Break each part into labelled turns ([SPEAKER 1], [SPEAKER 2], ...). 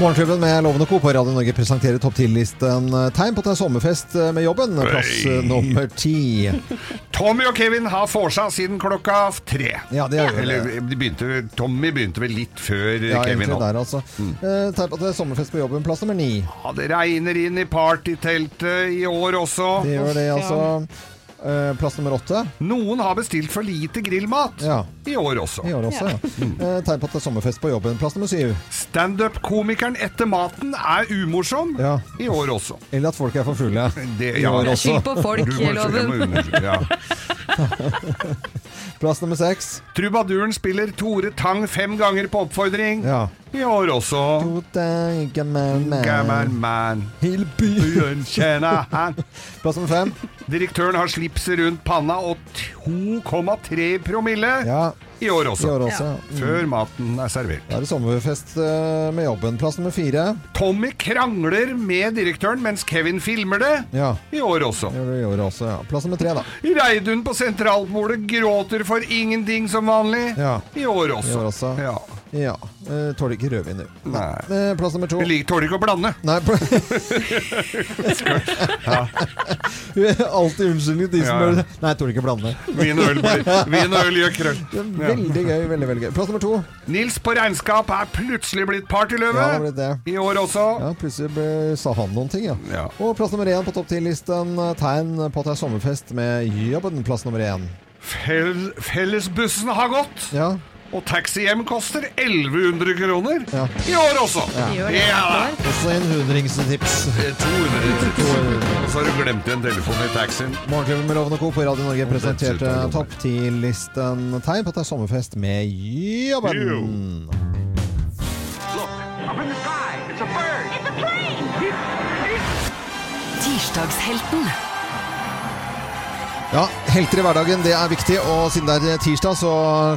[SPEAKER 1] Morgenklubben med Lovende Co. på Radio Norge presenterer topp 10-listen Tegn på at det er sommerfest eh, med jobben. Plass eh,
[SPEAKER 2] Oi.
[SPEAKER 1] nummer ti.
[SPEAKER 2] Tommy og Kevin har vorsa siden klokka tre.
[SPEAKER 1] Ja, det gjør
[SPEAKER 2] Eller
[SPEAKER 1] det.
[SPEAKER 2] de begynte, Tommy begynte vel litt før eh,
[SPEAKER 1] Ja,
[SPEAKER 2] Kevin. Mm.
[SPEAKER 1] egentlig
[SPEAKER 2] nå.
[SPEAKER 1] der, altså. Eh, Tegn på at det er sommerfest på jobben. Plass nummer ni.
[SPEAKER 2] Ja, det regner inn i partyteltet i år også.
[SPEAKER 1] Det gjør det, altså. Eh, Plass nummer åtte.
[SPEAKER 2] Noen har bestilt for lite grillmat.
[SPEAKER 1] Ja.
[SPEAKER 2] I år også. Mm.
[SPEAKER 1] I år også, ja. Eh, Tegn på at det er sommerfest på jobben. Plass nummer syv.
[SPEAKER 2] Standup-komikeren etter maten er umorsom.
[SPEAKER 1] Ja.
[SPEAKER 2] I år også.
[SPEAKER 1] Eller at folk er for fulle.
[SPEAKER 2] Det,
[SPEAKER 1] I år også.
[SPEAKER 3] Skyld på folk,
[SPEAKER 2] Du må- jeg må
[SPEAKER 3] loven.
[SPEAKER 2] undersøke, ja.
[SPEAKER 1] Plass nummer seks.
[SPEAKER 2] Trubaduren spiller Tore Tang fem ganger på oppfordring.
[SPEAKER 1] Ja.
[SPEAKER 2] I år også.
[SPEAKER 1] God dag, gammel
[SPEAKER 2] Gammel
[SPEAKER 1] mann.
[SPEAKER 2] man.
[SPEAKER 1] Hele byen.
[SPEAKER 2] Byen kjenner han.
[SPEAKER 1] Plass nummer fem.
[SPEAKER 2] Direktøren har slipset rundt panna og 2,3 promille
[SPEAKER 1] Ja,
[SPEAKER 2] i år
[SPEAKER 1] i
[SPEAKER 2] også.
[SPEAKER 1] år også. Mm.
[SPEAKER 2] Før maten er servert.
[SPEAKER 1] Da er det sommerfest eh, med jobben. Plass nummer fire.
[SPEAKER 2] Tommy krangler med direktøren mens Kevin filmer det.
[SPEAKER 1] Ja.
[SPEAKER 2] I år også.
[SPEAKER 1] Gjør det i år også, ja. Plass nummer tre, da.
[SPEAKER 2] Reidun på sentralbordet gråter for ingenting som vanlig.
[SPEAKER 1] Ja.
[SPEAKER 2] I år også.
[SPEAKER 1] I år også.
[SPEAKER 2] Ja.
[SPEAKER 1] Ja. eh, tåler ikke rødvin, du.
[SPEAKER 2] Nei.
[SPEAKER 1] Eh, plass nummer to.
[SPEAKER 2] Vi liker- tåler ikke å blande.
[SPEAKER 1] Nei, pl- Du er Alltid unnskyldning til de
[SPEAKER 2] Ja.
[SPEAKER 1] som bare Nei, jeg tåler ikke blande.
[SPEAKER 2] Vin og øl, blir- vin og øl gjør krøll.
[SPEAKER 1] Det er
[SPEAKER 2] Ja.
[SPEAKER 1] Veldig gøy. veldig, veldig gøy Plass nummer to.
[SPEAKER 2] Nils på regnskap er plutselig blitt partyløve.
[SPEAKER 1] Ja, det ble det.
[SPEAKER 2] I år også.
[SPEAKER 1] Ja, Plutselig ble, sa han noen ting, ja.
[SPEAKER 2] Ja.
[SPEAKER 1] Og plass nummer én på topp ti-listen. Tegn på at det er sommerfest med jobben. Plass nummer én.
[SPEAKER 2] Fel, fellesbussen har gått.
[SPEAKER 1] Ja.
[SPEAKER 2] Og taxihjem koster 1100 kroner
[SPEAKER 1] Ja.
[SPEAKER 2] i år også.
[SPEAKER 3] I år,
[SPEAKER 2] Ja, Eh,
[SPEAKER 3] ja.
[SPEAKER 2] da.
[SPEAKER 1] Også en hundringstips.
[SPEAKER 2] 200. Og så har du glemt igjen telefonen i taxien.
[SPEAKER 1] Morgenklubben med Loven og Co. på Radio Norge presenterte
[SPEAKER 2] dessuten-
[SPEAKER 1] topp ti-listen tegn på at det er sommerfest med jobben.
[SPEAKER 4] Tirsdagshelten
[SPEAKER 1] Ja, Helter i hverdagen det er viktig, og siden det er tirsdag, så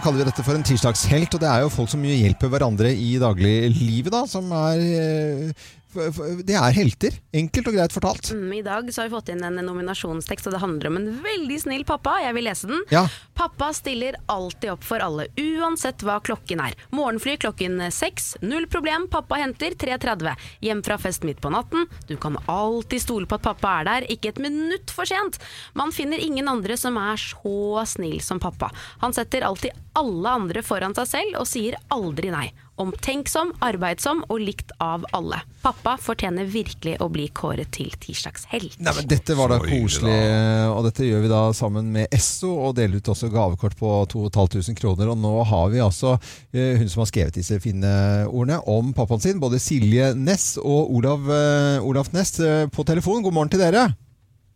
[SPEAKER 1] kaller vi dette for en tirsdagshelt. Og det er jo folk som hjelper hverandre i dagliglivet, da, som er eh, f- f- Det er helter. Enkelt og greit fortalt.
[SPEAKER 5] Mm, I dag så har vi fått inn en nominasjonstekst, og det handler om en veldig snill pappa. Jeg vil lese den.
[SPEAKER 1] Ja.
[SPEAKER 5] Pappa stiller alltid opp for alle, uansett hva klokken er. Morgenfly klokken eh, seks, null problem, pappa henter 3.30. Hjem fra fest midt på natten. Du kan alltid stole på at pappa er der, ikke et minutt for sent. Man finner ingen andre som er så snill som pappa. Han setter alltid alle andre foran seg selv, og sier aldri nei. Omtenksom, arbeidsom og likt av alle. Pappa fortjener virkelig å bli kåret til tirsdags helt.
[SPEAKER 1] Nei, men Dette var da
[SPEAKER 2] Så hyggelig,
[SPEAKER 1] koselig, eh, og dette gjør vi da sammen med Esso. Og deler ut også gavekort på 2500 kroner. Og nå har vi altså eh, hun som har skrevet disse fine ordene om pappaen sin, både Silje Næss og Olav, eh, Olav Næss, eh, på telefon. God morgen til dere.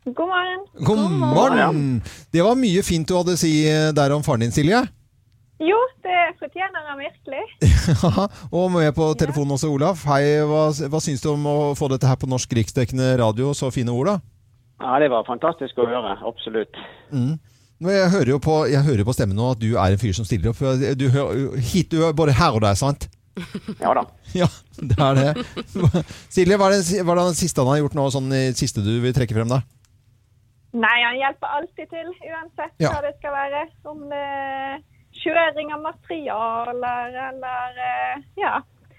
[SPEAKER 6] God morgen.
[SPEAKER 1] God morgen! Det var mye fint du hadde å si eh, der om faren din, Silje.
[SPEAKER 6] Jo, det fortjener han virkelig.
[SPEAKER 1] og med på telefonen også, Olaf. Hei, hva, hva syns du om å få dette her på norsk riksdekkende radio? Så fine ord, da.
[SPEAKER 7] Ja, det var fantastisk å høre. Absolutt.
[SPEAKER 1] Men Mm. Jeg hører jo på, jeg hører på stemmen nå at du er en fyr som stiller opp. Du hører, hit, du er både her og der, sant?
[SPEAKER 7] Ja da.
[SPEAKER 1] Ja, det er det. Silje, hva er det, hva er det siste han har gjort nå, sånn i siste du vil trekke frem, da?
[SPEAKER 6] Nei, han hjelper alltid til, uansett
[SPEAKER 1] Ja.
[SPEAKER 6] hva det skal være. Om det er kjøring av materialer eller eh, ja.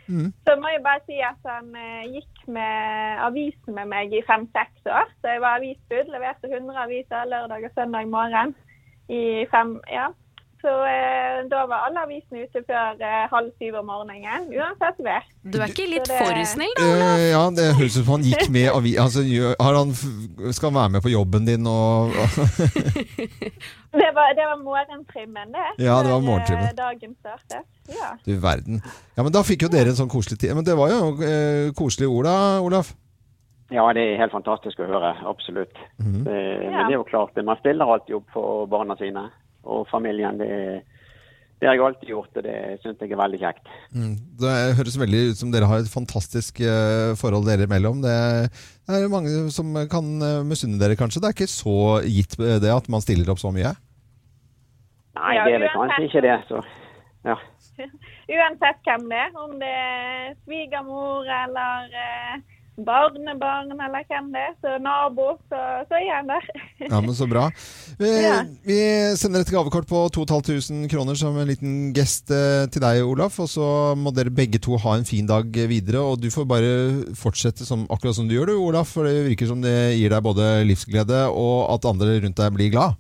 [SPEAKER 1] Mm.
[SPEAKER 6] Så må jeg bare si at han eh, gikk med avisen med meg i fem-seks år. Så jeg var avisbud, leverte 100 aviser lørdag og søndag morgen i fem ja. Så eh, da var alle avisene ute før eh, halv syv om morgenen, uansett vær.
[SPEAKER 5] Du er ikke litt
[SPEAKER 6] Så det-
[SPEAKER 5] for snill, da?
[SPEAKER 1] Eh, ja, det høres ut som han gikk med avi... Altså, gjør- har han, f- skal han være med på jobben din og
[SPEAKER 6] Det var, det var morgentrimmen, det.
[SPEAKER 1] Ja, det var
[SPEAKER 6] Når, eh,
[SPEAKER 1] morgentrimmen.
[SPEAKER 6] Dagen startet. Ja.
[SPEAKER 1] Du verden. Ja, men da fikk jo dere en sånn koselig tid. Men det var jo eh, koselige ord da, Olaf.
[SPEAKER 7] Ja, det er helt fantastisk å høre. Absolutt.
[SPEAKER 1] Mhm.
[SPEAKER 7] det, men
[SPEAKER 6] Ja.
[SPEAKER 7] det er jo klart, man stiller alltid opp for barna sine og familien. Det, det har jeg alltid gjort, og det syns jeg er veldig kjekt.
[SPEAKER 1] Mm. Det høres veldig ut som dere har et fantastisk eh, forhold dere imellom. Det er mange som kan eh, misunne dere, kanskje. Det er ikke så gitt eh, det at man stiller opp så mye.
[SPEAKER 7] Nei,
[SPEAKER 6] Ja,
[SPEAKER 7] det er vel
[SPEAKER 6] uansett.
[SPEAKER 7] kanskje ikke det, så ja.
[SPEAKER 6] Uansett hvem det er, om det er svigermor eller eh, barnebarn eller hvem det er, så nabo, så, så er han der.
[SPEAKER 1] Ja, men Så bra. Vi,
[SPEAKER 6] Ja.
[SPEAKER 1] vi sender et gavekort på 2500 kroner som en liten gest eh, til deg, Olaf. Og så må dere begge to ha en fin dag videre. Og du får bare fortsette som, akkurat som du gjør, du, Olaf. For det virker som det gir deg både livsglede og at andre rundt deg blir glad.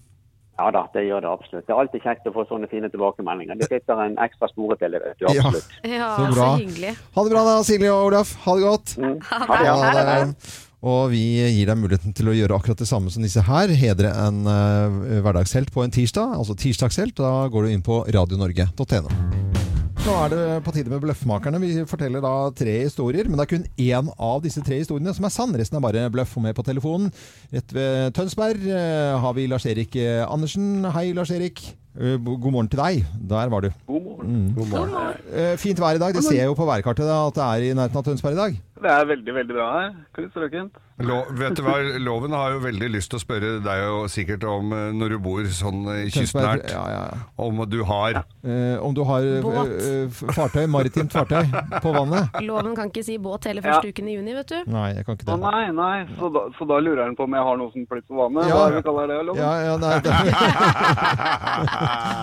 [SPEAKER 7] Ja da, det gjør det absolutt. Det er alltid kjekt å få sånne fine tilbakemeldinger. Det sitter en ekstra spore til det, vet du.
[SPEAKER 1] Ja.
[SPEAKER 7] Absolutt.
[SPEAKER 5] Ja,
[SPEAKER 1] Så
[SPEAKER 5] så,
[SPEAKER 1] bra.
[SPEAKER 5] hyggelig.
[SPEAKER 1] Ha det bra da, Silje og Olaf. Ha det godt.
[SPEAKER 7] Mm.
[SPEAKER 1] Ha det.
[SPEAKER 7] Ja, det er det.
[SPEAKER 1] Og vi gir deg muligheten til å gjøre akkurat det samme som disse her. Hedre en eh, hverdagshelt på en tirsdag, altså tirsdagshelt. Da går du inn på radionorge.no. Nå er det på tide med Bløffmakerne. Vi forteller da tre historier, men det er kun én av disse tre historiene som er sann. Resten er bare bløff. Og med på telefonen rett ved Tønsberg eh, har vi Lars-Erik eh, Andersen. Hei, Lars-Erik. Eh, bo- God morgen til deg. Der var du. Mm.
[SPEAKER 3] God morgen.
[SPEAKER 1] Eh, Fint vær i dag. Det ser jeg jo på værkartet da, at det er i nærheten av Tønsberg i dag.
[SPEAKER 3] Det er veldig, veldig bra her. Knut Strøkent.
[SPEAKER 2] Lo, vet du hva, Loven har jo veldig lyst til å spørre deg jo sikkert om eh, når du bor sånn eh,
[SPEAKER 1] Tønsberg-
[SPEAKER 2] kystnært,
[SPEAKER 1] Ja, ja, ja.
[SPEAKER 2] om du har
[SPEAKER 1] Eh, om du har eh,
[SPEAKER 5] Båt.
[SPEAKER 1] eh, fartøy, maritimt fartøy på vannet?
[SPEAKER 5] Loven kan ikke si båt hele
[SPEAKER 3] Ja.
[SPEAKER 5] første uken i juni, vet du.
[SPEAKER 1] Nei, jeg kan ikke
[SPEAKER 3] Å
[SPEAKER 1] det.
[SPEAKER 3] nei, nei. Så da, så da lurer han på om jeg har noe som flyter på vannet?
[SPEAKER 1] Ja.
[SPEAKER 3] Hva er det vi kaller det? Loven?
[SPEAKER 1] Ja, ja, nei, det.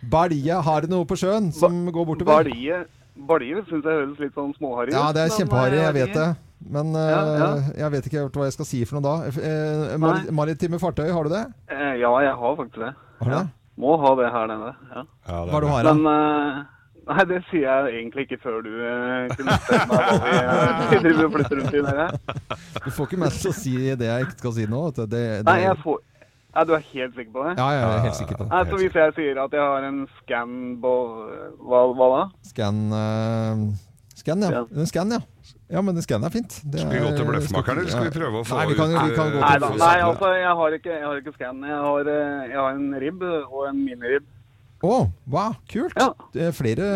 [SPEAKER 1] Balje, har det noe på sjøen som går bortover?
[SPEAKER 3] Balje, balje syns jeg høres litt sånn småharry ut.
[SPEAKER 1] Ja, det er
[SPEAKER 3] men,
[SPEAKER 1] kjempeharry,
[SPEAKER 3] eh,
[SPEAKER 1] jeg vet det. Men eh,
[SPEAKER 3] Ja, ja.
[SPEAKER 1] jeg vet ikke helt hva jeg skal si for noe da. Eh, mar
[SPEAKER 3] Nei.
[SPEAKER 1] maritime fartøy, har du det?
[SPEAKER 3] eh, Ja, jeg har faktisk det.
[SPEAKER 1] Har du det?
[SPEAKER 3] Må ha det her nede. Ja.
[SPEAKER 1] Hva er det du har da?
[SPEAKER 3] Men eh, Nei, det sier jeg egentlig ikke før du eh, kunne stemme meg hva vi eh, vi driver og flytter rundt i nede.
[SPEAKER 1] Du får ikke meg til å si det jeg ikke skal si nå. vet du. Det, det,
[SPEAKER 3] Nei, jeg får Nei, du er helt sikker på det?
[SPEAKER 1] Ja, jeg er helt sikker på
[SPEAKER 3] Nei,
[SPEAKER 1] det.
[SPEAKER 3] så hvis jeg sier at jeg har en scan på hva, hva da?
[SPEAKER 1] Scan, eh, scan, ja.
[SPEAKER 3] Scan.
[SPEAKER 1] Scan, ja. Ja, men scan er fint. Det
[SPEAKER 2] Skal vi gå til
[SPEAKER 1] er-
[SPEAKER 2] Bløffmakeren, eller skal vi prøve å få
[SPEAKER 1] Nei, vi kan,
[SPEAKER 2] ut,
[SPEAKER 1] vi kan
[SPEAKER 2] eh,
[SPEAKER 1] gå
[SPEAKER 3] Nei,
[SPEAKER 1] til
[SPEAKER 3] da,
[SPEAKER 2] får
[SPEAKER 3] nei
[SPEAKER 2] samle.
[SPEAKER 3] altså, jeg har ikke, jeg har ikke scan. Jeg har, eh, jeg har en ribb og en miniribb.
[SPEAKER 1] Å, wow, kult!
[SPEAKER 3] Ja.
[SPEAKER 1] Det er Flere,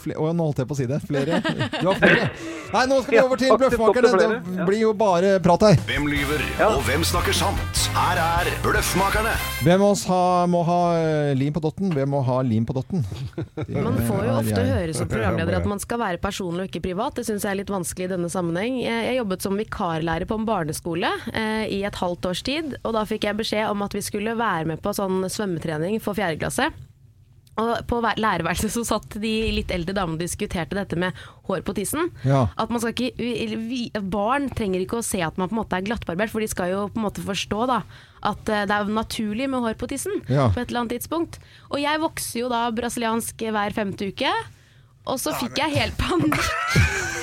[SPEAKER 1] fle- Å, nå holdt jeg på å si det. Flere. Du har flere. Nei, nå skal vi over til
[SPEAKER 3] Ja, faktisk
[SPEAKER 1] Bløffmakerne.
[SPEAKER 3] opp til flere.
[SPEAKER 1] Det
[SPEAKER 3] Ja.
[SPEAKER 1] blir jo bare prat her.
[SPEAKER 8] Hvem lyver, og hvem snakker sant? Her er Bløffmakerne.
[SPEAKER 1] Hvem av oss ha, må ha eh, lim på dotten? Hvem må ha lim på dotten? Det
[SPEAKER 5] Man får jo
[SPEAKER 1] er
[SPEAKER 5] ofte
[SPEAKER 1] jeg.
[SPEAKER 5] høre som programleder at man skal være personlig og ikke privat. Det syns jeg er litt vanskelig i denne sammenheng. Jeg jeg jobbet som vikarlærer på en barneskole eh, i et halvt års tid, og da fikk jeg beskjed om at vi skulle være med på sånn svømmetrening for fjerde klasse. Og på hver- lærerværelset så satt de litt eldre damene og diskuterte dette med hår på tissen.
[SPEAKER 1] Ja.
[SPEAKER 5] At man skal ikke, vi, vi- barn trenger ikke å se at man på en måte er glattbarbert, for de skal jo på en måte forstå da, at eh, det er naturlig med hår på tissen
[SPEAKER 1] Ja.
[SPEAKER 5] på et eller annet tidspunkt. Og jeg vokser jo da brasiliansk hver femte uke, og så fikk jeg helt panikk.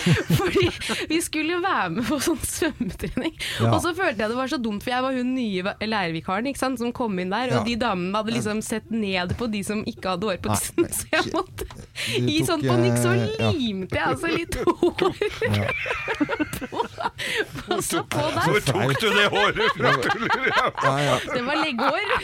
[SPEAKER 5] Fordi vi skulle jo være med på sånn svømmetrening.
[SPEAKER 1] Ja.
[SPEAKER 5] Og så følte jeg det var så dumt, for jeg var hun nye va- lærervikaren ikke sant, som kom inn der.
[SPEAKER 1] Ja.
[SPEAKER 5] Og de damene hadde liksom sett ned på de som ikke hadde hår på
[SPEAKER 1] Nei,
[SPEAKER 5] tissen. Så jeg
[SPEAKER 1] shit.
[SPEAKER 5] måtte
[SPEAKER 1] Du
[SPEAKER 5] i sånn
[SPEAKER 1] tok,
[SPEAKER 5] panikk så
[SPEAKER 1] eh, ja.
[SPEAKER 5] limte jeg altså litt hår på, på, så på
[SPEAKER 2] Hvor
[SPEAKER 5] der.
[SPEAKER 2] tok du det håret fra, tuller du?
[SPEAKER 1] Ja, ja.
[SPEAKER 5] Det var leggehår.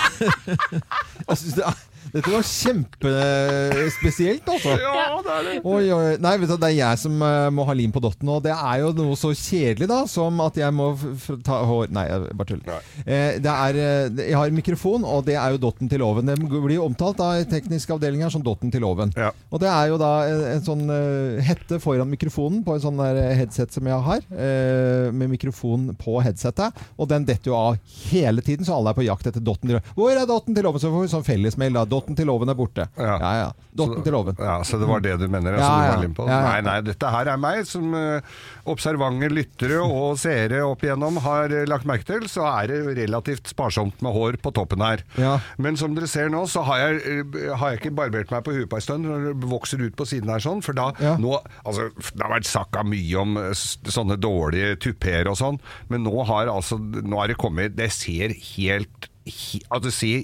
[SPEAKER 1] Jeg synes det er, dette var kjempespesielt, altså.
[SPEAKER 2] Ja, det er det.
[SPEAKER 1] Oi, oi. Nei, vet du, det er jeg som eh, må ha lim på dotten, og det er jo noe så kjedelig da, som at jeg må f f- ta hår Nei, jeg bare tuller. Eh, det er, eh, jeg har mikrofon, og det er jo dotten til loven. Det blir jo omtalt da, i teknisk avdeling her som dotten til loven.
[SPEAKER 2] Ja.
[SPEAKER 1] Og det er jo da en, en sånn eh, hette foran mikrofonen på en sånn der headset som jeg har, eh, med mikrofon på headsetet, og den detter jo av hele tiden, så alle er på jakt etter dotten til loven. Hvor er dotten til loven? Så får vi sånn fellesmail da. Dotten til loven er borte.
[SPEAKER 2] Ja.
[SPEAKER 1] ja. ja. Dotten til loven.
[SPEAKER 2] Ja, Så det var det du mener? Altså,
[SPEAKER 1] Ja,
[SPEAKER 2] du
[SPEAKER 1] ja.
[SPEAKER 2] var lim på.
[SPEAKER 1] Ja, ja.
[SPEAKER 2] Nei, nei, dette her er meg som eh, observante lyttere og seere opp igjennom har eh, lagt merke til, så er det relativt sparsomt med hår på toppen her.
[SPEAKER 1] Ja.
[SPEAKER 2] Men som dere ser nå, så har jeg, eh, har jeg ikke barbert meg på huet på en stund, når det vokser ut på siden her sånn, for da
[SPEAKER 1] Ja.
[SPEAKER 2] nå Altså, det har vært snakka mye om eh, s- sånne dårlige tupeer og sånn, men nå har altså Nå har det kommet Det ser helt he, Altså, det ser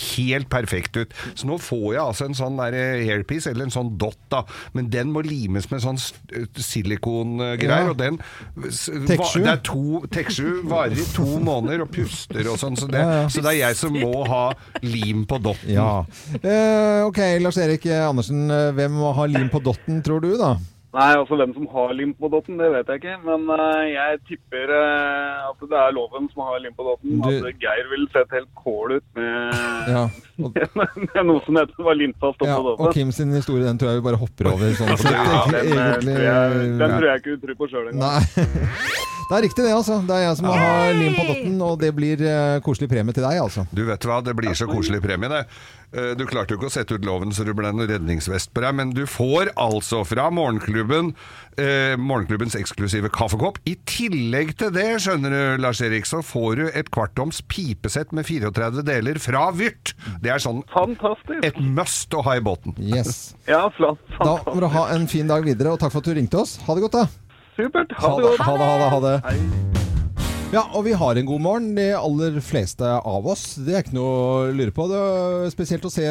[SPEAKER 2] helt perfekt ut. Så nå får jeg altså en sånn der eh, hairpiece, eller en sånn dott, da. Men den må limes med sånn s- eh, silikongreier,
[SPEAKER 1] Ja.
[SPEAKER 2] og den s- va-
[SPEAKER 1] Tekstur.
[SPEAKER 2] Det er to Tekstur varer i to måneder og puster og sånn, så det,
[SPEAKER 1] Ja, ja.
[SPEAKER 2] så det er jeg som må ha lim på dotten.
[SPEAKER 1] Ja. Eh, ok, Lars-Erik Andersen. eh, Hvem må ha lim på dotten, tror du, da?
[SPEAKER 3] Nei, altså hvem som har limpodotten, det vet jeg ikke. Men eh, jeg tipper eh, at det er loven som har limpodotten.
[SPEAKER 1] Du-
[SPEAKER 3] At Geir ville sett helt kål ut med,
[SPEAKER 1] Ja. Og,
[SPEAKER 3] med noe som heter var limpa
[SPEAKER 1] ja,
[SPEAKER 3] stoppet
[SPEAKER 1] og
[SPEAKER 3] oppe.
[SPEAKER 1] Kim sin historie den tror jeg vi bare hopper over. sånn sett.
[SPEAKER 3] Ja,
[SPEAKER 1] Ikke
[SPEAKER 3] den, eh, tror jeg,
[SPEAKER 1] egentlig-
[SPEAKER 3] den tror jeg ikke du tror på sjøl engang.
[SPEAKER 1] Nei. Det er riktig det, altså. Det er jeg som har lim på dotten, og det blir eh, koselig premie til deg, altså.
[SPEAKER 2] Du vet hva, det blir så koselig premie, det. Eh, Du klarte jo ikke å sette ut loven så det ble noe redningsvest på deg, men du får altså fra morgenklubben eh, morgenklubbens eksklusive kaffekopp. I tillegg til det, skjønner du, Lars Erik, så får du et kvartoms pipesett med 34 deler fra Vyrt. Det er sånn
[SPEAKER 3] Fantastisk.
[SPEAKER 2] et must å ha i båten.
[SPEAKER 1] Yes.
[SPEAKER 3] Ja, flott.
[SPEAKER 1] Da må
[SPEAKER 3] Fantastisk.
[SPEAKER 1] du ha en fin dag videre, og takk for at du ringte oss. Ha det godt, da.
[SPEAKER 3] Supert. Ha det godt.
[SPEAKER 1] Ha det, ha det, ha det.
[SPEAKER 3] Hei.
[SPEAKER 1] Ja, og vi har en god morgen, de aller fleste av oss. Det er ikke noe å lure på. Det var spesielt å se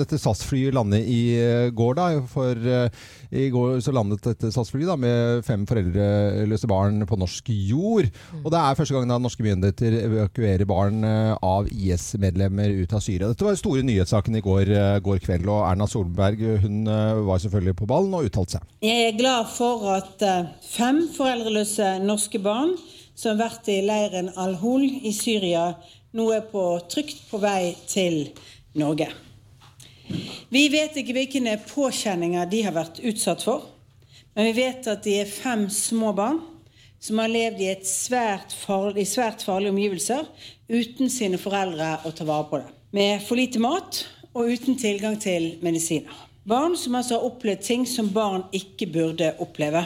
[SPEAKER 1] dette SAS-flyet lande i eh, går, da. For eh, i går så landet dette SAS-flyet da, med fem foreldreløse barn på norsk jord. Og det er første gang da norske myndigheter evakuerer barn eh, av IS-medlemmer ut av Syria. Dette var den store nyhetssaken i går, eh, går kveld, og Erna Solberg hun eh, var selvfølgelig på ballen og uttalte seg.
[SPEAKER 9] Jeg er glad for at eh, fem foreldreløse norske barn som har vært i leiren Al-Hol i Syria, nå er på trygt på vei til Norge. Vi vet ikke hvilke påkjenninger de har vært utsatt for, men vi vet at de er fem små barn som har levd i, et svært farlig, i svært farlige omgivelser uten sine foreldre å ta vare på det. Med for lite mat og uten tilgang til medisiner. Barn som altså har opplevd ting som barn ikke burde oppleve.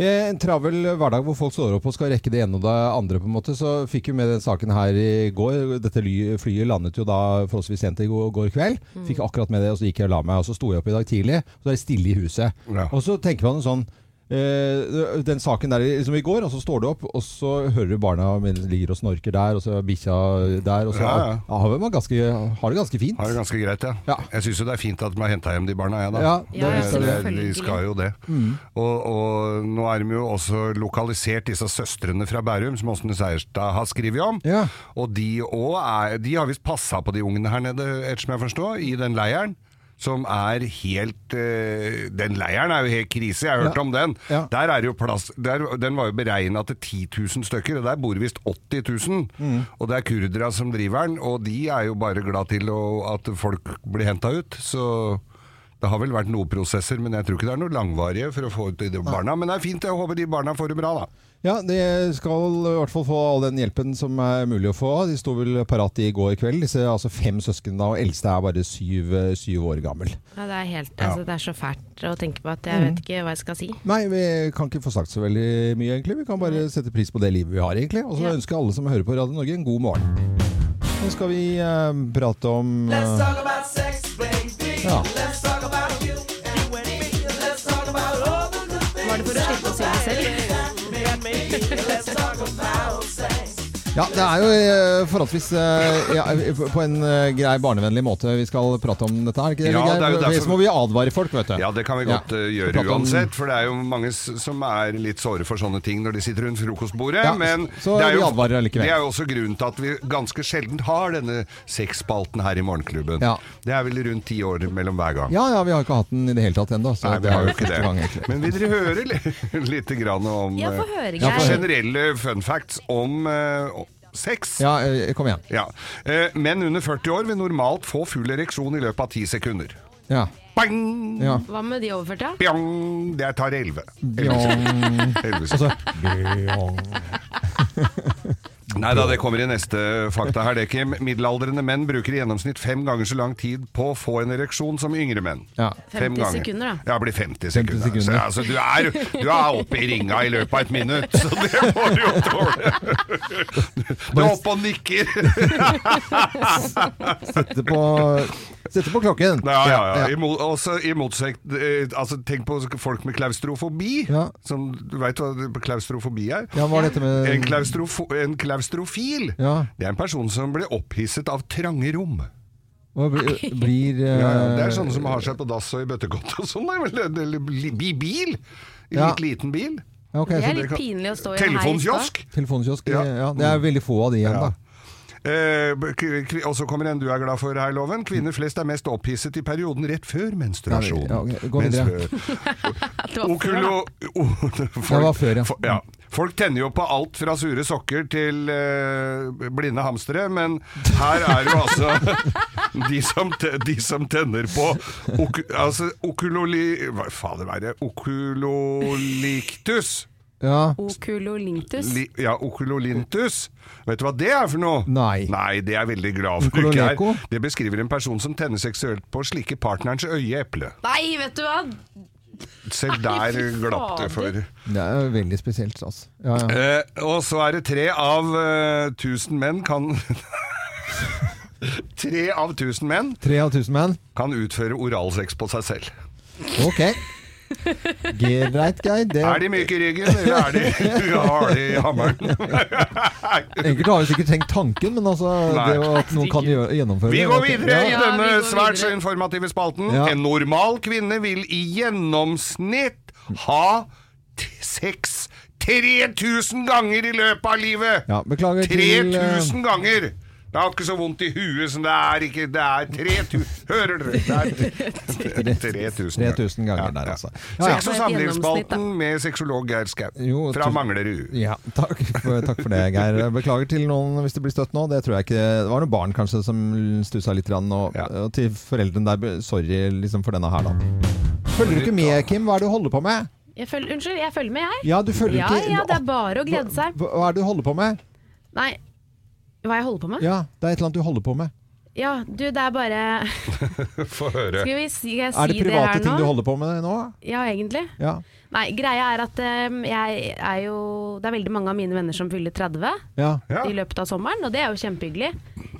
[SPEAKER 1] Eh, En travel hverdag hvor folk står opp og skal rekke det ene og det andre, på en måte, så fikk vi med den saken her i går. Dette ly- flyet landet jo da forholdsvis sent i går, går kveld. Fikk akkurat med det, og så gikk jeg og la meg. Og så sto jeg opp i dag tidlig, og så er det stille i huset.
[SPEAKER 2] Ja.
[SPEAKER 1] Og så tenker man sånn eh, Den saken der liksom i går, og så står du opp, og så hører du barna mine ligger og snorker der, og så er bikkja der, og så
[SPEAKER 2] Ja, ja.
[SPEAKER 1] har man ganske, har det ganske fint.
[SPEAKER 2] Har det ganske greit, ja.
[SPEAKER 1] Ja.
[SPEAKER 2] Jeg syns jo det er fint at de har henta hjem de barna, jeg, da.
[SPEAKER 1] Ja, det
[SPEAKER 2] Eh,
[SPEAKER 5] skal
[SPEAKER 2] det,
[SPEAKER 5] vi.
[SPEAKER 2] de skal jo det.
[SPEAKER 1] Mm.
[SPEAKER 2] Og, og nå er de jo også lokalisert, disse søstrene fra Bærum, som Åsne Seierstad har skrevet om.
[SPEAKER 1] Ja.
[SPEAKER 2] Og de òg er De har visst passa på de ungene her nede, ettersom jeg forstår, i den leiren. Som er helt eh, Den leiren er jo helt krise, jeg har hørt
[SPEAKER 1] Ja.
[SPEAKER 2] om den.
[SPEAKER 1] Ja.
[SPEAKER 2] Der er det jo plass der, Den var jo beregna til 10 000 stykker, og der bor visst 80 000. Og det er kurdere som driver den, og de er jo bare glad til å, at folk blir henta ut. Så det har vel vært noen prosesser, men jeg tror ikke det er noe langvarige for å få ut de barna. Men det er fint, jeg håper de barna får det bra, da.
[SPEAKER 1] Ja, de skal i hvert fall få all den hjelpen som er mulig å få. De sto vel parat i går kveld, disse altså fem søsken da, og eldste er bare syv, syv år gammel.
[SPEAKER 5] Ja, det, er helt, altså, det er så fælt å tenke på at jeg vet ikke hva jeg skal si.
[SPEAKER 1] Nei, vi kan ikke få sagt så veldig mye egentlig. Vi kan bare sette pris på det livet vi har egentlig. Og så
[SPEAKER 5] Ja.
[SPEAKER 1] ønsker jeg alle som hører på Radio Norge en god morgen. Nå skal vi eh, prate om eh, ja.
[SPEAKER 5] Var det for å slippe å si det selv?
[SPEAKER 1] Ja, det er jo eh, forholdsvis eh, ja, på en eh, grei barnevennlig måte vi skal prate om dette her. Ikke det,
[SPEAKER 2] Ja,
[SPEAKER 1] Geir?
[SPEAKER 2] det er jo derfor-
[SPEAKER 1] Ellers må vi advare folk, vet du.
[SPEAKER 2] Ja, det kan vi godt
[SPEAKER 1] Ja.
[SPEAKER 2] eh,
[SPEAKER 1] Vi
[SPEAKER 2] gjøre
[SPEAKER 1] prater om-
[SPEAKER 2] uansett, for det er jo mange s- som er litt såre for sånne ting når de sitter rundt frokostbordet.
[SPEAKER 1] Ja,
[SPEAKER 2] men
[SPEAKER 1] så
[SPEAKER 2] det er,
[SPEAKER 1] vi
[SPEAKER 2] jo,
[SPEAKER 1] advarer allikevel.
[SPEAKER 2] det er jo også grunnen til at vi ganske sjelden har denne sexspalten her i Morgenklubben.
[SPEAKER 1] Ja.
[SPEAKER 2] Det er vel rundt ti år mellom hver gang.
[SPEAKER 1] Ja, ja, vi har ikke hatt den i det hele tatt ennå.
[SPEAKER 2] Nei, vi har jo ikke
[SPEAKER 1] første gang, egentlig.
[SPEAKER 2] det. Men vil dere høre li- lite grann om
[SPEAKER 5] Ja, få
[SPEAKER 2] eh,
[SPEAKER 5] høre,
[SPEAKER 1] Ja, få
[SPEAKER 5] Geir.
[SPEAKER 1] høre.
[SPEAKER 2] generelle fun facts om eh, o- sex?
[SPEAKER 1] Ja, eh, kom igjen.
[SPEAKER 2] Ja. Eh, menn under 40 år vil normalt få full ereksjon i løpet av 10 sekunder.
[SPEAKER 1] Ja.
[SPEAKER 2] Bang!
[SPEAKER 1] ja.
[SPEAKER 5] Hva med de overførte?
[SPEAKER 2] Bjong! Det tar 11.
[SPEAKER 1] Bjong.
[SPEAKER 2] Altså, Nei da, det kommer i neste fakta her, det, Kim. Middelaldrende menn bruker i gjennomsnitt fem ganger så lang tid på å få en ereksjon som yngre menn.
[SPEAKER 1] Ja.
[SPEAKER 2] Fem
[SPEAKER 5] 50
[SPEAKER 2] ganger.
[SPEAKER 5] sekunder, da.
[SPEAKER 2] Ja, det blir 50 sekunder.
[SPEAKER 1] 50 sekunder.
[SPEAKER 2] Så, altså, du, er, du er oppe i ringa i løpet av et minutt, så det må du jo tåle. Du er oppe og nikker.
[SPEAKER 1] Sette på, sette på klokken.
[SPEAKER 2] Ja, ja, ja.
[SPEAKER 1] Ja.
[SPEAKER 2] I, mo- også, i motsekt, eh, altså, tenk på folk med klaustrofobi.
[SPEAKER 1] Ja.
[SPEAKER 2] Som, du veit hva klaustrofobi er?
[SPEAKER 1] Ja, hva er dette med
[SPEAKER 2] En, klaustrofo, en klaustrofil
[SPEAKER 1] Ja.
[SPEAKER 2] Det er en person som blir opphisset av trange rom.
[SPEAKER 1] Hva blir, blir eh,
[SPEAKER 2] Ja, ja, det er sånne som har seg på dass og i bøttekott og sånn. nei, vel, det- det- I bil. I
[SPEAKER 1] Ja.
[SPEAKER 2] litt liten bil.
[SPEAKER 1] ja, ok,
[SPEAKER 5] Det
[SPEAKER 1] så
[SPEAKER 5] er litt
[SPEAKER 2] kan-
[SPEAKER 5] pinlig å stå i en heis da.
[SPEAKER 2] Telefonkiosk.
[SPEAKER 1] Telefonkiosk.
[SPEAKER 2] Ja.
[SPEAKER 1] Ja. det er veldig få av de igjen,
[SPEAKER 2] Ja.
[SPEAKER 1] da.
[SPEAKER 2] Eh, k- kvi- og så kommer en du er glad for her, Loven. Kvinner flest er mest opphisset i perioden rett før menstruasjon.
[SPEAKER 1] Ja, ja, gå videre.
[SPEAKER 2] Mens-
[SPEAKER 5] At det var før, da.
[SPEAKER 2] Okulo... O, folk,
[SPEAKER 1] var før, ja.
[SPEAKER 2] fo- ja. Folk tenner jo på alt fra sure sokker til eh, blinde hamstere, men her er jo altså de som, te, de som tenner på ok, altså, okuloli... Hva fader være? Okuloliktus?
[SPEAKER 1] Ja.
[SPEAKER 5] Okulolintus.
[SPEAKER 2] Li, ja, okulolintus. Vet du hva det er for noe?
[SPEAKER 1] Nei.
[SPEAKER 2] Nei, det er jeg veldig glad for. ikke er.
[SPEAKER 1] Okuloleko?
[SPEAKER 2] Det beskriver en person som tenner seksuelt på å slikke partnerens øyeeple.
[SPEAKER 5] Nei, vet du hva?
[SPEAKER 2] Selv
[SPEAKER 5] Nei,
[SPEAKER 2] der
[SPEAKER 5] fy
[SPEAKER 2] glapp det for.
[SPEAKER 5] fader.
[SPEAKER 1] Det er jo veldig spesielt, altså. Ja, ja.
[SPEAKER 2] Eh, og så er det tre av eh, tusen menn kan Tre av tusen menn
[SPEAKER 1] Tre av tusen menn.
[SPEAKER 2] kan utføre oralsex på seg selv.
[SPEAKER 1] Ok. Greit, Geir. Det...
[SPEAKER 2] Er de myke i ryggen, eller er de harde i hammeren?
[SPEAKER 1] Enkelte har jo sikkert tenkt tanken, men altså,
[SPEAKER 2] Nei.
[SPEAKER 1] det jo at noen kan gjøre, gjennomføre
[SPEAKER 2] Vi
[SPEAKER 1] det,
[SPEAKER 2] går
[SPEAKER 1] vet du.
[SPEAKER 2] videre i
[SPEAKER 1] Ja.
[SPEAKER 5] Ja, vi
[SPEAKER 2] denne
[SPEAKER 5] går
[SPEAKER 2] svært så
[SPEAKER 5] videre.
[SPEAKER 2] informative spalten.
[SPEAKER 1] Ja.
[SPEAKER 2] En normal kvinne vil i gjennomsnitt ha t- sex 3000 ganger i løpet av livet!
[SPEAKER 1] Ja, beklager til eh,
[SPEAKER 2] 3000 ganger! Det har ikke så vondt i huet som det er ikke Det er 3000 Hører dere? Det er 3000
[SPEAKER 1] 3000 ganger der, altså. Ja, ja.
[SPEAKER 2] Sex- og
[SPEAKER 5] Det er et gjennomsnitt, da.
[SPEAKER 2] samlivsspalten med sexolog Geir Skau
[SPEAKER 1] Jo,
[SPEAKER 2] fra
[SPEAKER 1] tusen-
[SPEAKER 2] Manglerud.
[SPEAKER 1] Ja, takk for, takk for det, Geir. Beklager til noen hvis det blir støtt nå. Det tror jeg ikke Det var noen barn kanskje som stussa litt, grann, og,
[SPEAKER 2] Ja.
[SPEAKER 1] og til foreldrene der Sorry liksom for denne her, da. Følger du ikke med, Kim? Hva er det du holder på med?
[SPEAKER 5] Jeg følger, unnskyld, jeg følger med, jeg.
[SPEAKER 1] Ja, du følger
[SPEAKER 5] Ja,
[SPEAKER 1] ikke
[SPEAKER 5] ja, det er bare å glede seg.
[SPEAKER 1] Hva hva er det du holder på med?
[SPEAKER 5] Nei, hva jeg holder på med?
[SPEAKER 1] Ja, det er et eller annet du holder på med.
[SPEAKER 5] Ja, du, det er bare
[SPEAKER 2] Få høre.
[SPEAKER 5] Skal vi si, skal jeg
[SPEAKER 1] Er det
[SPEAKER 5] si det her nå?
[SPEAKER 1] private ting du holder på med nå?
[SPEAKER 5] Ja, egentlig.
[SPEAKER 1] Ja.
[SPEAKER 5] Nei, greia er at em, jeg er jo Det er veldig mange av mine venner som fyller 30
[SPEAKER 1] ja.
[SPEAKER 2] Ja.
[SPEAKER 5] i løpet av sommeren, og det er jo kjempehyggelig.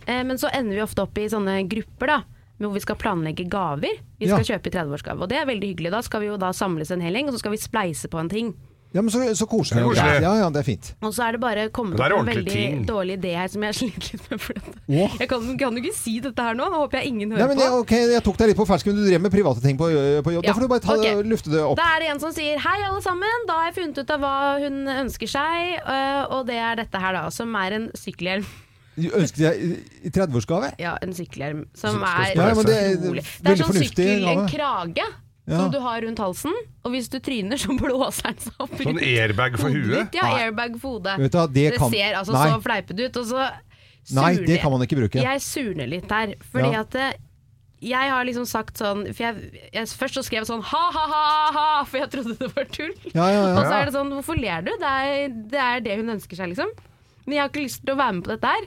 [SPEAKER 5] Eh, men så ender vi ofte opp i sånne grupper, da. Hvor vi skal planlegge gaver. Vi skal
[SPEAKER 1] Ja.
[SPEAKER 5] kjøpe i 30-årsgave, og det er veldig hyggelig. Da skal vi jo da samles en hel gjeng, og så skal vi spleise på en ting.
[SPEAKER 1] ja men så, så koselig.
[SPEAKER 2] Det er koselig.
[SPEAKER 1] Ja, ja, det er fint.
[SPEAKER 5] Og så er det bare kommet
[SPEAKER 2] Det er
[SPEAKER 5] opp en veldig
[SPEAKER 2] ordentlige ting.
[SPEAKER 5] dårlig idé her som jeg sliter litt med. For dette.
[SPEAKER 1] Åh.
[SPEAKER 5] Jeg kan, kan jo ikke si dette her nå, nå håper jeg ingen
[SPEAKER 1] Nei,
[SPEAKER 5] hører
[SPEAKER 1] men
[SPEAKER 5] på.
[SPEAKER 1] det, ok, Jeg tok deg litt på fersken. Du drev med private ting på, på jobb.
[SPEAKER 5] Ja,
[SPEAKER 1] Da får du bare ta,
[SPEAKER 5] ok.
[SPEAKER 1] lufte det opp.
[SPEAKER 5] Da er det en som sier 'hei, alle sammen', da har jeg funnet ut av hva hun ønsker seg, øh, og det er dette her, da, som er en sykkelhjelm.
[SPEAKER 1] Du Ønsket deg i- i 30-årsgave?
[SPEAKER 5] Ja, en sykkelhjelm som
[SPEAKER 2] Som skal
[SPEAKER 5] er
[SPEAKER 2] spleise. Ja, men
[SPEAKER 1] det er
[SPEAKER 5] utrolig. Det er
[SPEAKER 1] veldig
[SPEAKER 5] sånn
[SPEAKER 1] fornuftig
[SPEAKER 5] sykkel, en
[SPEAKER 1] gave.
[SPEAKER 5] krage,
[SPEAKER 1] Ja.
[SPEAKER 5] som du har rundt halsen, og hvis du tryner, så blåser den seg opp
[SPEAKER 2] Sånn
[SPEAKER 5] rundt
[SPEAKER 2] airbag for
[SPEAKER 5] hodet
[SPEAKER 2] huet?
[SPEAKER 5] ditt. Ja,
[SPEAKER 1] Nei.
[SPEAKER 5] airbag for hodet.
[SPEAKER 1] Vet du hva, det kan-
[SPEAKER 5] ser altså
[SPEAKER 1] Nei.
[SPEAKER 5] så fleipete ut, og så
[SPEAKER 1] Nei,
[SPEAKER 5] surner-
[SPEAKER 1] det kan man ikke bruke.
[SPEAKER 5] Jeg surner litt her, fordi
[SPEAKER 1] Ja.
[SPEAKER 5] at eh, jeg har liksom sagt sånn for jeg, jeg, Først så skrev jeg sånn ha-ha-ha, for jeg trodde det var tull.
[SPEAKER 1] Ja, ja, ja.
[SPEAKER 5] Og så er det sånn, hvorfor ler du? Det er, det er det hun ønsker seg, liksom. Men jeg har ikke lyst til å være med på dette her.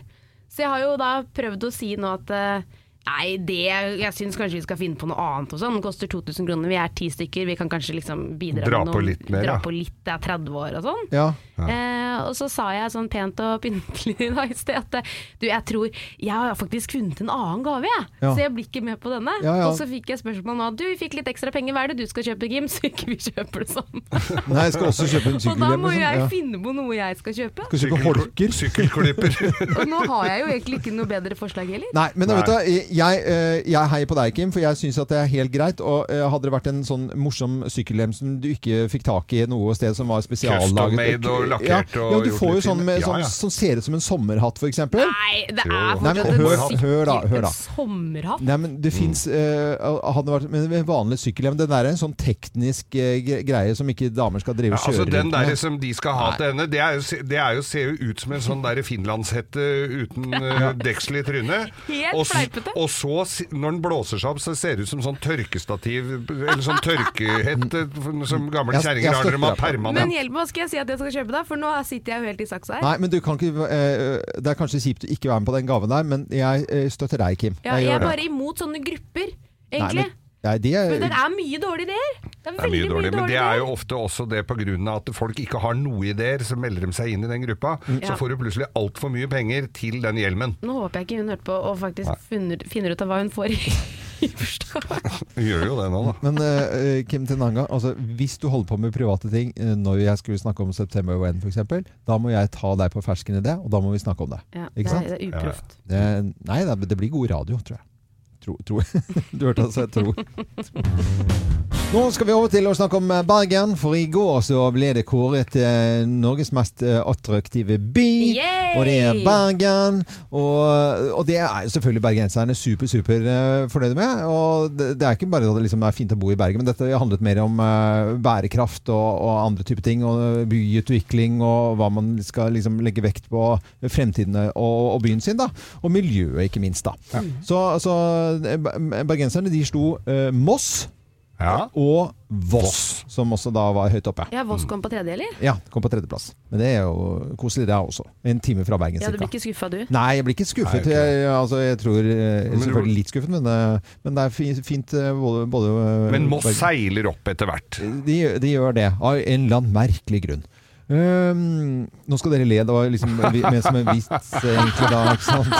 [SPEAKER 5] Så jeg har jo da prøvd å si nå at eh, nei, det, jeg syns kanskje vi skal finne på noe annet og sånn. Den koster 2000 kroner, vi er ti stykker, vi kan kanskje liksom bidra
[SPEAKER 2] Dra
[SPEAKER 5] med
[SPEAKER 2] på
[SPEAKER 5] noe.
[SPEAKER 2] litt mer,
[SPEAKER 5] dra
[SPEAKER 2] ja.
[SPEAKER 5] på litt, det er 30 år og sånn.
[SPEAKER 1] Ja.
[SPEAKER 5] Eh, og så sa jeg sånn pent og pyntelig da i sted at eh, du, jeg tror jeg har faktisk funnet en annen gave, jeg.
[SPEAKER 1] Ja.
[SPEAKER 5] Så jeg blir ikke med på denne.
[SPEAKER 1] Ja, ja.
[SPEAKER 5] Og så fikk jeg spørsmål nå. Du, vi fikk litt ekstra penger, hva er det du skal kjøpe, Kim? Så ikke vi kjøper det samme.
[SPEAKER 1] Nei, jeg skal også kjøpe en
[SPEAKER 5] og da
[SPEAKER 1] sykkelhjelm.
[SPEAKER 5] må jo jeg
[SPEAKER 1] liksom.
[SPEAKER 5] finne på noe jeg skal kjøpe.
[SPEAKER 1] Skal kjøpe holker.
[SPEAKER 2] Sykkelklipper.
[SPEAKER 5] Og nå har jeg jo egentlig ikke noe bedre forslag heller.
[SPEAKER 1] Nei, men vet du, hva, jeg, eh, jeg heier på deg, Kim, for jeg syns det er helt greit. Og eh, hadde det vært en sånn morsom sykkelhjelm som du ikke fikk tak i noe sted som var
[SPEAKER 2] Custom
[SPEAKER 1] spesiallaget
[SPEAKER 2] made og
[SPEAKER 1] ja,
[SPEAKER 2] lakkert og
[SPEAKER 1] ja, du
[SPEAKER 2] gjort
[SPEAKER 1] får jo
[SPEAKER 2] litt
[SPEAKER 1] sånn, med,
[SPEAKER 2] fint. Ja,
[SPEAKER 1] sånn
[SPEAKER 2] ja.
[SPEAKER 1] som ser ut som en sommerhatt, f.eks.
[SPEAKER 5] Nei, det er
[SPEAKER 2] Jo.
[SPEAKER 1] Nei, men
[SPEAKER 5] fortsatt en
[SPEAKER 1] hør- hør da, hør da.
[SPEAKER 5] sykkel- sommerhatt.
[SPEAKER 1] Nei, men det eh, fins Men en vanlig sykkelhjelm, den der er en sånn teknisk eh, gre- greie som ikke damer skal drive
[SPEAKER 2] Ja,
[SPEAKER 1] og kjøre
[SPEAKER 2] altså Den
[SPEAKER 1] rundt
[SPEAKER 2] der
[SPEAKER 1] med.
[SPEAKER 2] som de skal ha til henne, det, er jo, se- det er jo, ser jo ut som en sånn der finlandshette uten uh, deksel i trynet.
[SPEAKER 5] Helt
[SPEAKER 2] og, s-
[SPEAKER 5] fleipete.
[SPEAKER 2] og så, si- når den blåser seg opp, så ser det ut som sånn tørkestativ, eller sånn tørkehette som gamle kjerringer har når de
[SPEAKER 1] Jeg- jeg støtter
[SPEAKER 2] har
[SPEAKER 1] deg.
[SPEAKER 5] Men
[SPEAKER 2] permanent.
[SPEAKER 5] hjelp meg, hva skal jeg si at jeg skal kjøpe da? For nå sitter jeg jo helt i saksa her.
[SPEAKER 1] Nei, men du kan ikke eh, Det er kanskje kjipt å ikke være med på den gaven der, men jeg eh, støtter deg, Kim.
[SPEAKER 5] Ja,
[SPEAKER 1] jeg
[SPEAKER 5] jeg
[SPEAKER 1] gjør
[SPEAKER 5] er
[SPEAKER 1] det.
[SPEAKER 5] bare imot sånne grupper,
[SPEAKER 1] Nei,
[SPEAKER 5] egentlig.
[SPEAKER 1] men, nei, det er,
[SPEAKER 5] Men det er mye dårlige ideer. Det er
[SPEAKER 2] Det er
[SPEAKER 5] veldig
[SPEAKER 2] mye dårlig, men det er
[SPEAKER 5] ideer.
[SPEAKER 2] jo ofte også det pga. at folk ikke har noe ideer, så melder de seg inn i den gruppa.
[SPEAKER 5] Mm. Ja.
[SPEAKER 2] Så får du plutselig altfor mye penger til den hjelmen.
[SPEAKER 5] Nå håper jeg ikke hun hørte på og faktisk finner, finner ut av hva hun får i, i bursdag.
[SPEAKER 2] Du gjør jo det nå, da.
[SPEAKER 1] Men eh, eh, Kim Tenanga, altså, hvis du holder på med private ting eh, når jeg skulle snakke om September When f.eks., da må jeg ta deg på fersken i det, og da må vi snakke om det.
[SPEAKER 5] Ja, det,
[SPEAKER 1] Ikke
[SPEAKER 5] er,
[SPEAKER 1] sant?
[SPEAKER 5] det er uproft.
[SPEAKER 1] Det, nei, det, det blir god radio, tror jeg. Tro, tro. Du hørte altså jeg tror. Nå skal vi over til å snakke om eh, Bergen, for i går så ble det kåret til Norges mest eh, attraktive by.
[SPEAKER 5] Yay!
[SPEAKER 1] Og det er Bergen. Og, og det er selvfølgelig bergenserne super, super eh, fornøyde med. Og det, det er ikke bare at det liksom er fint å bo i Bergen, men dette handlet mer om eh, bærekraft og, og andre typer ting. Og byutvikling og hva man skal liksom legge vekt på fremtiden og, og byen sin. da. Og miljøet, ikke minst. da. Så, så eh, bergenserne de slo eh, Moss
[SPEAKER 2] Ja.
[SPEAKER 1] og Voss, som også da var høyt oppe.
[SPEAKER 5] Ja, Voss kom på tredje, eller?
[SPEAKER 1] Ja, kom på tredjeplass. Men det er jo koselig, det er også. En time fra Bergen,
[SPEAKER 5] Ja, Du
[SPEAKER 1] cirka.
[SPEAKER 5] blir ikke skuffa, du?
[SPEAKER 1] Nei, jeg blir ikke skuffet.
[SPEAKER 2] Nei, ok.
[SPEAKER 1] Jeg, altså, jeg tror eh,
[SPEAKER 2] Men du-
[SPEAKER 1] selvfølgelig litt skuffet, men, eh, men det er fi- fint eh, både, både eh,
[SPEAKER 2] Men Moss
[SPEAKER 1] Bergen-
[SPEAKER 2] seiler opp etter hvert.
[SPEAKER 1] de, de gjør det, av en eller annen merkelig grunn. Ehm, nå skal dere le, det var liksom vi- ment som en vits, eh, egentlig, da. Ikke sant?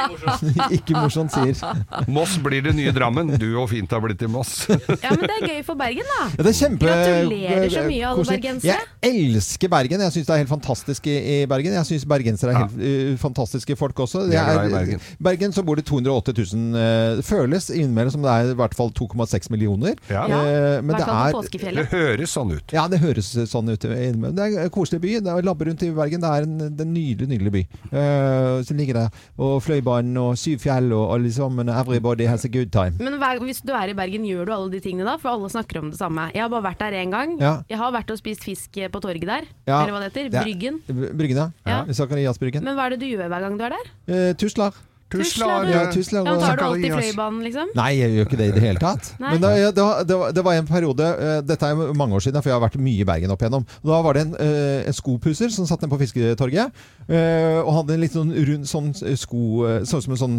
[SPEAKER 1] ikke morsomt, sier. Ja,
[SPEAKER 2] Moss blir det nye Drammen. Du og fint har blitt i Moss.
[SPEAKER 5] Ja, men det er gøy for Bergen, da.
[SPEAKER 1] det er kjempe eh,
[SPEAKER 5] Gratulerer så mye, alle
[SPEAKER 1] koselig.
[SPEAKER 5] bergensere.
[SPEAKER 1] Jeg elsker Bergen. Jeg syns det er helt fantastisk i i Bergen. Jeg syns bergensere er helt eh, fantastiske folk også.
[SPEAKER 2] Vi er
[SPEAKER 1] Det
[SPEAKER 2] glad i Bergen.
[SPEAKER 1] Bergen så bor det 280 000. eh, Det føles innimellom som det er i hvert fall 2,6 millioner.
[SPEAKER 2] Ja.
[SPEAKER 5] Ja,
[SPEAKER 1] Eh,
[SPEAKER 5] I
[SPEAKER 1] men
[SPEAKER 5] hvert
[SPEAKER 1] det
[SPEAKER 5] fall på
[SPEAKER 1] er
[SPEAKER 2] Det
[SPEAKER 5] påskefjellet.
[SPEAKER 2] høres sånn ut.
[SPEAKER 1] Ja, det høres sånn ut. innimellom. Det er en koselig by. Det er labber rundt i Bergen. Det er en, det er en nydelig, nydelig by. Eh, så ligger det og Fløibanen og Syvfjell og alle sammen. Everybody has a good time.
[SPEAKER 5] Men hver, hvis du er i Bergen, gjør du alle de tingene da? For alle snakker om det samme. Jeg har bare vært der én gang.
[SPEAKER 1] Ja.
[SPEAKER 5] Jeg har vært og spist fisk på torget der.
[SPEAKER 1] Ja.
[SPEAKER 5] Eller hva det heter.
[SPEAKER 1] Det er-
[SPEAKER 5] Bryggen.
[SPEAKER 1] Bryggen, ja.
[SPEAKER 5] Ja.
[SPEAKER 1] Zakariasbryggen.
[SPEAKER 5] Men hva er det du gjør hver gang du er der?
[SPEAKER 1] Eh, Tusler.
[SPEAKER 5] Tusler, du.
[SPEAKER 1] Ja, tusler.
[SPEAKER 5] Ja, men tar du alltid
[SPEAKER 2] Zakarias.
[SPEAKER 5] Fløibanen, liksom?
[SPEAKER 1] Nei, jeg gjør ikke det i det hele tatt.
[SPEAKER 5] Nei.
[SPEAKER 1] Men da, ja, det, var, det, var, det var en periode eh, Dette er jo mange år siden, for jeg har vært mye i Bergen opp igjennom. Og Da var det en, eh, en skopusser som satt nede på Fisketorget. eh, og hadde en litt sånn rund sånn eh, sko eh, Sånn som en sånn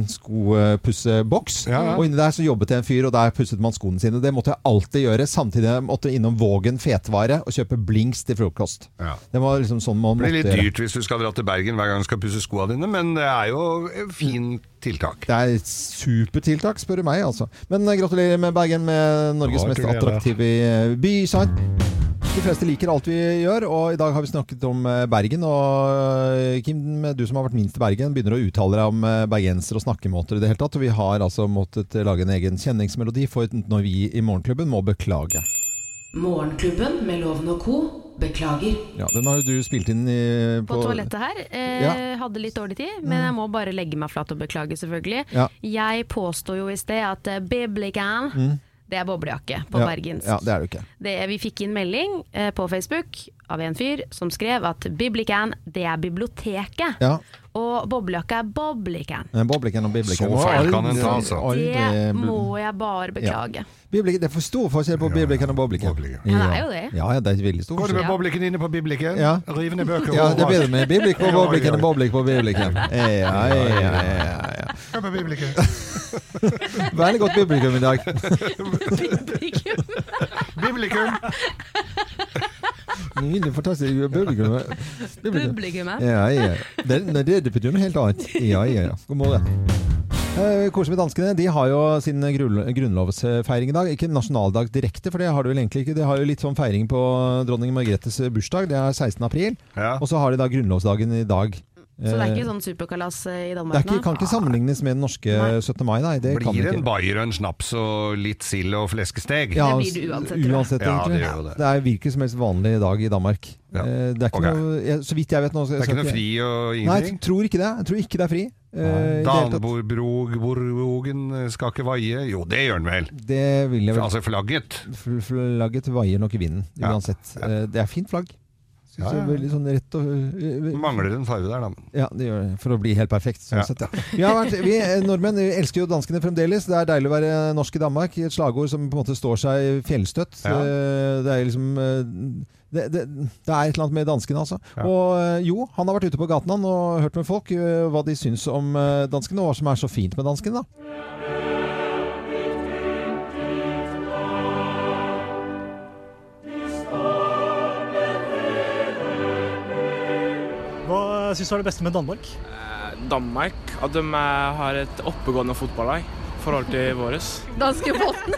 [SPEAKER 1] skopusseboks.
[SPEAKER 2] Ja, ja.
[SPEAKER 1] Og inni der så jobbet det en fyr, og der pusset man skoene sine. Det måtte jeg alltid gjøre. Samtidig måtte jeg innom Vågen fetvare og kjøpe blinks til frokost.
[SPEAKER 2] Ja.
[SPEAKER 1] Det var liksom sånn man
[SPEAKER 2] Det
[SPEAKER 1] måtte
[SPEAKER 2] blir litt
[SPEAKER 1] gjøre.
[SPEAKER 2] dyrt hvis du skal dra til Bergen hver gang du skal pusse skoa dine, men det er jo et fint tiltak.
[SPEAKER 1] Det er et supertiltak, spør du meg. altså. Men eh, gratulerer med Bergen med Norges
[SPEAKER 2] Ja,
[SPEAKER 1] mest
[SPEAKER 2] gratulerer.
[SPEAKER 1] attraktive eh, by. sant? De fleste liker alt vi gjør, og i dag har vi snakket om eh, Bergen. Og eh, Kim, du som har vært minst i Bergen, begynner å uttale deg om eh, bergensere og snakkemåter i det hele tatt. Og vi har altså måttet eh, lage en egen kjenningsmelodi for når vi i Morgenklubben må beklage.
[SPEAKER 4] Morgenklubben med Loven og Co. Beklager.
[SPEAKER 1] Ja, Den har jo du spilt inn i,
[SPEAKER 5] På Mm. toalettet her. Eh,
[SPEAKER 1] Ja.
[SPEAKER 5] Hadde litt dårlig tid, men jeg må bare legge meg flat og beklage, selvfølgelig.
[SPEAKER 1] Ja.
[SPEAKER 5] Jeg påstår jo i sted at eh, Biblican, det er boblejakke på
[SPEAKER 1] Mm. ja,
[SPEAKER 5] bergensk.
[SPEAKER 1] Ja, det er du ikke.
[SPEAKER 5] Det, vi fikk inn melding eh, på Facebook av en fyr som skrev at Biblican, det er biblioteket.
[SPEAKER 1] Ja,
[SPEAKER 5] Og boblejakka er Boblican.
[SPEAKER 1] eh, Boblikken og biblikken.
[SPEAKER 2] Så feil kan en ta, altså.
[SPEAKER 1] eh,
[SPEAKER 5] Det må jeg bare beklage.
[SPEAKER 1] Biblik, det er for stor forskjell på biblikken og boblikken.
[SPEAKER 2] Boblikken.
[SPEAKER 5] Ja, det er jo det.
[SPEAKER 1] Ja, ja, det er veldig stor
[SPEAKER 2] Går du
[SPEAKER 1] forskjell.
[SPEAKER 2] med boblikken inne på biblikken?
[SPEAKER 1] Ja.
[SPEAKER 2] Riv ned bøker
[SPEAKER 1] Ja, det er bedre
[SPEAKER 2] overalt.
[SPEAKER 1] med biblikk på
[SPEAKER 2] Ja, ja,
[SPEAKER 1] boblikken
[SPEAKER 2] ja.
[SPEAKER 1] enn boblikk på biblikken. Ja, ja, ja, ja, ja.
[SPEAKER 2] Kom på biblikken.
[SPEAKER 1] Veldig godt biblikum i dag.
[SPEAKER 2] Biblikum!
[SPEAKER 1] Nydelig, fantastisk biblikum. Biblikum.
[SPEAKER 5] Publikummet.
[SPEAKER 1] Ja, ja. Det, nei, det, det betyr noe helt annet. Ja, ja, ja. God morgen. Eh, Koselig med danskene. De har jo sin grunlo- grunnlovsfeiring i dag. Ikke nasjonaldag direkte, for det har du vel egentlig ikke. De har jo litt sånn feiring på dronning Margrethes eh, bursdag. Det er 16. april.
[SPEAKER 2] Ja.
[SPEAKER 1] Og så har de da grunnlovsdagen i dag.
[SPEAKER 5] Så det er ikke sånn superkalas eh, i
[SPEAKER 1] Eh, Det er
[SPEAKER 5] Danmark
[SPEAKER 1] ikke, kan ikke sammenlignes med den norske
[SPEAKER 5] Nei.
[SPEAKER 1] 17. mai, nei. Det kan
[SPEAKER 2] Blir
[SPEAKER 1] det
[SPEAKER 2] en
[SPEAKER 1] ikke.
[SPEAKER 2] bayer og en snaps og litt sild og fleskesteg?
[SPEAKER 1] Ja,
[SPEAKER 5] Det blir det uansett, tror jeg.
[SPEAKER 1] uansett
[SPEAKER 2] Ja,
[SPEAKER 1] egentlig.
[SPEAKER 2] det gjør jo det.
[SPEAKER 1] det er hvilken som helst vanlig dag i Danmark.
[SPEAKER 2] Ja.
[SPEAKER 1] Eh, Det er ikke
[SPEAKER 2] Ok.
[SPEAKER 1] noe, jeg, så vidt jeg vet nå
[SPEAKER 2] Det er ikke noe fri og
[SPEAKER 1] Nei, jeg
[SPEAKER 2] ingenting?
[SPEAKER 1] tror ikke det. Jeg tror ikke det er fri. eh, i det hele tatt.
[SPEAKER 2] Danebrogen skal ikke vaie? Jo, det gjør den vel.
[SPEAKER 1] Det vil jeg vel
[SPEAKER 2] Altså flagget.
[SPEAKER 1] Fl- Flagget vaier nok i vinden,
[SPEAKER 2] Ja.
[SPEAKER 1] uansett. Eh, Det er fint flagg. Synes
[SPEAKER 2] Ja,
[SPEAKER 1] jeg
[SPEAKER 2] ja.
[SPEAKER 1] er veldig sånn rett og eh, eh,
[SPEAKER 2] Mangler en farge der, da.
[SPEAKER 1] Ja, det gjør det. For å bli helt perfekt, sånn
[SPEAKER 2] Ja.
[SPEAKER 1] sett, ja. Vi, har vært, vi eh, nordmenn vi elsker jo danskene fremdeles. Det er deilig å være norsk i Danmark. Et slagord som på en måte står seg fjellstøtt.
[SPEAKER 2] Ja.
[SPEAKER 1] Eh, Det er liksom eh, det, det, det er et eller annet med danskene, altså.
[SPEAKER 2] Ja.
[SPEAKER 1] Og eh, jo, han har vært ute på gaten han og hørt med folk eh, hva de syns om eh, danskene, og hva som er så fint med danskene, da.
[SPEAKER 10] Hva syns du er det beste med Danmark? Eh,
[SPEAKER 7] Danmark, at de har et oppegående fotballag i forhold til våres.
[SPEAKER 6] Danskebåten.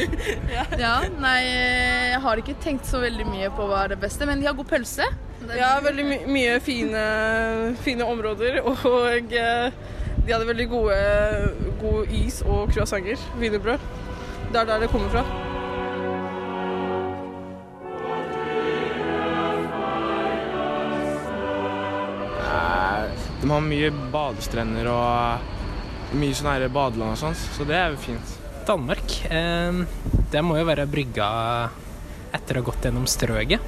[SPEAKER 6] ja, nei, eh, jeg har ikke tenkt så veldig mye på hva er det beste, men de har god pølse. Ja, veldig mye fine, områder, og eh, de hadde veldig god is og croissanter, wienerbrød. Det er der det kommer fra.
[SPEAKER 10] Eh, De har mye badestrender og mye sånn her badeland og sånt, så det er jo fint.
[SPEAKER 11] Danmark, eh, det må jo være brygga etter å ha gått gjennom strøget.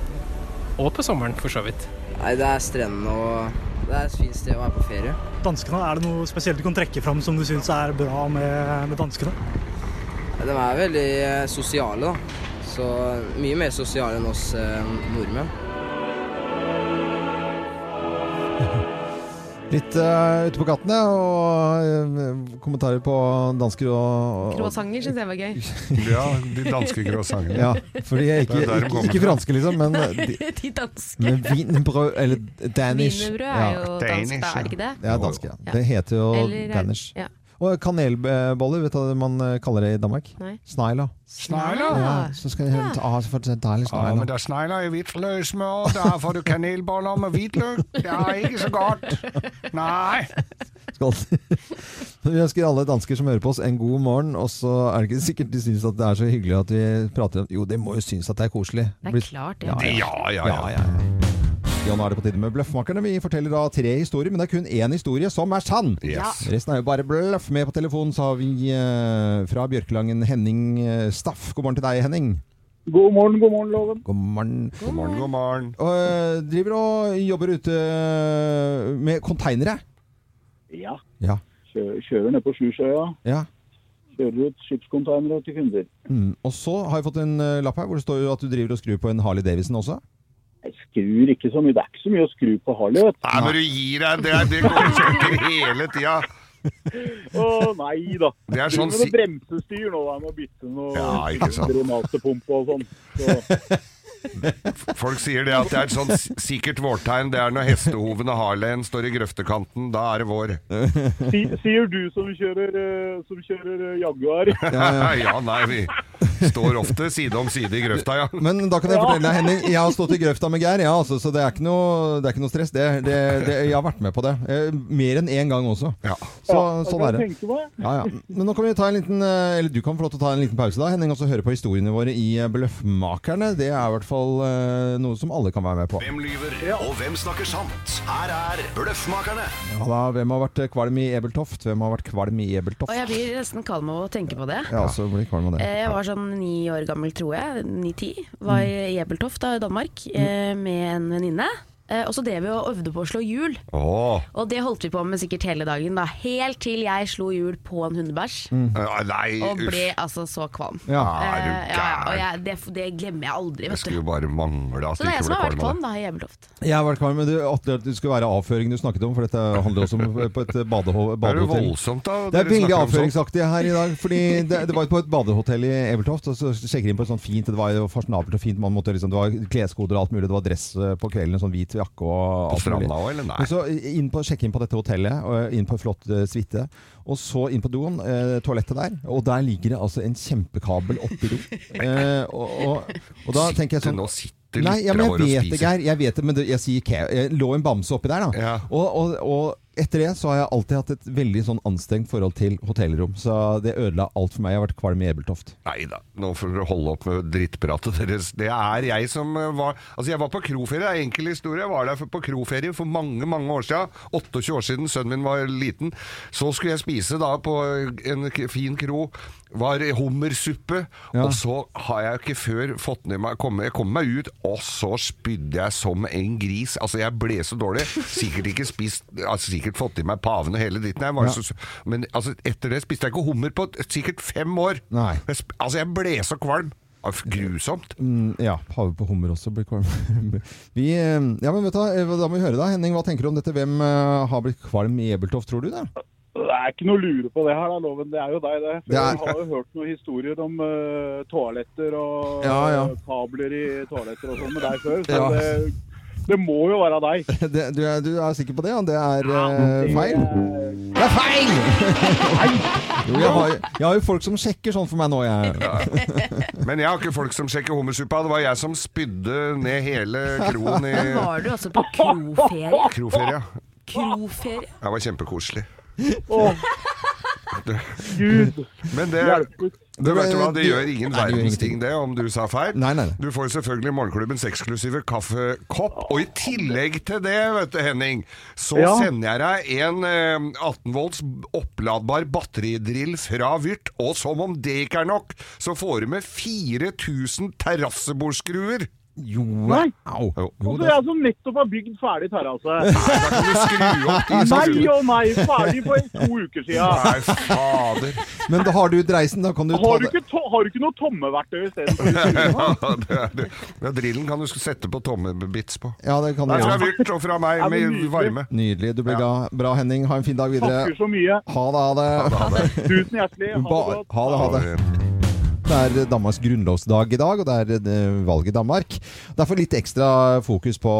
[SPEAKER 11] Og på sommeren, for så vidt.
[SPEAKER 12] Nei, det er strendene og det er et fint sted å være på ferie.
[SPEAKER 13] Danskene, er det noe spesielt du kan trekke fram som du syns er bra med, med danskene?
[SPEAKER 12] De er veldig eh, sosiale, da. Så mye mer sosiale enn oss eh, nordmenn.
[SPEAKER 1] Litt eh, ute på gatene, og eh, kommentarer på dansker og, og
[SPEAKER 14] Gråsanger syns jeg var gøy.
[SPEAKER 2] Ja, de danske gråsangene.
[SPEAKER 1] Ja, fordi jeg
[SPEAKER 2] Det
[SPEAKER 1] ikke,
[SPEAKER 2] er der de
[SPEAKER 1] ikke,
[SPEAKER 2] kommer fra.
[SPEAKER 1] ikke franske, liksom, men de,
[SPEAKER 14] De danske.
[SPEAKER 1] men wienerbrød, eller danish.
[SPEAKER 14] Wienerbrød er
[SPEAKER 1] Ja.
[SPEAKER 14] jo dansk, da, er det ikke det?
[SPEAKER 1] Ja, dansk, ja.
[SPEAKER 14] Ja.
[SPEAKER 1] Det heter jo
[SPEAKER 14] Eller er-
[SPEAKER 1] danish.
[SPEAKER 14] ja.
[SPEAKER 1] Og kanelboller, vet du hva man eh, kaller det i Danmark?
[SPEAKER 14] Nei.
[SPEAKER 1] Snegler.
[SPEAKER 2] Snegler?
[SPEAKER 1] Ja, så skal jeg hente ah, så får det deilig
[SPEAKER 2] Ja, men
[SPEAKER 1] snegler.
[SPEAKER 2] det er snegler i hvitløksmør, der får du kanelboller med hvitløk. Det er ikke så godt. Nei.
[SPEAKER 1] Skål. Vi ønsker alle dansker som hører på oss, en god morgen. Og så er det ikke sikkert de syns at det er så hyggelig at vi prater om Jo, de må jo synes at det er koselig.
[SPEAKER 5] Det er klart det.
[SPEAKER 2] Ja, ja, ja.
[SPEAKER 1] Ja, nå er det på tide med Bløffmakerne. Vi forteller da tre historier, men det er kun én historie som er sann.
[SPEAKER 2] Yes.
[SPEAKER 1] Resten er jo bare bløff. Med på telefonen så har vi eh, fra Bjørkelangen Henning eh, Staff. God morgen til deg, Henning.
[SPEAKER 15] God morgen, god morgen, Loven.
[SPEAKER 1] God morgen.
[SPEAKER 2] God morgen, god morgen.
[SPEAKER 1] Og, eh, driver og jobber ute eh, med konteinere.
[SPEAKER 15] Ja.
[SPEAKER 1] Ja.
[SPEAKER 15] Kjører, kjører ned på Sjursøya.
[SPEAKER 1] Ja.
[SPEAKER 15] Kjører ut skipskonteinere til kunder.
[SPEAKER 1] Mm. Og så har jeg fått en eh, lapp her hvor det står jo at du driver og skrur på en Harley Davidson også.
[SPEAKER 15] Jeg skrur ikke så mye. Det er ikke så mye å skru på Harley, vet
[SPEAKER 2] Nei, men du gir deg. Det, er- det går og søker hele tida.
[SPEAKER 15] Å nei da.
[SPEAKER 2] Det er
[SPEAKER 15] Driver
[SPEAKER 2] sånn
[SPEAKER 15] med
[SPEAKER 2] si-
[SPEAKER 15] noe bremsestyr nå, da. Med å bytte noe
[SPEAKER 2] Ja, ikke sant.
[SPEAKER 15] drenasepumpe og sånn. Så,
[SPEAKER 2] Folk sier det at det er et sånn s- sikkert vårtegn. Det er når hestehoven og harleyen står i grøftekanten. Da er det vår.
[SPEAKER 15] si, sier du som kjører, eh, som kjører eh, Jaguar.
[SPEAKER 2] Ja, nei, vi står ofte side om side i grøfta, ja.
[SPEAKER 1] Men da kan jeg
[SPEAKER 15] Ja.
[SPEAKER 1] fortelle deg, Henning, jeg har stått i grøfta med Geir, ja, altså, så det er ikke noe, det er ikke noe stress. Det, det, det, jeg har vært med på det. Eh, Mer enn én gang også. Så,
[SPEAKER 15] Ja,
[SPEAKER 1] sånn
[SPEAKER 15] jeg
[SPEAKER 1] er det.
[SPEAKER 15] tenker meg.
[SPEAKER 1] Ja, ja. Men nå kan vi ta en liten eh, Eller du kan få lov til å ta en liten pause, da, Henning, og så høre på historiene våre i eh, Bløffmakerne. Det er i hvert fall eh, noe som alle kan være med på.
[SPEAKER 8] Hvem lyver, og hvem snakker sant? Her er Bløffmakerne.
[SPEAKER 1] Ja, da, hvem har vært eh, kvalm i Ebeltoft? Hvem har vært kvalm i
[SPEAKER 14] Og
[SPEAKER 1] Ebeltoft?
[SPEAKER 14] jeg blir nesten kvalm av å tenke på det.
[SPEAKER 1] Ja,
[SPEAKER 2] altså,
[SPEAKER 1] så blir kvalm av det.
[SPEAKER 14] Eh, Jeg var sånn ni år gammel, tror jeg. Ni-ti. Var
[SPEAKER 2] Mm.
[SPEAKER 14] i Jebeltoft da, i Danmark eh, med en venninne. Eh, Og så drev vi og øvde på å slå hjul.
[SPEAKER 2] Åh.
[SPEAKER 14] Og det holdt vi på med sikkert hele dagen, da. Helt til jeg slo hjul på en hundebæsj.
[SPEAKER 1] Mm.
[SPEAKER 2] Ja, Nei,
[SPEAKER 14] Og ble
[SPEAKER 2] uff.
[SPEAKER 14] altså så kvalm.
[SPEAKER 1] Ja.
[SPEAKER 2] Er du
[SPEAKER 14] Eh, ja, ja, og jeg, det, det glemmer jeg aldri,
[SPEAKER 2] Det
[SPEAKER 14] vet
[SPEAKER 2] skulle
[SPEAKER 14] du.
[SPEAKER 2] jo bare mangle at
[SPEAKER 14] Så
[SPEAKER 2] du
[SPEAKER 14] det er
[SPEAKER 2] ikke
[SPEAKER 14] jeg
[SPEAKER 2] ble
[SPEAKER 14] som har vært
[SPEAKER 2] kvalm av
[SPEAKER 14] kvalm
[SPEAKER 2] det.
[SPEAKER 14] da i Jebeltoft.
[SPEAKER 1] Jeg har vært klar med det, at det skulle være avføringen du snakket om, for dette handler også om eh, på et badeho-
[SPEAKER 2] Det er jo
[SPEAKER 1] badehotell.
[SPEAKER 2] voldsomt, da.
[SPEAKER 1] Det er
[SPEAKER 2] dere
[SPEAKER 1] veldig
[SPEAKER 2] snakker om sånt.
[SPEAKER 1] avføringsaktig her i dag. Fordi det, det var på et badehotell i Ebeltoft. Og så sjekker inn på et sånt fint Det var jo fasjonabelt og fint. Man måtte liksom, det var kleskoder og alt mulig. Det var dress eh, på kvelden, en sånn hvit jakke og
[SPEAKER 2] På
[SPEAKER 1] alt mulig.
[SPEAKER 2] stranda også, eller? Nei.
[SPEAKER 1] Men så eh, inn på, sjekke inn på dette hotellet, og inn på en flott eh, suite. Og så inn på doen, eh, toalettet der. Og der ligger det altså en kjempekabel oppi do. Eh, og, og, og da tenker jeg
[SPEAKER 2] Sitter
[SPEAKER 1] sånn
[SPEAKER 2] nå og sitter
[SPEAKER 1] Nei, ja,
[SPEAKER 2] lyttere
[SPEAKER 1] men
[SPEAKER 2] våre og
[SPEAKER 1] jeg vet det,
[SPEAKER 2] spiser.
[SPEAKER 1] Geir. Jeg vet det, men det, jeg sier ikke jeg lå en bamse oppi der, da.
[SPEAKER 2] Ja.
[SPEAKER 1] Og, og, og etter det så har jeg alltid hatt et veldig sånn anstrengt forhold til hotellrom. Så det ødela alt for meg. Jeg har vært kvalm i Ebeltoft.
[SPEAKER 2] Nei da, nå får dere holde opp med drittpratet deres. Det er jeg som eh, var Altså, jeg var på kroferie, det er en enkel historie. Jeg var der for, på kroferie for mange, mange år siden. 28 år siden, sønnen min var liten. Så skulle jeg spise da på en k- fin kro. Var hummersuppe. Og så har jeg ikke før fått ned meg komme, Jeg kom meg ut, og så spydde jeg som en gris. Altså, jeg ble så dårlig. Sikkert ikke spist altså, Sikkert fått i meg paven og hele dritten. Jeg var
[SPEAKER 1] Ja.
[SPEAKER 2] så, men altså, etter det spiste jeg ikke hummer på sikkert fem år.
[SPEAKER 1] Nei.
[SPEAKER 2] Jeg sp- Altså, jeg ble så kvalm. Ah, f- Grusomt.
[SPEAKER 1] Mm, ja. Pave på hummer også blir kvalm. vi, eh, ja, men vet du, hva, eh, Da må vi høre, da. Henning, hva tenker du om dette? Hvem eh, har blitt kvalm i Ebeltoft, tror du det?
[SPEAKER 15] Det er ikke noe å lure på det her, da, Loven. Det er jo deg, det. For
[SPEAKER 1] Det er-
[SPEAKER 15] Jeg har jo hørt noen historier om eh, toaletter og
[SPEAKER 1] Ja, ja.
[SPEAKER 15] eh, kabler i toaletter og sånn med deg før. Så
[SPEAKER 1] Ja.
[SPEAKER 15] det, det må jo være deg.
[SPEAKER 1] det du, er, du er sikker på det? Ja? Det er eh, feil?
[SPEAKER 15] Eh,
[SPEAKER 1] Det er feil! Jo, jeg har, jeg har jo folk som sjekker sånn for meg nå, jeg.
[SPEAKER 2] Men jeg har ikke folk som sjekker hummersuppa. Det var jeg som spydde ned hele kroen i
[SPEAKER 5] Men var du også på kroferie?
[SPEAKER 2] kroferia.
[SPEAKER 5] Kroferie?
[SPEAKER 2] Det var kjempekoselig.
[SPEAKER 15] åh, Gud
[SPEAKER 2] Men det,
[SPEAKER 15] hjelpe oss.
[SPEAKER 2] det, vet du hva, det gjør ingen
[SPEAKER 1] Nei, det gjør
[SPEAKER 2] verdens ting, det, om du sa feil.
[SPEAKER 1] Nei, nei, nei.
[SPEAKER 2] Du får selvfølgelig morgenklubbens eksklusive kaffekopp. Og i tillegg til det, vet du, Henning, så
[SPEAKER 15] Ja.
[SPEAKER 2] sender jeg deg en eh, 18 volts oppladbar batteridrill fra Vyrt. Og som om det ikke er nok, så får du med 4000 terrassebordskruer.
[SPEAKER 1] Jo,
[SPEAKER 15] Nei.
[SPEAKER 1] au.
[SPEAKER 15] Og så er jeg som nettopp har bygd ferdig terrasse. Nei
[SPEAKER 2] skru
[SPEAKER 15] og nei, ferdig for to uker
[SPEAKER 2] Nei,
[SPEAKER 15] siden.
[SPEAKER 2] fader.
[SPEAKER 1] Men da har du dreisen, da kan du ta
[SPEAKER 15] Har du
[SPEAKER 1] det.
[SPEAKER 15] ikke, to har du ikke noe tommeverktøy istedenfor?
[SPEAKER 2] ja, det er det. Ja, drillen kan du sette på tommebits på.
[SPEAKER 1] Ja, det kan du
[SPEAKER 2] Nei, fra
[SPEAKER 1] gjøre.
[SPEAKER 2] Vyrt og fra meg
[SPEAKER 15] Ja, men
[SPEAKER 2] med
[SPEAKER 15] nydelig.
[SPEAKER 2] varme.
[SPEAKER 1] Nydelig. Du ble ga- bra, Henning. Ha en fin dag videre.
[SPEAKER 15] Takker så mye.
[SPEAKER 1] Ha det, ha det.
[SPEAKER 2] Ha det.
[SPEAKER 15] Tusen hjertelig. Ha det
[SPEAKER 1] Bare-
[SPEAKER 15] godt.
[SPEAKER 1] ha det, ha det. Det er Danmarks grunnlovsdag i dag, og det er eh, valg i Danmark. Derfor litt ekstra fokus på,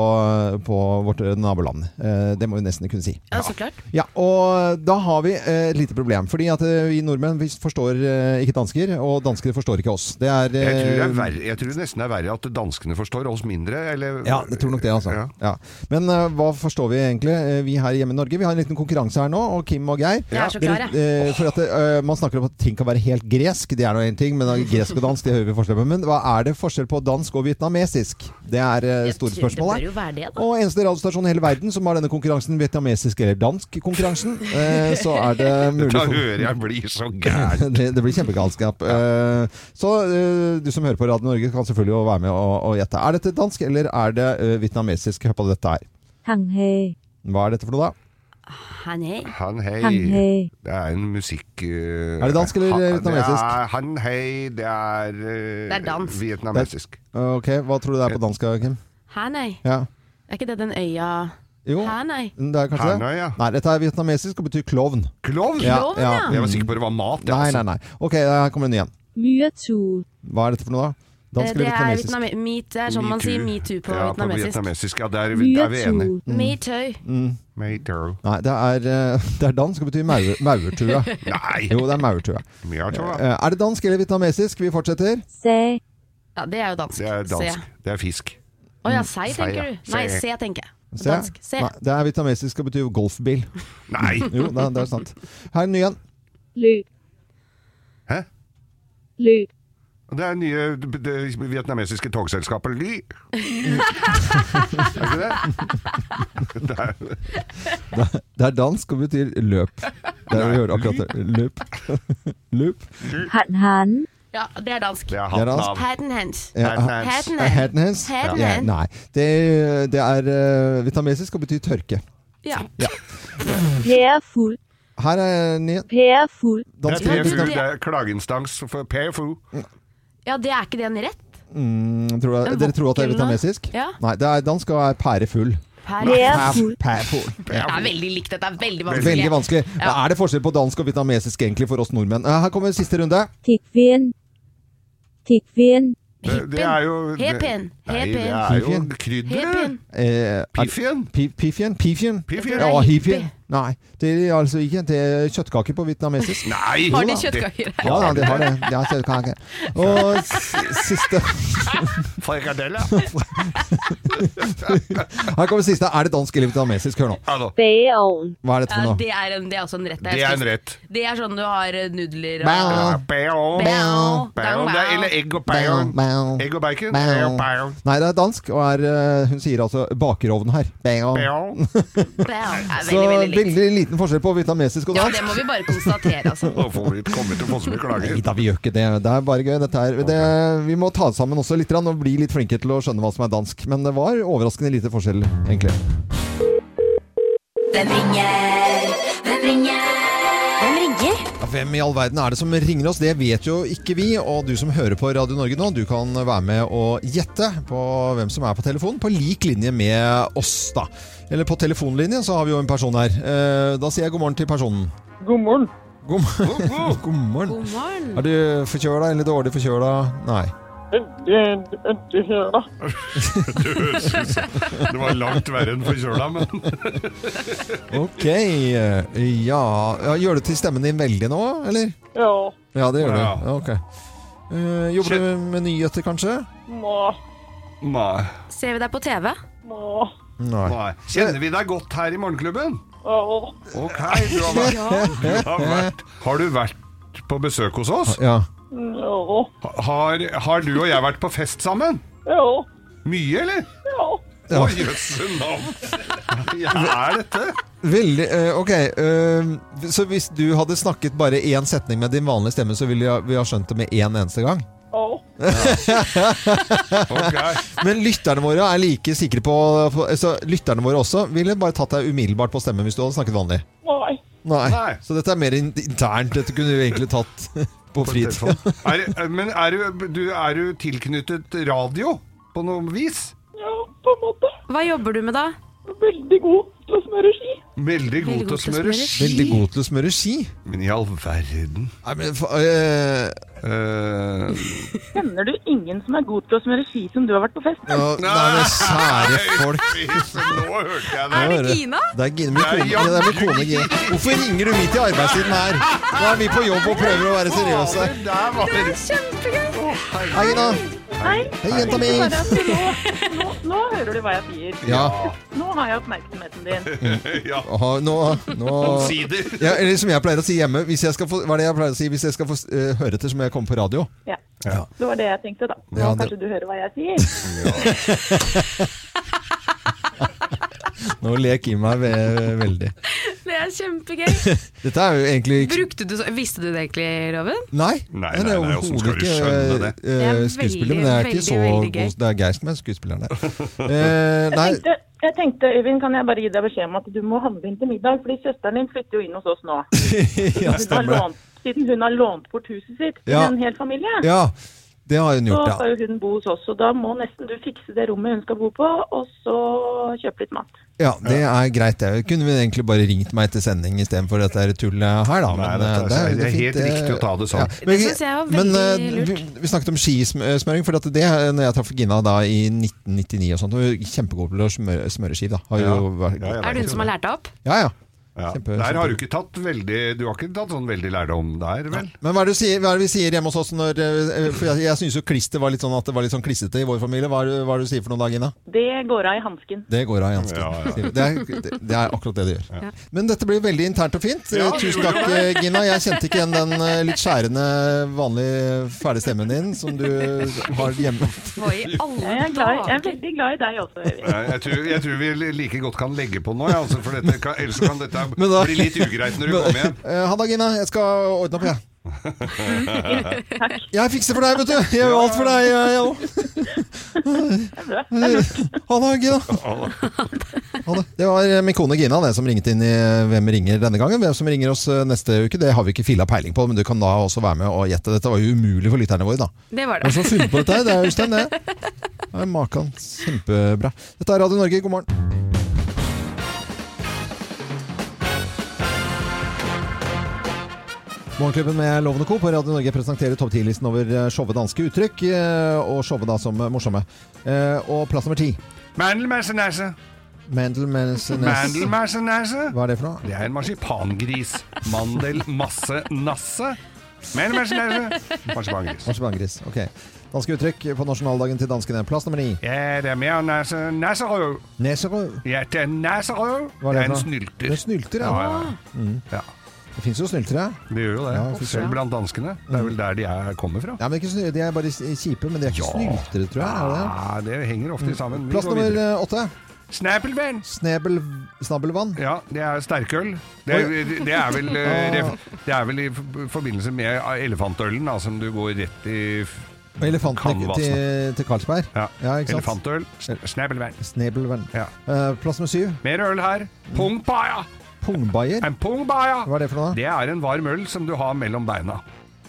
[SPEAKER 1] på vårt naboland. Eh, Det må vi nesten kunne si.
[SPEAKER 14] Ja, så klart.
[SPEAKER 1] Ja, og da har vi eh, et lite problem. Fordi at eh, vi nordmenn vi forstår eh, ikke dansker, og dansker forstår ikke oss. Det er
[SPEAKER 2] Jeg tror, det er
[SPEAKER 1] eh,
[SPEAKER 2] verre, jeg tror nesten det er verre at danskene forstår oss mindre, eller
[SPEAKER 1] Ja, jeg tror nok det, altså. Ja. Men eh, hva forstår vi egentlig, eh, vi her hjemme i Norge? Vi har en liten konkurranse her nå, og Kim og Geir.
[SPEAKER 5] Jeg er så klar, jeg.
[SPEAKER 1] Dere, eh, for at eh, Man snakker om at ting kan være helt gresk, det er nå én ting, men gresk og dansk, det hører vi forskjell på. Men hva er det forskjell på dansk og vietnamesisk? Det er eh,
[SPEAKER 5] tror
[SPEAKER 1] store
[SPEAKER 5] det
[SPEAKER 1] spørsmål
[SPEAKER 5] bør
[SPEAKER 1] her.
[SPEAKER 5] jo være det, da.
[SPEAKER 1] Og eneste radiostasjon i hele verden som har denne konkurransen, vietnamesisk eller dansk konkurransen, eh, så er det mulig
[SPEAKER 2] Da
[SPEAKER 1] for-
[SPEAKER 2] hører jeg blir så gæren.
[SPEAKER 1] det, det blir kjempegalskap. Eh, så eh, du som hører på Radio Norge, kan selvfølgelig jo være med og, og gjette. Er dette dansk, eller er det eh, vietnamesisk? Hør på dette her.
[SPEAKER 16] Hằng hề,
[SPEAKER 1] Hva er dette for noe, da?
[SPEAKER 14] Han er
[SPEAKER 2] Han hei.
[SPEAKER 16] Han hei.
[SPEAKER 2] Det er en musikk... eh,
[SPEAKER 1] Er det dansk eller
[SPEAKER 2] han-
[SPEAKER 1] vietnamesisk?
[SPEAKER 2] Det er han hei, det er, eh,
[SPEAKER 14] Det er dansk.
[SPEAKER 2] vietnamesisk.
[SPEAKER 1] Eh,
[SPEAKER 2] Eh.
[SPEAKER 1] Ok, Hva tror du det er på dansk, Kim?
[SPEAKER 14] Hanoi.
[SPEAKER 1] Ja.
[SPEAKER 14] Er ikke det den øya
[SPEAKER 1] Jo, Mm,
[SPEAKER 14] Hanoi.
[SPEAKER 1] det er kanskje det?
[SPEAKER 2] Hanoi, ja.
[SPEAKER 1] Nei, dette er vietnamesisk og betyr klovn.
[SPEAKER 2] Klovn?
[SPEAKER 1] Ja, ja.
[SPEAKER 2] Jeg var sikker på det var mat. det,
[SPEAKER 1] Nei,
[SPEAKER 2] altså.
[SPEAKER 1] nei, nei. Ok, her kommer den igjen.
[SPEAKER 16] mye tur.
[SPEAKER 1] Hva er dette for noe, da?
[SPEAKER 14] Eh,
[SPEAKER 1] Dansk
[SPEAKER 14] Det
[SPEAKER 1] eller
[SPEAKER 14] er,
[SPEAKER 1] vietnamesisk?
[SPEAKER 14] vietname meat, det er sånn man
[SPEAKER 2] Metoo.
[SPEAKER 14] sier metoo på
[SPEAKER 2] ja,
[SPEAKER 14] vietnamesisk.
[SPEAKER 2] På vietnamesisk. Ja, der er vi, der er vi enige.
[SPEAKER 14] Metoo.
[SPEAKER 1] Mm.
[SPEAKER 2] Mateo.
[SPEAKER 1] Nei, det er, eh, det er dansk og betyr maur, maurtue.
[SPEAKER 2] Nei.
[SPEAKER 1] Jo, det er maurtue.
[SPEAKER 2] Maurtue.
[SPEAKER 1] Eh, Er det dansk eller vietnamesisk? Vi fortsetter.
[SPEAKER 16] Se,
[SPEAKER 14] Ja, det er jo dansk.
[SPEAKER 2] Det er Eh, dansk.
[SPEAKER 14] Se.
[SPEAKER 2] Det er fisk.
[SPEAKER 14] Å ja, sei,
[SPEAKER 2] Sei, ja.
[SPEAKER 14] tenker du. Nei,
[SPEAKER 2] Sei.
[SPEAKER 14] se, tenker jeg.
[SPEAKER 1] Se.
[SPEAKER 14] Dansk. Se.
[SPEAKER 1] Nei, det er vietnamesisk og betyr golfbil.
[SPEAKER 2] Nei!
[SPEAKER 1] Jo, det, er- det er sant. Her er en ny en.
[SPEAKER 16] løb,
[SPEAKER 2] Hæ?
[SPEAKER 16] løb,
[SPEAKER 2] Det er nye det, det vietnamesiske togselskapet Ly. er ikke det? det er,
[SPEAKER 1] Det er- Det er dansk og betyr løp. Det er å gjøre akkurat det. Løp. Løp.
[SPEAKER 16] hạn hán,
[SPEAKER 14] Ja, det er dansk.
[SPEAKER 2] det er
[SPEAKER 1] Det er
[SPEAKER 2] hatten
[SPEAKER 1] dansk.
[SPEAKER 2] av.
[SPEAKER 14] Hatten hans.
[SPEAKER 1] Ja,
[SPEAKER 2] Hatenhans.
[SPEAKER 1] eh, Hatenhans.
[SPEAKER 14] Hatenhans.
[SPEAKER 1] Ja, nei. Det, det er eh, vietnamesisk og betyr tørke.
[SPEAKER 14] Ja.
[SPEAKER 16] pærefuld,
[SPEAKER 1] Her er en ny en.
[SPEAKER 16] pærefuld,
[SPEAKER 2] Det er
[SPEAKER 1] Dansk
[SPEAKER 2] PFU,
[SPEAKER 1] vietnam-
[SPEAKER 2] det er klageinstans for PFU.
[SPEAKER 14] ja, det er ikke det en rett?
[SPEAKER 1] mm, tror jeg,
[SPEAKER 14] Den
[SPEAKER 1] Dere tror at det er
[SPEAKER 14] vokkelen, da?
[SPEAKER 1] vietnamesisk?
[SPEAKER 14] Ja.
[SPEAKER 1] Nei, det er dansk og er pærefull.
[SPEAKER 14] Per. Det
[SPEAKER 16] pærefuld,
[SPEAKER 1] Pærefull.
[SPEAKER 14] er veldig likt dette. er Veldig vanskelig.
[SPEAKER 1] Veldig vanskelig. Hva
[SPEAKER 14] Ja.
[SPEAKER 1] er det forskjell på dansk og vietnamesisk egentlig for oss nordmenn? Eh, Her kommer siste runde.
[SPEAKER 16] thịt viên, thịt viên,
[SPEAKER 2] Det, det er jo
[SPEAKER 14] Hepen.
[SPEAKER 2] Nei,
[SPEAKER 14] Hepen.
[SPEAKER 2] det er jo
[SPEAKER 1] Hepen.
[SPEAKER 2] krydderet.
[SPEAKER 14] Hepen.
[SPEAKER 1] Eh, er-
[SPEAKER 2] Piffien.
[SPEAKER 1] Pi- Piffien? Piffien?
[SPEAKER 2] Piffien.
[SPEAKER 1] Ja,
[SPEAKER 14] Nei,
[SPEAKER 1] hippien.
[SPEAKER 14] hippie.
[SPEAKER 1] Nei, det er altså ikke. Det er kjøttkaker på vietnamesisk.
[SPEAKER 2] Nei!
[SPEAKER 14] Har de
[SPEAKER 2] det-
[SPEAKER 14] kjøttkaker her?
[SPEAKER 1] Ja, ja, de har det. De har kjøttkake. Og s- siste
[SPEAKER 2] Frikadelle.
[SPEAKER 1] Her kommer siste. Er det dansk eller vietnamesisk? Hør nå.
[SPEAKER 2] Ja, da.
[SPEAKER 16] bế ổn,
[SPEAKER 1] Hva er dette for
[SPEAKER 14] Ja,
[SPEAKER 1] noe?
[SPEAKER 14] det, er en, det er også en rett.
[SPEAKER 2] Det er en rett.
[SPEAKER 14] Det er sånn du har eh, nudler og
[SPEAKER 1] Bæ.
[SPEAKER 2] Ja, Bæon.
[SPEAKER 14] Bæon.
[SPEAKER 2] Bæon. Det er- Eller egg og bæon.
[SPEAKER 1] Bæon, bæon,
[SPEAKER 2] Egg og bacon.
[SPEAKER 1] bæon.
[SPEAKER 2] Bæon, bæon.
[SPEAKER 1] Nei, det er dansk, og er, eh, hun sier altså bakerovn her. Bæon.
[SPEAKER 2] Bæon.
[SPEAKER 14] bæ- er
[SPEAKER 1] Så
[SPEAKER 14] veldig, veldig likt.
[SPEAKER 1] veldig liten forskjell på vietnamesisk og
[SPEAKER 14] Ja,
[SPEAKER 1] dansk.
[SPEAKER 14] det må vi bare konstatere, altså.
[SPEAKER 2] Nå får vi komme til å få så mye klager.
[SPEAKER 1] Nei da, vi gjør ikke det. Det er bare gøy. Dette her. Det, vi må ta det sammen også litt grann, og bli litt flinke til å skjønne hva som er dansk. Men det var overraskende lite forskjell, egentlig.
[SPEAKER 17] Hvem ringer? Hvem ringer? Hvem ringer?
[SPEAKER 1] Ja, Hvem i all verden er det som ringer oss? Det vet jo ikke vi. Og du som hører på Radio Norge nå, du kan være med og gjette på hvem som er på telefonen, på lik linje med oss, da. Eller på telefonlinjen så har vi jo en person her. Eh, Da sier jeg god morgen til personen.
[SPEAKER 15] God morgen.
[SPEAKER 1] God, mo- god morgen.
[SPEAKER 14] God morgen.
[SPEAKER 1] Er du forkjøla eller dårlig forkjøla? Nei.
[SPEAKER 15] Endelig, endelig her, da.
[SPEAKER 2] Det var langt verre enn forkjøla, men
[SPEAKER 1] Ok. Ja, ja Gjør du til stemmen din veldig nå, eller?
[SPEAKER 15] Ja.
[SPEAKER 1] Ja, det gjør
[SPEAKER 2] Ja.
[SPEAKER 1] du. Ja, Ok. Eh, jobber du med nyheter, kanskje?
[SPEAKER 15] Må,
[SPEAKER 2] Nei.
[SPEAKER 14] Ser vi deg på TV?
[SPEAKER 15] må.
[SPEAKER 1] Nei.
[SPEAKER 2] Nei. Kjenner vi deg godt her i Morgenklubben?
[SPEAKER 6] Åh.
[SPEAKER 2] Ok, du har vært, du har vært Har du vært på besøk hos oss?
[SPEAKER 1] Ja.
[SPEAKER 6] Ja.
[SPEAKER 2] Har, har du og jeg vært på fest sammen?
[SPEAKER 6] Ja.
[SPEAKER 2] Mye, eller?
[SPEAKER 6] Ja.
[SPEAKER 2] Å, jøsse navn! Ja, er dette?
[SPEAKER 1] Veldig, eh, ok, eh, så hvis du hadde snakket bare én setning med din vanlige stemme, så ville jeg- vi ha skjønt det med én eneste gang?
[SPEAKER 6] Ja.
[SPEAKER 1] Men lytterne våre er like sikre på på- altså, Lytterne våre også ville bare tatt deg umiddelbart på stemmen hvis du hadde snakket vanlig.
[SPEAKER 6] Nei.
[SPEAKER 1] Nei.
[SPEAKER 2] Nei.
[SPEAKER 1] Så dette er mer in internt. Dette kunne du egentlig tatt på fritida.
[SPEAKER 2] Er, men er du, du, er du tilknyttet radio på noe vis?
[SPEAKER 5] Hva jobber du med da?
[SPEAKER 6] Veldig god til å smøre ski.
[SPEAKER 2] Veldig god til å smøre ski.
[SPEAKER 1] Veldig god til å smøre ski.
[SPEAKER 2] Men i all verden Eh,
[SPEAKER 1] Nei, men fa eh,
[SPEAKER 18] Kjenner du ingen som er god til å smøre ski som du har vært på fest med?
[SPEAKER 1] ja, Nei, men kjære folk.
[SPEAKER 2] Nå hørte jeg
[SPEAKER 1] Nå hører- Det er Gina, min kone, ja, det er min kone Gina. Hvorfor ringer du midt i arbeidstiden her? Nå er vi på jobb og prøver å være seriøse.
[SPEAKER 2] Det
[SPEAKER 18] er kjempegøy!
[SPEAKER 1] Hei, Gina.
[SPEAKER 18] Hei.
[SPEAKER 1] Hei, jenta mi.
[SPEAKER 18] Jeg tenkte bare at Nå, nå, nå hører du hva jeg sier.
[SPEAKER 1] Ja.
[SPEAKER 18] Nå har jeg oppmerksomheten din.
[SPEAKER 2] Ja.
[SPEAKER 1] Aha, Nå, nå
[SPEAKER 2] Omsider.
[SPEAKER 1] ja, Eller som jeg pleier å si hjemme hvis jeg skal få, Hva er det jeg pleier å si? Hvis jeg skal få eh, høre etter, så må jeg komme på radio.
[SPEAKER 18] Ja.
[SPEAKER 1] Ja.
[SPEAKER 18] Det var det jeg tenkte, da. Nå
[SPEAKER 1] Ja, det-
[SPEAKER 18] kanskje du hører hva jeg sier.
[SPEAKER 1] Nå ler Kim meg ve veldig.
[SPEAKER 5] Det er kjempegøy.
[SPEAKER 1] Dette er jo egentlig ikke
[SPEAKER 5] Brukte du, så- visste du det egentlig, Loven?
[SPEAKER 1] Nei,
[SPEAKER 2] Nei,
[SPEAKER 1] det
[SPEAKER 2] nei,
[SPEAKER 1] er
[SPEAKER 2] nei, hvordan
[SPEAKER 1] overhodet
[SPEAKER 2] skal du skjønne
[SPEAKER 1] ikke
[SPEAKER 2] det?
[SPEAKER 1] eh,
[SPEAKER 5] Det er
[SPEAKER 1] skuespiller,
[SPEAKER 5] veldig,
[SPEAKER 1] men det er ikke
[SPEAKER 5] veldig,
[SPEAKER 1] så
[SPEAKER 5] veldig gøy.
[SPEAKER 1] god Det er Geir som er skuespilleren der. Eh,
[SPEAKER 18] Jeg
[SPEAKER 1] nei,
[SPEAKER 18] tenkte, jeg tenkte, Øyvind, kan jeg bare gi deg beskjed om at du må handle inn til middag, fordi søsteren din flytter jo inn hos oss nå.
[SPEAKER 1] ja,
[SPEAKER 18] Hun har
[SPEAKER 1] stemmer det.
[SPEAKER 18] lånt, siden hun har lånt bort huset sitt til
[SPEAKER 1] Ja.
[SPEAKER 18] en hel familie.
[SPEAKER 1] Ja, det har hun
[SPEAKER 18] Så
[SPEAKER 1] gjort, ja.
[SPEAKER 18] skal jo hun bo hos oss, og da må nesten du fikse det rommet hun skal bo på, og så kjøpe litt mat.
[SPEAKER 1] Ja, Det er greit, det. Kunne vi egentlig bare ringt meg etter sending istedenfor dette her tullet her, da?
[SPEAKER 2] Nei,
[SPEAKER 1] men,
[SPEAKER 2] dette
[SPEAKER 1] eh,
[SPEAKER 2] er- det er
[SPEAKER 1] fint,
[SPEAKER 2] helt riktig å ta det sånn. Det
[SPEAKER 1] Men,
[SPEAKER 2] synes jeg var
[SPEAKER 1] men
[SPEAKER 2] veldig
[SPEAKER 1] eh, vi, vi snakket om skismøring, for at det eh, når jeg traff Gina da i 1999 og sånt, hun var kjempegod til å smøre, smøre ski, da. Har
[SPEAKER 2] Ja.
[SPEAKER 1] jo vært,
[SPEAKER 2] Ja, jeg
[SPEAKER 5] Er det hun som har lært deg opp?
[SPEAKER 1] Ja, ja.
[SPEAKER 2] Ja.
[SPEAKER 1] Kjempe-
[SPEAKER 2] Der har du ikke tatt veldig Du har ikke tatt sånn veldig lærdom der, vel?
[SPEAKER 1] Men hva er, det du sier, hva er det vi sier hjemme hos oss når eh, For jeg, jeg syns jo klister var litt sånn at det var litt sånn klissete i vår familie. Hva er det, hva er det du sier for noen dager, Gina?
[SPEAKER 18] Det går av i hansken.
[SPEAKER 1] Det går av Jansken. Det, er, det- det er akkurat det det gjør. Men dette blir veldig internt og fint.
[SPEAKER 2] Ja,
[SPEAKER 1] Eh,
[SPEAKER 2] det
[SPEAKER 1] Tusen
[SPEAKER 2] gjorde
[SPEAKER 1] takk,
[SPEAKER 2] det.
[SPEAKER 1] eh, Gina. Jeg kjente ikke igjen den eh, litt skjærende, vanlige, fæle stemmen din som du har hjemme.
[SPEAKER 18] Jeg er, glad, jeg er veldig glad i deg også, Øyvind.
[SPEAKER 2] Nei, Jeg tror, jeg tror vi like godt kan legge på nå, ja, altså, for dette kan, ellers kan dette
[SPEAKER 1] Men da-
[SPEAKER 2] bli litt ugreit når du
[SPEAKER 1] Men-
[SPEAKER 2] kommer hjem.
[SPEAKER 1] Eh, Ha det, Gina. Jeg skal ordne opp, jeg.
[SPEAKER 18] Takk.
[SPEAKER 1] Jeg fikser for deg, vet du. Jeg gjør alt for deg. Jeg, jeg også. Eh, Ha det, Gina. Ha det. Det var eh, min kone Gina det som ringte inn i eh, Hvem ringer denne gangen. Hvem som ringer oss eh, neste uke, det har vi ikke filla peiling på, men du kan da også være med og gjette. Dette var jo umulig for lytterne våre, da.
[SPEAKER 5] Det var
[SPEAKER 1] Hvem som har funnet på
[SPEAKER 5] det.
[SPEAKER 1] dette? her? Det er Øystein, det. det er Makan. Kjempebra. Dette er Radio Norge, god morgen. Morgenklubben med Loven og Co. på Radio Norge presenterer topp 10-listen over eh, showet danske uttrykk, eh, og showet da som eh, morsomme. Eh, Og plass nummer ti.
[SPEAKER 2] Mandelmæsjenæsje.
[SPEAKER 1] Mandelmansenes.
[SPEAKER 2] Mandelmæsjenæsje.
[SPEAKER 1] Hva er det for noe?
[SPEAKER 2] Det er en marsipangris. Mandel masse nasse. Mandelmæsjenæsje. Marsipangris.
[SPEAKER 1] Marsipangris. Ok. Danske uttrykk på nasjonaldagen til danskene. Plass nummer ni.
[SPEAKER 2] Ja, det er mer næse. Næserøv.
[SPEAKER 1] Neserød.
[SPEAKER 2] Ja, det er næserøv. Det
[SPEAKER 1] Hva er
[SPEAKER 2] er en
[SPEAKER 1] det for noe?
[SPEAKER 2] snylter.
[SPEAKER 1] Det er snylter, ja.
[SPEAKER 2] ja. ja,
[SPEAKER 1] Mm.
[SPEAKER 2] ja.
[SPEAKER 1] Det fins jo snyltere.
[SPEAKER 2] Det gjør jo det.
[SPEAKER 1] Ja, for
[SPEAKER 2] Selv
[SPEAKER 1] søren.
[SPEAKER 2] blant danskene. Det er vel der de er, kommer fra.
[SPEAKER 1] Mm. Ja, men ikke, sny- de er bare s- kjipe, men de er ikke
[SPEAKER 2] Ja.
[SPEAKER 1] snyltere, tror jeg. Er det? det?
[SPEAKER 2] Ja, det henger ofte sammen. Vi
[SPEAKER 1] Plass
[SPEAKER 2] går
[SPEAKER 1] nummer
[SPEAKER 2] videre.
[SPEAKER 1] eh, åtte.
[SPEAKER 2] Snæpelvenn.
[SPEAKER 1] Snebel, snabbelvann.
[SPEAKER 2] Ja, det er sterkøl. Det er, det er, vel, eh,
[SPEAKER 1] Ah.
[SPEAKER 2] ref- det er vel i f- forbindelse med elefantølen, da, som du går rett i f-
[SPEAKER 1] Og elefanten
[SPEAKER 2] Kan
[SPEAKER 1] til, til Karlsberg. Ja, ikke sant?
[SPEAKER 2] Elefantøl. Snæpelvenn.
[SPEAKER 1] Snebelvann.
[SPEAKER 2] Ja.
[SPEAKER 1] Eh, plass nummer syv.
[SPEAKER 2] Mer øl her. Pungbaja.
[SPEAKER 1] Pungbayer.
[SPEAKER 2] En pungbaja.
[SPEAKER 1] Hva er det for noe?
[SPEAKER 2] Det er en varm øl som du har mellom beina.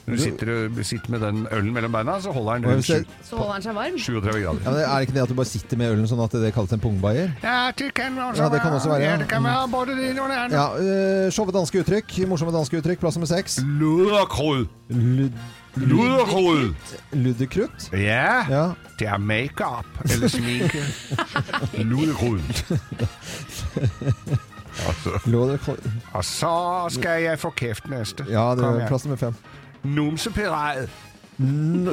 [SPEAKER 2] Når du sitter, sitter med den ølen mellom beina, så holder den
[SPEAKER 1] Og
[SPEAKER 2] rundt
[SPEAKER 1] hvis det-
[SPEAKER 2] sju-
[SPEAKER 5] Så holder han seg varm.
[SPEAKER 2] 37 grader.
[SPEAKER 1] Ja, men er det ikke det at du bare sitter med ølen sånn at det kalles en pungbayer?
[SPEAKER 2] Ja, det kan også
[SPEAKER 1] Ja, det kan også være, ja. Mm.
[SPEAKER 2] Ja, det kan være både det ene og det andre.
[SPEAKER 1] Ja, øh, Showet danske uttrykk. Morsomme danske uttrykk. Plass nummer seks.
[SPEAKER 2] Luderkrød.
[SPEAKER 1] Lud...
[SPEAKER 2] Luderkrød.
[SPEAKER 1] Ludekrutt.
[SPEAKER 2] Ja,
[SPEAKER 1] Ja.
[SPEAKER 2] det er makeup eller sminke. Luderkrød. Altså.
[SPEAKER 1] Ludekrutt.
[SPEAKER 2] Og så skal jeg få kjeft neste.
[SPEAKER 1] Ja, det
[SPEAKER 2] Kom
[SPEAKER 1] er
[SPEAKER 2] her.
[SPEAKER 1] plass nummer fem.
[SPEAKER 2] Numsepirat.
[SPEAKER 1] N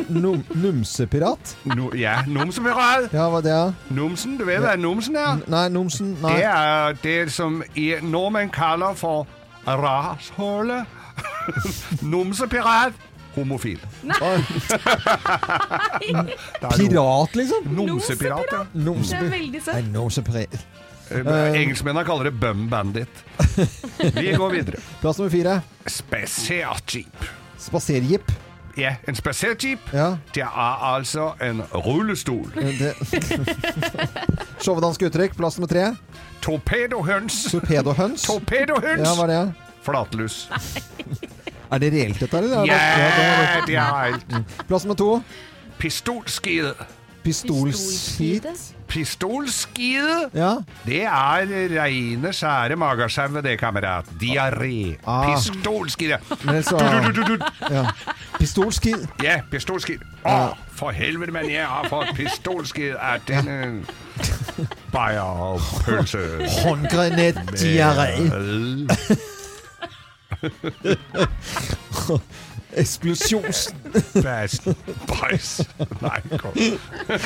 [SPEAKER 1] num numsepirat?
[SPEAKER 2] No, ja, numsepirat.
[SPEAKER 1] Ja, hva det er?
[SPEAKER 2] Numsen, du vet hva numsen er?
[SPEAKER 1] Nei, numsen nei.
[SPEAKER 2] Det er det som i- nordmenn kaller for rashøle. Numsepirat. Homofil.
[SPEAKER 1] Pirat, liksom?
[SPEAKER 2] Nomsepirat, ja.
[SPEAKER 1] Nomsepirat.
[SPEAKER 14] Det er veldig søtt.
[SPEAKER 1] Nei, nomsepirat. Um,
[SPEAKER 2] Eh, Engelskmennene kaller det bum bandit. Vi går videre.
[SPEAKER 1] Plass nummer fire.
[SPEAKER 2] Spaserjeep.
[SPEAKER 1] Spaserjeep.
[SPEAKER 2] Ja, en spaserjeep.
[SPEAKER 1] Ja.
[SPEAKER 2] Det er altså en rullestol.
[SPEAKER 1] Eh, det- Sjåvedanske uttrykk. Plass nummer tre.
[SPEAKER 2] Torpedohøns.
[SPEAKER 1] Torpedohøns.
[SPEAKER 2] Torpedohøns.
[SPEAKER 1] Ja, hva er det?
[SPEAKER 2] Flatlus.
[SPEAKER 1] Er det reelt, dette? eller?
[SPEAKER 2] Ja,
[SPEAKER 1] Ja, det
[SPEAKER 2] det er helt
[SPEAKER 1] Plass nummer to.
[SPEAKER 2] Pistolskide.
[SPEAKER 1] Pistolskit.
[SPEAKER 2] Pistolskide?
[SPEAKER 1] Ja.
[SPEAKER 2] Det er reine, skjære magesauet, det, kamerat. Diaré.
[SPEAKER 1] Ah.
[SPEAKER 2] Pistolskide.
[SPEAKER 1] Men så- Ja. Pistolskit.
[SPEAKER 2] Ja, pistolskid. Å, for helvete, men jeg har fått pistolskid av denne bayerpølse.
[SPEAKER 1] Håndgranatdiaré.
[SPEAKER 2] Vel.
[SPEAKER 1] Eksplosjons...
[SPEAKER 2] Bæsj. Bæsj. Nei, kom.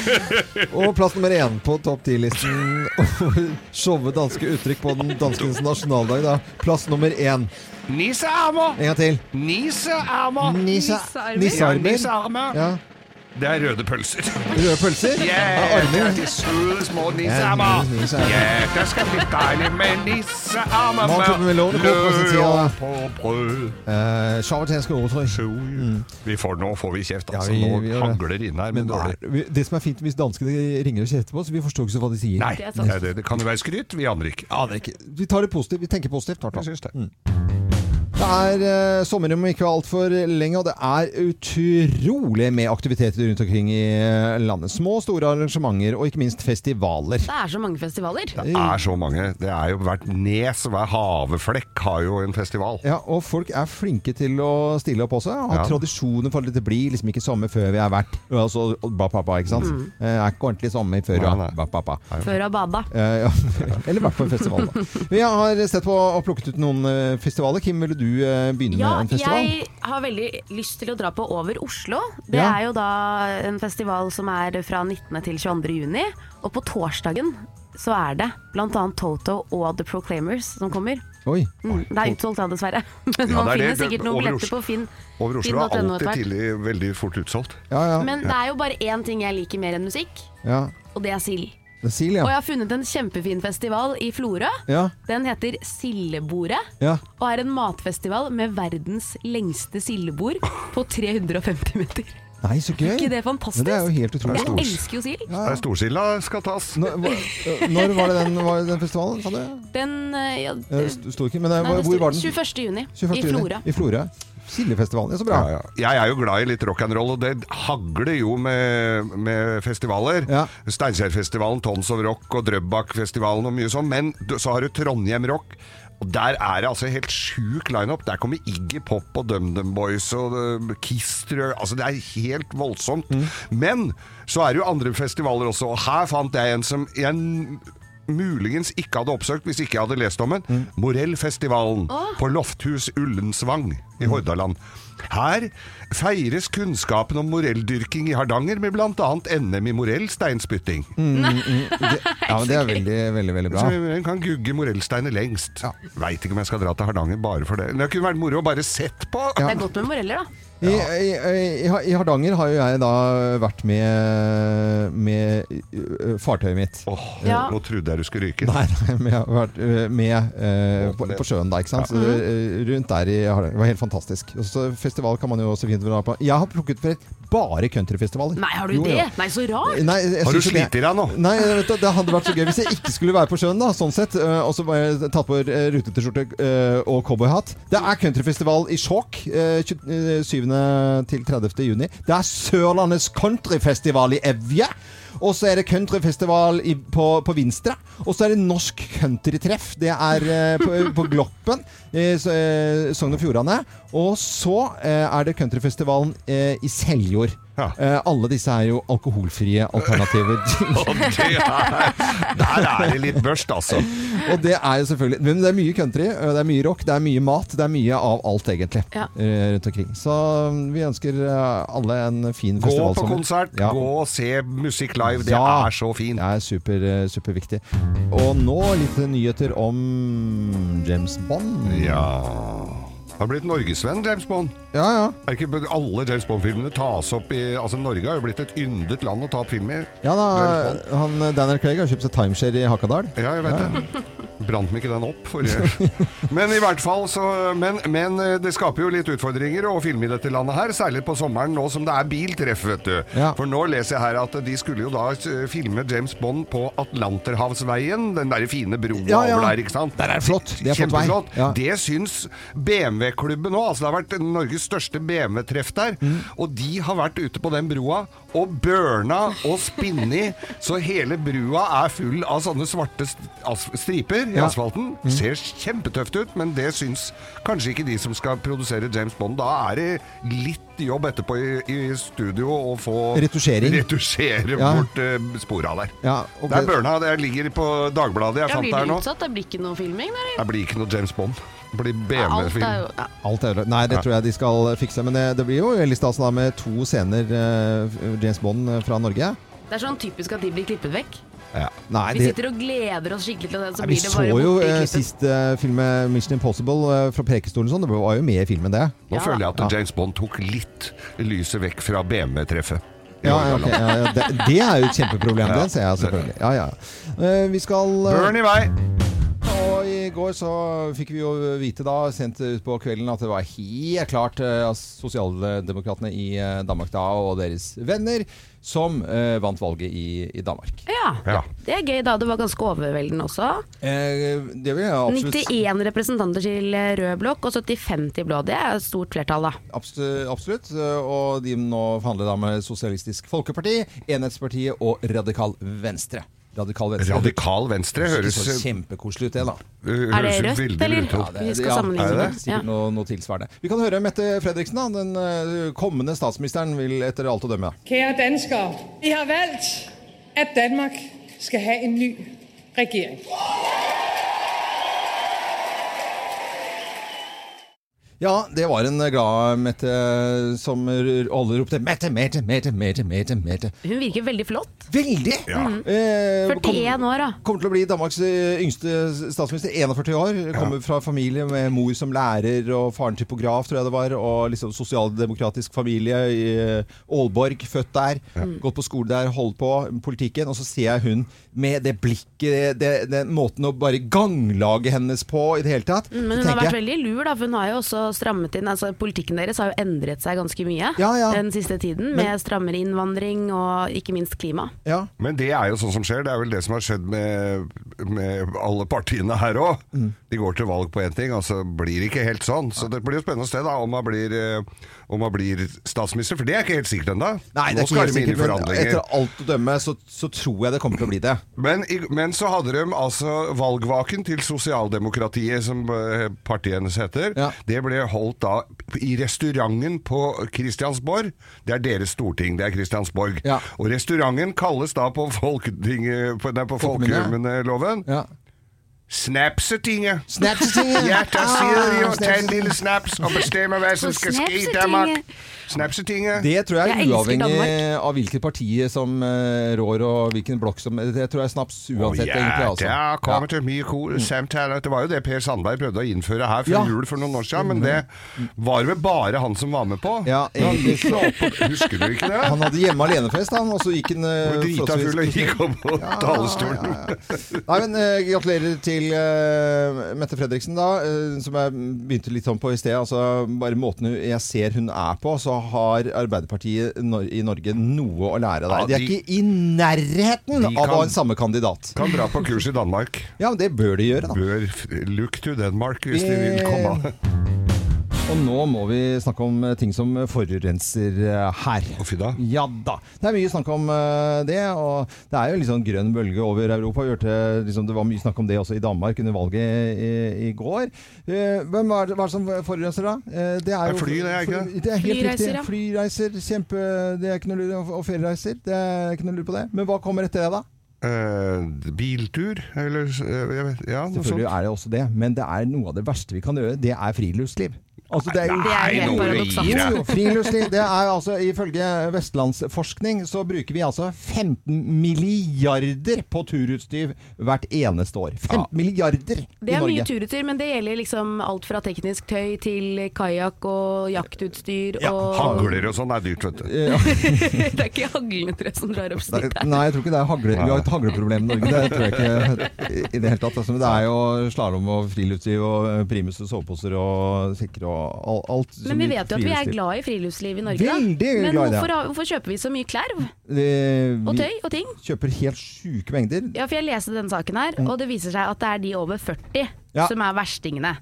[SPEAKER 1] Og plass nummer én på topp ti-listen over showet danske uttrykk på den danskens nasjonaldag. Da. Plass nummer én.
[SPEAKER 2] Nissearmer!
[SPEAKER 1] En gang til.
[SPEAKER 2] Nissearmer!
[SPEAKER 1] Nissearmer.
[SPEAKER 2] Ja, nissearmer.
[SPEAKER 1] Ja.
[SPEAKER 2] Det er røde pølser.
[SPEAKER 1] Røde pølser?
[SPEAKER 2] Ja,
[SPEAKER 1] Ja, armer.
[SPEAKER 2] det er de søde små nissearmer.
[SPEAKER 1] Ja, nissearmer.
[SPEAKER 2] Ja, det skal bli deilig med nissearmer.
[SPEAKER 1] Malklubben med lånekopp på sin side, da.
[SPEAKER 2] Løv på brød.
[SPEAKER 1] Eh, Sjavatenske ordtrykk. Mm.
[SPEAKER 2] Vi får, nå får vi kjeft,
[SPEAKER 1] Ja,
[SPEAKER 2] altså.
[SPEAKER 1] vi- vi gjør det.
[SPEAKER 2] nå hagler det inn her, men dårlig.
[SPEAKER 1] Vi- Det som er fint hvis danskene ringer og kjefter på oss, vi forstår ikke så hva de sier.
[SPEAKER 2] Nei, det, er sånn. det. det kan jo være skryt. Vi aner ikke.
[SPEAKER 1] Aner ikke. Vi tar det positivt. Vi tenker positivt. Tartan.
[SPEAKER 2] Jeg syns det.
[SPEAKER 1] Det er eh, sommer om ikke altfor lenge, og det er utrolig med aktiviteter rundt omkring i eh, landet. Små og store arrangementer, og ikke minst festivaler.
[SPEAKER 5] Det er så mange festivaler.
[SPEAKER 2] Det er så mange. Det er jo hvert nes og hver haveflekk har jo en festival.
[SPEAKER 1] Ja, og folk er flinke til å stille opp også. Har
[SPEAKER 2] Ja.
[SPEAKER 1] tradisjoner for at det blir liksom ikke sommer før vi har vært og så, og ba, ba, ba, ikke sant?
[SPEAKER 5] Mm.
[SPEAKER 1] Eh, er ikke ordentlig sommer før vi har ba, ba, ba.
[SPEAKER 5] Før av bada.
[SPEAKER 1] Eh, ja. Eller vært på en festival, da. Vi har sett på og plukket ut noen eh, festivaler. Kim, ville du eh, begynne
[SPEAKER 5] Ja,
[SPEAKER 1] med en festival?
[SPEAKER 5] jeg har veldig lyst til å dra på Over Oslo. Det
[SPEAKER 1] Ja.
[SPEAKER 5] er jo da en festival som er fra 19. til 22. juni. Og på torsdagen så er det bl.a. Toto og The Proclaimers som kommer.
[SPEAKER 1] Oi.
[SPEAKER 5] Mm, det er utsolgt da, dessverre. Men
[SPEAKER 2] Ja,
[SPEAKER 5] man
[SPEAKER 2] det er
[SPEAKER 5] finner
[SPEAKER 2] det. Det-
[SPEAKER 5] sikkert noen
[SPEAKER 2] Over
[SPEAKER 5] billetter
[SPEAKER 2] Oslo-
[SPEAKER 5] på Finn.
[SPEAKER 2] Over Oslo er
[SPEAKER 5] Finn.no
[SPEAKER 2] alltid
[SPEAKER 5] etter hvert.
[SPEAKER 2] tidlig veldig fort utsolgt.
[SPEAKER 5] Men det er jo bare én ting jeg liker mer enn musikk,
[SPEAKER 1] Ja.
[SPEAKER 5] og det er sild.
[SPEAKER 1] Det er Sil,
[SPEAKER 5] Og jeg
[SPEAKER 1] ja.
[SPEAKER 5] har funnet en kjempefin festival i Florø.
[SPEAKER 1] Ja.
[SPEAKER 5] Den heter Sildebordet.
[SPEAKER 1] ja.
[SPEAKER 5] Og er en matfestival med verdens lengste sildebord på 350 meter.
[SPEAKER 1] Nei, så gøy.
[SPEAKER 5] Er ikke det fantastisk?
[SPEAKER 1] Men det er jo helt utrolig.
[SPEAKER 5] Jeg elsker jo sild.
[SPEAKER 1] Ja.
[SPEAKER 2] Storsilda skal tas.
[SPEAKER 1] Når, hva- når var det den, var det den festivalen, sa du?
[SPEAKER 5] Den eh, ja,
[SPEAKER 1] Eh, sto- Sto ikke, men eh,
[SPEAKER 5] nei,
[SPEAKER 1] hvor,
[SPEAKER 5] det
[SPEAKER 1] hvor
[SPEAKER 5] står
[SPEAKER 1] var den?
[SPEAKER 5] 21. juni
[SPEAKER 1] 21.
[SPEAKER 5] i
[SPEAKER 1] juni.
[SPEAKER 5] Florø.
[SPEAKER 1] I Florø. Sildefestivalen. Ja, så bra.
[SPEAKER 2] Jeg er jo glad i litt rock'n'roll, og det hagler jo med, med festivaler. Steinkjerfestivalen, Tons of Rock og Drøbakfestivalen og mye sånn. Men du- så har du Trondheim Rock. Og Der er det altså helt sjuk lineup. Der kommer Iggy Pop og DumDum Boys og eh, Kiss, tror jeg. Altså, det er helt voldsomt. Men så er det jo andre festivaler også, og her fant jeg en som jeg n- muligens ikke hadde oppsøkt hvis ikke jeg hadde lest om den.
[SPEAKER 1] Mm.
[SPEAKER 2] Morellfestivalen
[SPEAKER 17] Åh.
[SPEAKER 2] på Lofthus Ullensvang i
[SPEAKER 1] Mm.
[SPEAKER 2] Hordaland. Her feires kunnskapen om morelldyrking i Hardanger med bl.a. NM i morell steinspytting.
[SPEAKER 1] Mm, mm, det, ja, men det er veldig, veldig, veldig bra.
[SPEAKER 2] Så En kan gugge morellsteiner lengst. Veit ikke om jeg skal dra til Hardanger bare for det. Men Det kunne vært moro å bare sett på.
[SPEAKER 5] Det er godt med moreller, da.
[SPEAKER 1] I, i, i, I Hardanger har jo jeg da vært med, med ø, fartøyet mitt.
[SPEAKER 2] Åh,
[SPEAKER 5] Ja.
[SPEAKER 2] Nå trodde jeg du skulle ryke.
[SPEAKER 1] Nei, nei, men jeg har vært ø, med ø, på, på sjøen der, ikke sant. Så, ø, rundt der i Hardanger. Det var helt fantastisk. Og så festival kan man jo også fint dra på. Jeg har plukket for bare countryfestivaler.
[SPEAKER 5] Nei, har du
[SPEAKER 1] Jo, jo.
[SPEAKER 5] det? Nei, så rart!
[SPEAKER 1] Nei, jeg
[SPEAKER 2] Har du
[SPEAKER 1] synes ikke
[SPEAKER 2] slitt i deg nå?
[SPEAKER 1] Nei, vet du, det hadde vært så gøy hvis jeg ikke skulle være på sjøen, da, sånn sett. Eh, Og så bare tatt på eh, rutete-skjorte eh, og cowboyhatt. Det er countryfestival i Skjåk eh, 27. til 30. juni. Det er Sørlandets countryfestival i Evje. Og så er det countryfestival i, på, på Vinstra. Og så er det norsk countrytreff. Det er eh, på, på Gloppen i S- eh, Sogn og Fjordane. Og så eh, er det countryfestivalen eh, i Seljord. Eh, alle disse er jo alkoholfrie alternativer.
[SPEAKER 2] Og det er, der er det litt børst, altså.
[SPEAKER 1] Og det er jo selvfølgelig Men det er mye country, eh, det er mye rock, det er mye mat. Det er mye av alt, egentlig.
[SPEAKER 2] Ja.
[SPEAKER 1] eh, Rundt omkring. Så mm, vi ønsker eh, alle en fin
[SPEAKER 2] Gå
[SPEAKER 1] festival.
[SPEAKER 2] på konsert, gå og se musikk live. Det er
[SPEAKER 1] så fint. Det er super, eh, superviktig. Og nå litt nyheter om James Bond.
[SPEAKER 2] Ja Han har blitt norgesvenn, James Bond.
[SPEAKER 1] Ja, ja.
[SPEAKER 2] Er ikke alle James Bond-filmene tas opp i Altså, Norge har jo blitt et yndet land å ta opp filmer.
[SPEAKER 1] Ja da,
[SPEAKER 2] James
[SPEAKER 1] han, Daniel Craig har kjøpt seg timeshare i Hakadal.
[SPEAKER 2] Ja, jeg vet det. Brant meg ikke den opp forrige Men i hvert fall så men, men eh, det skaper jo litt utfordringer å filme i dette landet her, særlig på sommeren nå som det er biltreff, vet du.
[SPEAKER 1] Ja.
[SPEAKER 2] For nå leser jeg her at de skulle jo da eh, filme James Bond på Atlanterhavsveien, den der fine broa
[SPEAKER 1] Ja, ja.
[SPEAKER 2] over der, ikke sant?
[SPEAKER 1] Der er det flott. De har fått vei.
[SPEAKER 2] Kjempeflott.
[SPEAKER 1] Ja.
[SPEAKER 2] Det syns BMW-klubben òg. Altså det har vært Norges største BMW-treff der.
[SPEAKER 1] Mm.
[SPEAKER 2] Og de har vært ute på den brua og burna og spinni, så hele brua er full av sånne svarte st- as- striper i
[SPEAKER 1] Ja. Mm.
[SPEAKER 2] asfalten. Ser kjempetøft ut, men det syns kanskje ikke de som skal produsere James Bond. Da er det litt jobb etterpå i, i studio å få
[SPEAKER 1] Retusjering.
[SPEAKER 2] retusjere
[SPEAKER 1] Ja.
[SPEAKER 2] bort eh, spora der.
[SPEAKER 1] Ja, og
[SPEAKER 2] det er
[SPEAKER 1] det-
[SPEAKER 2] burna. Det ligger på Dagbladet jeg
[SPEAKER 14] Ja,
[SPEAKER 2] fant
[SPEAKER 14] blir
[SPEAKER 2] det her
[SPEAKER 14] det
[SPEAKER 2] nå.
[SPEAKER 14] utsatt? Det blir ikke noe filming? Eller?
[SPEAKER 2] Det blir ikke noe James Bond. Det blir
[SPEAKER 14] alt er jo
[SPEAKER 2] BMW-film.
[SPEAKER 14] ja.
[SPEAKER 1] Alt er ødelagt. Nei, det
[SPEAKER 2] Ja.
[SPEAKER 1] tror jeg de skal fikse. Men det, det blir jo veldig stas da med to scener eh, James Bond fra Norge.
[SPEAKER 5] Det er sånn typisk at de blir klippet vekk.
[SPEAKER 1] Nei,
[SPEAKER 5] Vi
[SPEAKER 1] det,
[SPEAKER 5] sitter og gleder oss skikkelig til det, så
[SPEAKER 1] nei, vi
[SPEAKER 5] blir det
[SPEAKER 1] så
[SPEAKER 5] bare
[SPEAKER 1] jo
[SPEAKER 5] borte i
[SPEAKER 1] eh,
[SPEAKER 5] klippet.
[SPEAKER 1] sist eh, filmet Mission Impossible eh, fra Prekestolen og sånn. Det var jo med i filmen, det.
[SPEAKER 2] Nå føler jeg at James Bond tok litt lyset vekk fra BMW-treffet. i
[SPEAKER 1] Ja, ja, ok.
[SPEAKER 2] Hordaland.
[SPEAKER 1] ja, ja. Det, det er jo et kjempeproblem,
[SPEAKER 2] Ja.
[SPEAKER 1] det ser jeg selvfølgelig. Ja, ja. Eh, Vi skal eh,
[SPEAKER 2] Burn i vei!
[SPEAKER 1] Og i går så fikk vi jo vite da, sent ut på kvelden, at det var helt klart eh, at sosialdemokratene i eh, Danmark da, og deres venner som eh, vant valget i, i Danmark.
[SPEAKER 5] Ja, det er gøy da. Det var ganske overveldende også.
[SPEAKER 1] Eh, det vil jeg absolutt
[SPEAKER 5] 91 representanter til eh, rød blokk og 75 til blå. Det er et stort flertall, da.
[SPEAKER 1] Abs- Absolutt. Og de nå forhandler da med Sosialistisk Folkeparti, Enhetspartiet og Radikal Venstre. Radikal Venstre.
[SPEAKER 2] Radikal Venstre
[SPEAKER 1] Det
[SPEAKER 2] høres
[SPEAKER 1] så kjempekoselig ut, det, da.
[SPEAKER 2] Er det høres rødt, veldig eller? lurt ut.
[SPEAKER 1] Ja, det,
[SPEAKER 2] Vi skal
[SPEAKER 1] ja,
[SPEAKER 2] sammenligne
[SPEAKER 1] er det
[SPEAKER 2] med.
[SPEAKER 1] det? Sikkert noe, noe tilsvarende. Vi kan høre Mette Fredriksen, da. Den eh, kommende statsministeren vil etter alt å dømme.
[SPEAKER 19] Kære danskere, I har valgt, at Danmark skal have en ny regering.
[SPEAKER 1] Ja, det var en eh, glad Mette eh, som r- alle ropte 'Mette, Mette, Mette, Mette'. Mette, Mette.
[SPEAKER 5] Hun virker veldig flott.
[SPEAKER 1] Veldig!
[SPEAKER 5] Ja. Mhm.
[SPEAKER 1] Eh,
[SPEAKER 5] 41 år, da.
[SPEAKER 1] Kommer til å bli Danmarks eh, yngste statsminister, 41 år. Kommer fra familie med mor som lærer og faren typograf, tror jeg det var. Og liksom sosialdemokratisk familie i eh, Aalborg, født der. Gått på skole der, holdt på med politikken. Og så ser jeg hun med det blikket, det, den måten å bare ganglage hennes på i det hele tatt.
[SPEAKER 2] Mm.
[SPEAKER 5] Mm, Men hun
[SPEAKER 1] Så
[SPEAKER 5] har
[SPEAKER 1] tenker
[SPEAKER 5] vært
[SPEAKER 1] jeg,
[SPEAKER 5] veldig lur, da, for hun har jo også strammet inn. altså Politikken deres har jo endret seg ganske mye den siste tiden, med strammere innvandring og ikke minst klima.
[SPEAKER 2] Men det er jo sånn som skjer. Det er vel det som har skjedd med, med alle partiene her òg.
[SPEAKER 1] Mm.
[SPEAKER 2] De går til valg på én ting, og så blir det ikke helt sånn. Så det blir jo spennende å se da om han blir, eh, om han blir statsminister, for det er ikke helt sikkert ennå.
[SPEAKER 1] Nei, det er
[SPEAKER 2] Nå
[SPEAKER 1] ikke
[SPEAKER 2] skal
[SPEAKER 1] helt
[SPEAKER 2] de inn i
[SPEAKER 1] sikkert, men
[SPEAKER 2] forhandlinger.
[SPEAKER 1] etter alt å dømme så, så tror jeg det kommer til å bli det.
[SPEAKER 2] Men, i- men så hadde de altså valgvaken til sosialdemokratiet, som eh, partiet hennes heter. Det ble holdt da i restauranten på Christiansborg. Det er deres storting, det er Christiansborg. Og restauranten kalles da på, folketinget- på, nei, på folkemunneloven Snapsetinget!
[SPEAKER 1] Snapsetinget!
[SPEAKER 2] Hjertet sier jo,
[SPEAKER 1] Ah,
[SPEAKER 2] ta en lille snaps og bestemmer hva som skal skje i Danmark. Snapsetinget.
[SPEAKER 1] Det tror jeg, er uavhengig av hvilket parti som eh, rår og hvilken blokk som Det tror jeg er snaps
[SPEAKER 2] Å,
[SPEAKER 1] uansett, egentlig.
[SPEAKER 2] ja,
[SPEAKER 1] Altså. Mm.
[SPEAKER 2] Det kommer til mye cool samtaler. Det var jo det Per Sandberg prøvde å innføre her før
[SPEAKER 1] Ja. Mm.
[SPEAKER 2] jul for noen år siden, men det var vel bare han som var med på. Men han
[SPEAKER 1] egentlig
[SPEAKER 2] gikk jo opp og- Husker du ikke det?
[SPEAKER 1] Han hadde hjemme alenefest, han, og så gikk han eh,
[SPEAKER 2] Hvor drita
[SPEAKER 1] forholdsvis-
[SPEAKER 2] full og gikk opp på talerstolen.
[SPEAKER 1] Nei, men eh, Gratulerer til eh, Mette Fredriksen, da, eh, som jeg begynte litt sånn på i sted. Altså, bare måten hun- jeg ser hun er på, så har Arbeiderpartiet Nor i Norge noe å lære
[SPEAKER 2] Ja,
[SPEAKER 1] der. De er
[SPEAKER 2] de-
[SPEAKER 1] ikke i nærheten
[SPEAKER 2] de
[SPEAKER 1] av å
[SPEAKER 2] kan-
[SPEAKER 1] ha en samme kandidat.
[SPEAKER 2] Kan dra på kurs i Danmark.
[SPEAKER 1] Ja, men det bør de gjøre, da.
[SPEAKER 2] Bør f- look to Denmark hvis de vil
[SPEAKER 1] Eh.
[SPEAKER 2] komme.
[SPEAKER 1] Og nå må vi snakke om eh, ting som forurenser eh, her. Ja da. Det er mye snakk om eh, det, og det er jo litt sånn grønn bølge over Europa. Vi hørte, liksom, det var mye snakk om det også i Danmark under valget i, i går. Eh, Men hva er, det, hva er det som forurenser da? Eh, Det
[SPEAKER 2] Det er fly, det er ikke det?
[SPEAKER 1] det er helt
[SPEAKER 2] Flyreiser,
[SPEAKER 1] riktig.
[SPEAKER 2] ja.
[SPEAKER 1] Flyreiser, kjempe, det er ikke noe lur, og feriereiser, det er ikke noe lur på det. Men hva kommer etter det da?
[SPEAKER 2] Eh, biltur, eller eh, jeg vet, Ja, noe
[SPEAKER 1] Selvfølgelig
[SPEAKER 2] sånt.
[SPEAKER 1] er det også det, men det er noe av det verste vi kan gjøre, det er friluftsliv. Altså, det er jo,
[SPEAKER 2] Nei, Det er helt nå må du gi paradoksalt. deg.
[SPEAKER 1] Jo, jo, Friluftsliv, det er altså ifølge Vestlandsforskning så bruker vi altså 15 milliarder på turutstyr hvert eneste år. 15 milliarder i Norge.
[SPEAKER 5] Det er mye turutstyr, men det gjelder liksom alt fra teknisk tøy til kajakk og jaktutstyr og
[SPEAKER 2] Hagler og sånn er dyrt, vet du.
[SPEAKER 5] Det er ikke haglene dere som drar opp
[SPEAKER 1] Nei,
[SPEAKER 5] snitt her.
[SPEAKER 1] nei, jeg tror ikke det er hagle, vi har et hagleproblem i Norge. Det tror jeg ikke i det hele tatt. Altså, men det er jo slalåm og friluftsliv og eh, primus og soveposer og sekker og al- alt. som
[SPEAKER 5] Men vi vet jo at vi er
[SPEAKER 1] friluftsliv.
[SPEAKER 5] glad i friluftsliv i Norge, da.
[SPEAKER 1] Veldig
[SPEAKER 5] Men
[SPEAKER 1] glad i det.
[SPEAKER 5] hvorfor, har- hvorfor kjøper vi så mye klær
[SPEAKER 1] Eh,
[SPEAKER 5] og
[SPEAKER 1] vi-
[SPEAKER 5] tøy og ting?
[SPEAKER 1] kjøper helt sjuke mengder.
[SPEAKER 5] Ja, for jeg leste denne saken her,
[SPEAKER 1] Mm.
[SPEAKER 5] og det viser seg at det er de over 40
[SPEAKER 1] Ja.
[SPEAKER 5] som er verstingene.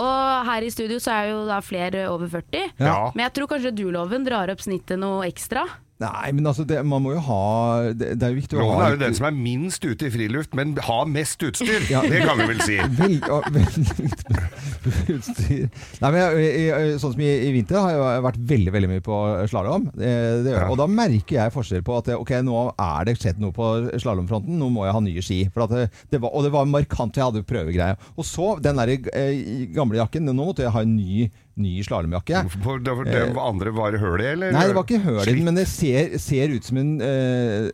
[SPEAKER 5] Og her i studio så er jo da flere over 40,
[SPEAKER 1] Ja.
[SPEAKER 5] men jeg tror kanskje du, Loven, drar opp snittet noe ekstra.
[SPEAKER 1] Nei, men altså, det, man må jo ha Det, det er jo viktig å ha
[SPEAKER 2] Loven er jo den som er minst ute i friluft, men har mest utstyr.
[SPEAKER 1] Ja.
[SPEAKER 2] Det kan vi vel si.
[SPEAKER 1] Vel, ja, vel- utstyr. Nei, men jeg, jeg, jeg, sånn som i, i vinter har jeg vært veldig veldig mye på slalåm. Eh, det gjør jeg. Og da merker jeg forskjell på at eh, ok, nå er det skjedd noe på slalåmfronten, nå må jeg ha nye ski. For at det, det var, og det var markant, jeg hadde jo prøvegreie. Og så den der eh, gamle jakken, nå måtte jeg ha en ny, ny slalåmjakke.
[SPEAKER 2] For det, for det andre var høl i, eller?
[SPEAKER 1] Eh. Nei, det var ikke høl i den, men det ser, ser ut som en eh,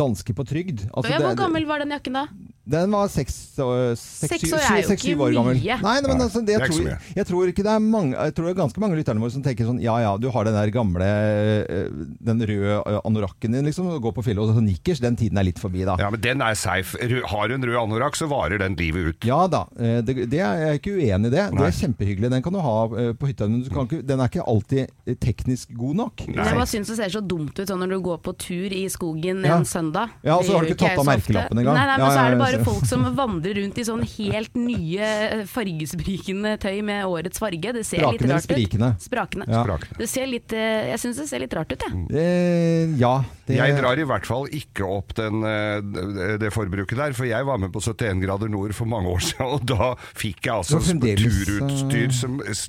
[SPEAKER 1] danske på trygd. Altså,
[SPEAKER 5] ja,
[SPEAKER 1] det-
[SPEAKER 5] hvor gammel var den jakken da?
[SPEAKER 1] Den var seks år
[SPEAKER 5] Seks år er jo ikke
[SPEAKER 1] år gammel.
[SPEAKER 5] mye.
[SPEAKER 1] Nei, nei, men
[SPEAKER 5] Nei,
[SPEAKER 1] altså,
[SPEAKER 5] det
[SPEAKER 1] det,
[SPEAKER 5] er
[SPEAKER 1] jeg,
[SPEAKER 5] ikke så
[SPEAKER 1] tror, jeg tror ikke det er mange Jeg tror det er ganske mange av lytterne våre som tenker sånn Ja ja, du har den der gamle eh, Den røde eh, anorakken din, liksom. og Går på fjellet og sånn nikkers. Den tiden er litt forbi, da.
[SPEAKER 2] Ja, men den er safe. Ru- Har du en rød anorakk, så varer den livet ut.
[SPEAKER 1] Ja da, eh, det, det er jeg er ikke uenig i det. Det
[SPEAKER 2] Nei.
[SPEAKER 1] er kjempehyggelig. Den kan du ha eh, på hytta, men du kan ikke, den er ikke alltid eh, teknisk god nok.
[SPEAKER 5] Jeg bare syns det ser så dumt ut sånn når du går på tur i skogen
[SPEAKER 1] Ja.
[SPEAKER 5] en søndag.
[SPEAKER 1] Ja, og så
[SPEAKER 5] Det
[SPEAKER 1] har du
[SPEAKER 5] gjør
[SPEAKER 1] ikke tatt
[SPEAKER 5] jeg
[SPEAKER 1] av
[SPEAKER 5] så
[SPEAKER 1] merkelappen
[SPEAKER 5] ofte.
[SPEAKER 1] engang.
[SPEAKER 5] Nei, nei, men så
[SPEAKER 1] Ja, ja,
[SPEAKER 5] er det
[SPEAKER 1] ja,
[SPEAKER 5] bare
[SPEAKER 1] så-
[SPEAKER 5] folk som vandrer rundt i sånn helt nye eh, fargesprikende tøy med årets farge. Det ser
[SPEAKER 1] Sprakende
[SPEAKER 5] litt
[SPEAKER 1] eller
[SPEAKER 5] rart ut.
[SPEAKER 1] sprikende?
[SPEAKER 5] Sprakende.
[SPEAKER 1] Ja. Sprakende.
[SPEAKER 5] Det ser litt, eh, jeg syns det ser litt rart ut, jeg.
[SPEAKER 1] Eh, ja. Det,
[SPEAKER 2] Jeg drar i hvert fall ikke opp den, eh, det- det forbruket der, for jeg var med på 71 grader nord for mange år siden, og da fikk jeg altså
[SPEAKER 1] Det var fremdeles, eh,
[SPEAKER 2] turutstyr som s-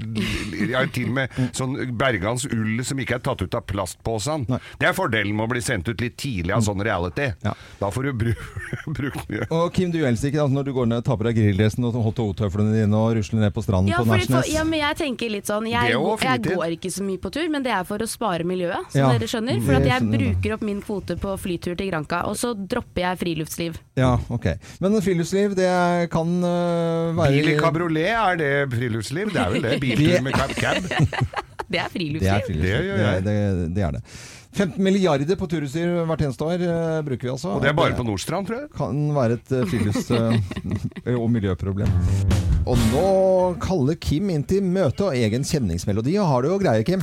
[SPEAKER 2] ja, Til og med sånn Bergans ull som ikke er tatt ut av plastposen. Det er fordelen med å bli sendt ut litt tidlig
[SPEAKER 1] Mm.
[SPEAKER 2] av sånn reality. Da får du bru brukt mye.
[SPEAKER 1] Og Kim, du elsker ikke altså, når du går ned og tar på deg grilldressen og H2O-tøflene dine og rusler ned på stranden
[SPEAKER 5] Ja,
[SPEAKER 1] på
[SPEAKER 5] fordi, for,
[SPEAKER 1] Nachnes.
[SPEAKER 5] ja, men jeg tenker litt sånn jeg,
[SPEAKER 1] Det er jo
[SPEAKER 5] går- jeg
[SPEAKER 1] fritid.
[SPEAKER 5] går ikke så mye på tur, men det er for å spare miljøet, som
[SPEAKER 1] Ja,
[SPEAKER 5] dere skjønner.
[SPEAKER 1] det
[SPEAKER 5] For at jeg
[SPEAKER 1] skjønner jeg.
[SPEAKER 5] bruker opp min kvote på flytur til Granca, og så dropper jeg friluftsliv.
[SPEAKER 1] Ja, ok. Men friluftsliv, det kan øh, være
[SPEAKER 2] Bil i kabriolet, er det friluftsliv? Det er vel det? Biltur med cab-cab?
[SPEAKER 5] Det er friluftsliv.
[SPEAKER 1] Det er friluftsliv.
[SPEAKER 2] Det gjør jeg.
[SPEAKER 1] Det, er- det, det er det. 15 milliarder på turutstyr hvert eneste år øh, bruker vi altså.
[SPEAKER 2] Og det er bare på Nordstrand, tror jeg.
[SPEAKER 1] Kan være et øh, frilufts- øh, og miljøproblem. Og nå kaller Kim inn til møte og egen kjenningsmelodi. Og har du jo greie, Kim?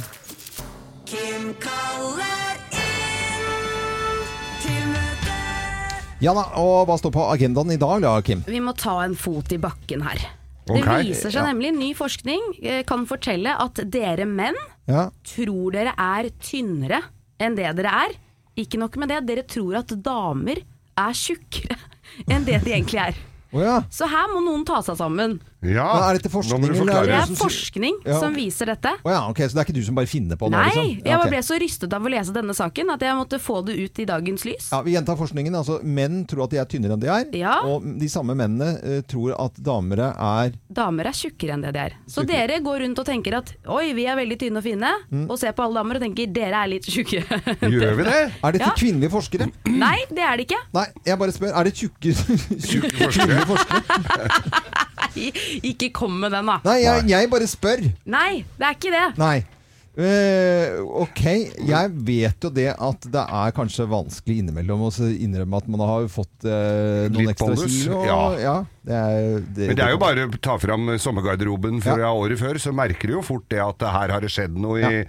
[SPEAKER 6] Kim kaller inn til møte.
[SPEAKER 1] Ja da, og hva står på agendaen i dag da, Kim?
[SPEAKER 5] Vi må ta en fot i bakken her.
[SPEAKER 1] Ok.
[SPEAKER 5] Det viser seg
[SPEAKER 1] Ja.
[SPEAKER 5] nemlig, ny forskning eh, kan fortelle at dere menn
[SPEAKER 1] Ja.
[SPEAKER 5] tror dere er tynnere enn det dere er. Ikke nok med det, dere tror at damer er tjukkere enn det de egentlig er.
[SPEAKER 1] Å ja.
[SPEAKER 5] Så her må noen ta seg sammen.
[SPEAKER 2] Ja,
[SPEAKER 1] Hva er dette
[SPEAKER 2] nå
[SPEAKER 1] forskning?
[SPEAKER 2] må du
[SPEAKER 1] eller
[SPEAKER 2] forklare.
[SPEAKER 5] Det
[SPEAKER 1] som
[SPEAKER 5] er
[SPEAKER 1] sier-
[SPEAKER 5] forskning
[SPEAKER 1] Ja,
[SPEAKER 5] som
[SPEAKER 1] ok.
[SPEAKER 5] viser dette.
[SPEAKER 1] Å ja, ok, Så det er ikke du som bare finner på det?
[SPEAKER 5] Nei,
[SPEAKER 1] liksom? Ja,
[SPEAKER 5] jeg bare
[SPEAKER 1] ok.
[SPEAKER 5] ble så rystet av å lese denne saken at jeg måtte få det ut i dagens lys.
[SPEAKER 1] Ja, Vi gjentar forskningen. altså Menn tror at de er tynnere enn de er.
[SPEAKER 5] Ja.
[SPEAKER 1] Og de samme mennene eh, tror at damere er
[SPEAKER 5] Damer er tjukkere enn det de er. Så dere går rundt og tenker at oi, vi er veldig tynne og fine, og ser på alle damer og tenker dere er litt tjukkere.
[SPEAKER 2] Gjør vi det?
[SPEAKER 1] Er dette
[SPEAKER 5] Ja.
[SPEAKER 1] kvinnelige forskere?
[SPEAKER 5] Nei, det er det ikke.
[SPEAKER 1] Nei, jeg bare spør. Er det tjukke Tjukke
[SPEAKER 2] forskere?
[SPEAKER 5] Nei, ikke kom med den, da.
[SPEAKER 1] Nei, jeg, jeg bare spør.
[SPEAKER 5] Nei, det er ikke det.
[SPEAKER 1] Nei. Eh, ok, jeg vet jo det at det er kanskje vanskelig innimellom å så innrømme at man har fått eh, noen
[SPEAKER 2] Litt
[SPEAKER 1] ekstra
[SPEAKER 2] bonus,
[SPEAKER 1] kilo.
[SPEAKER 2] ja.
[SPEAKER 1] det er, det,
[SPEAKER 2] Men det er jo bare å ta fram eh, sommergarderoben fra året før, så merker du jo fort det at det her har det skjedd noe i,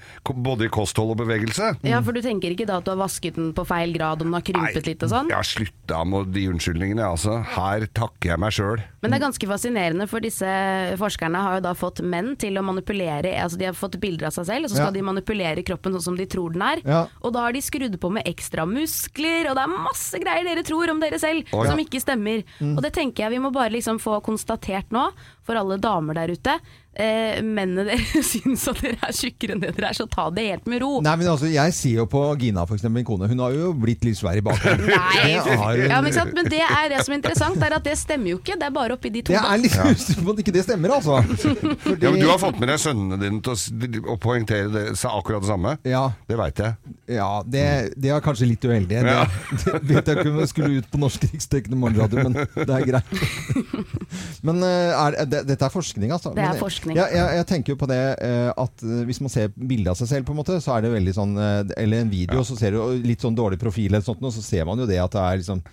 [SPEAKER 2] både i kosthold og bevegelse.
[SPEAKER 5] Ja, for du tenker ikke da at du har vasket den på feil grad, om den har krympet litt og sånn?
[SPEAKER 2] Jeg har slutta med de unnskyldningene, altså. Her takker jeg meg sjøl.
[SPEAKER 5] Men det er ganske fascinerende, for disse forskerne har jo da fått menn til å manipulere Altså de har fått bilder av seg selv, og så skal
[SPEAKER 2] Ja.
[SPEAKER 5] de manipulere kroppen sånn som de tror den er.
[SPEAKER 2] Ja.
[SPEAKER 5] Og da har de skrudd på med ekstra muskler, og det er masse greier dere tror om dere selv
[SPEAKER 14] Å, ja.
[SPEAKER 5] som ikke stemmer.
[SPEAKER 14] Mm.
[SPEAKER 5] Og det tenker jeg vi må bare liksom få konstatert nå, for alle damer der ute. Eh, mennene dere syns at dere er tjukkere enn det dere er, så ta det helt med ro.
[SPEAKER 1] Nei, men altså, Jeg ser jo på Gina, for eksempel, min kone. Hun har jo blitt litt svær i bakgrunnen.
[SPEAKER 5] Nei,
[SPEAKER 1] Det har hun.
[SPEAKER 5] ja, men, ikke sant? men det er det som er interessant, er at det stemmer jo ikke. Det er bare oppi de to.
[SPEAKER 1] Det er litt
[SPEAKER 5] Ja.
[SPEAKER 1] usikker på at ikke det stemmer, altså. Fordi-
[SPEAKER 2] Ja, men du har fått med deg sønnene dine til å, s- å poengtere det, sa akkurat det samme?
[SPEAKER 1] Ja.
[SPEAKER 2] Det veit jeg.
[SPEAKER 1] Ja, det, det er kanskje litt uheldig.
[SPEAKER 2] Ja.
[SPEAKER 1] Det, det vet jeg ikke om jeg skulle ut på norsk riksdekkende morgenradio, men det er greit. Men eh, er, det, dette er forskning, altså.
[SPEAKER 5] Det er
[SPEAKER 1] Men,
[SPEAKER 5] forskning.
[SPEAKER 1] Ja, jeg, jeg tenker jo på det eh, at eh, hvis man ser bilde av seg selv, på en måte, så er det veldig sånn eh, Eller en video, så ser du jo litt sånn dårlig profil, eller sånt, og så ser man jo det at det er liksom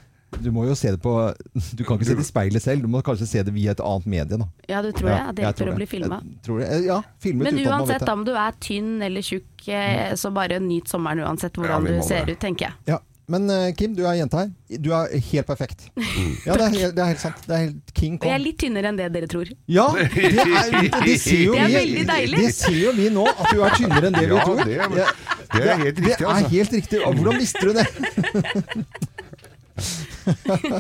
[SPEAKER 1] du må jo se det på Du kan ikke se det i speilet selv, du må kanskje se det via et annet medie. Da.
[SPEAKER 5] Ja, du tror det, at det
[SPEAKER 1] jeg
[SPEAKER 5] hjelper
[SPEAKER 1] tror
[SPEAKER 5] å bli filmet.
[SPEAKER 1] Jeg tror det. Eh, Ja, filmet
[SPEAKER 5] Men
[SPEAKER 1] uten at man vet
[SPEAKER 5] uansett
[SPEAKER 1] det.
[SPEAKER 5] om du er tynn eller tjukk,
[SPEAKER 1] Mm.
[SPEAKER 5] eh, så bare nyt sommeren uansett
[SPEAKER 1] Ja,
[SPEAKER 5] hvordan
[SPEAKER 1] vi må
[SPEAKER 5] du ser
[SPEAKER 1] det.
[SPEAKER 5] ut, tenker jeg.
[SPEAKER 1] Ja, Men eh, Kim, du er jente her. Du er helt perfekt.
[SPEAKER 2] Mm.
[SPEAKER 1] Ja, det er, helt- det er helt sant. Det er helt King
[SPEAKER 5] Og jeg er
[SPEAKER 1] Kong.
[SPEAKER 5] litt tynnere enn det dere tror.
[SPEAKER 1] Ja, det, er, det, ser jo
[SPEAKER 5] Det er
[SPEAKER 1] vi,
[SPEAKER 5] veldig deilig.
[SPEAKER 1] Det ser jo vi nå, at du er tynnere enn det vi
[SPEAKER 2] Ja,
[SPEAKER 1] tror.
[SPEAKER 2] det er-
[SPEAKER 1] Ja.
[SPEAKER 2] det er helt riktig,
[SPEAKER 1] Det er
[SPEAKER 2] altså.
[SPEAKER 1] helt riktig. Og Hvordan visste du det?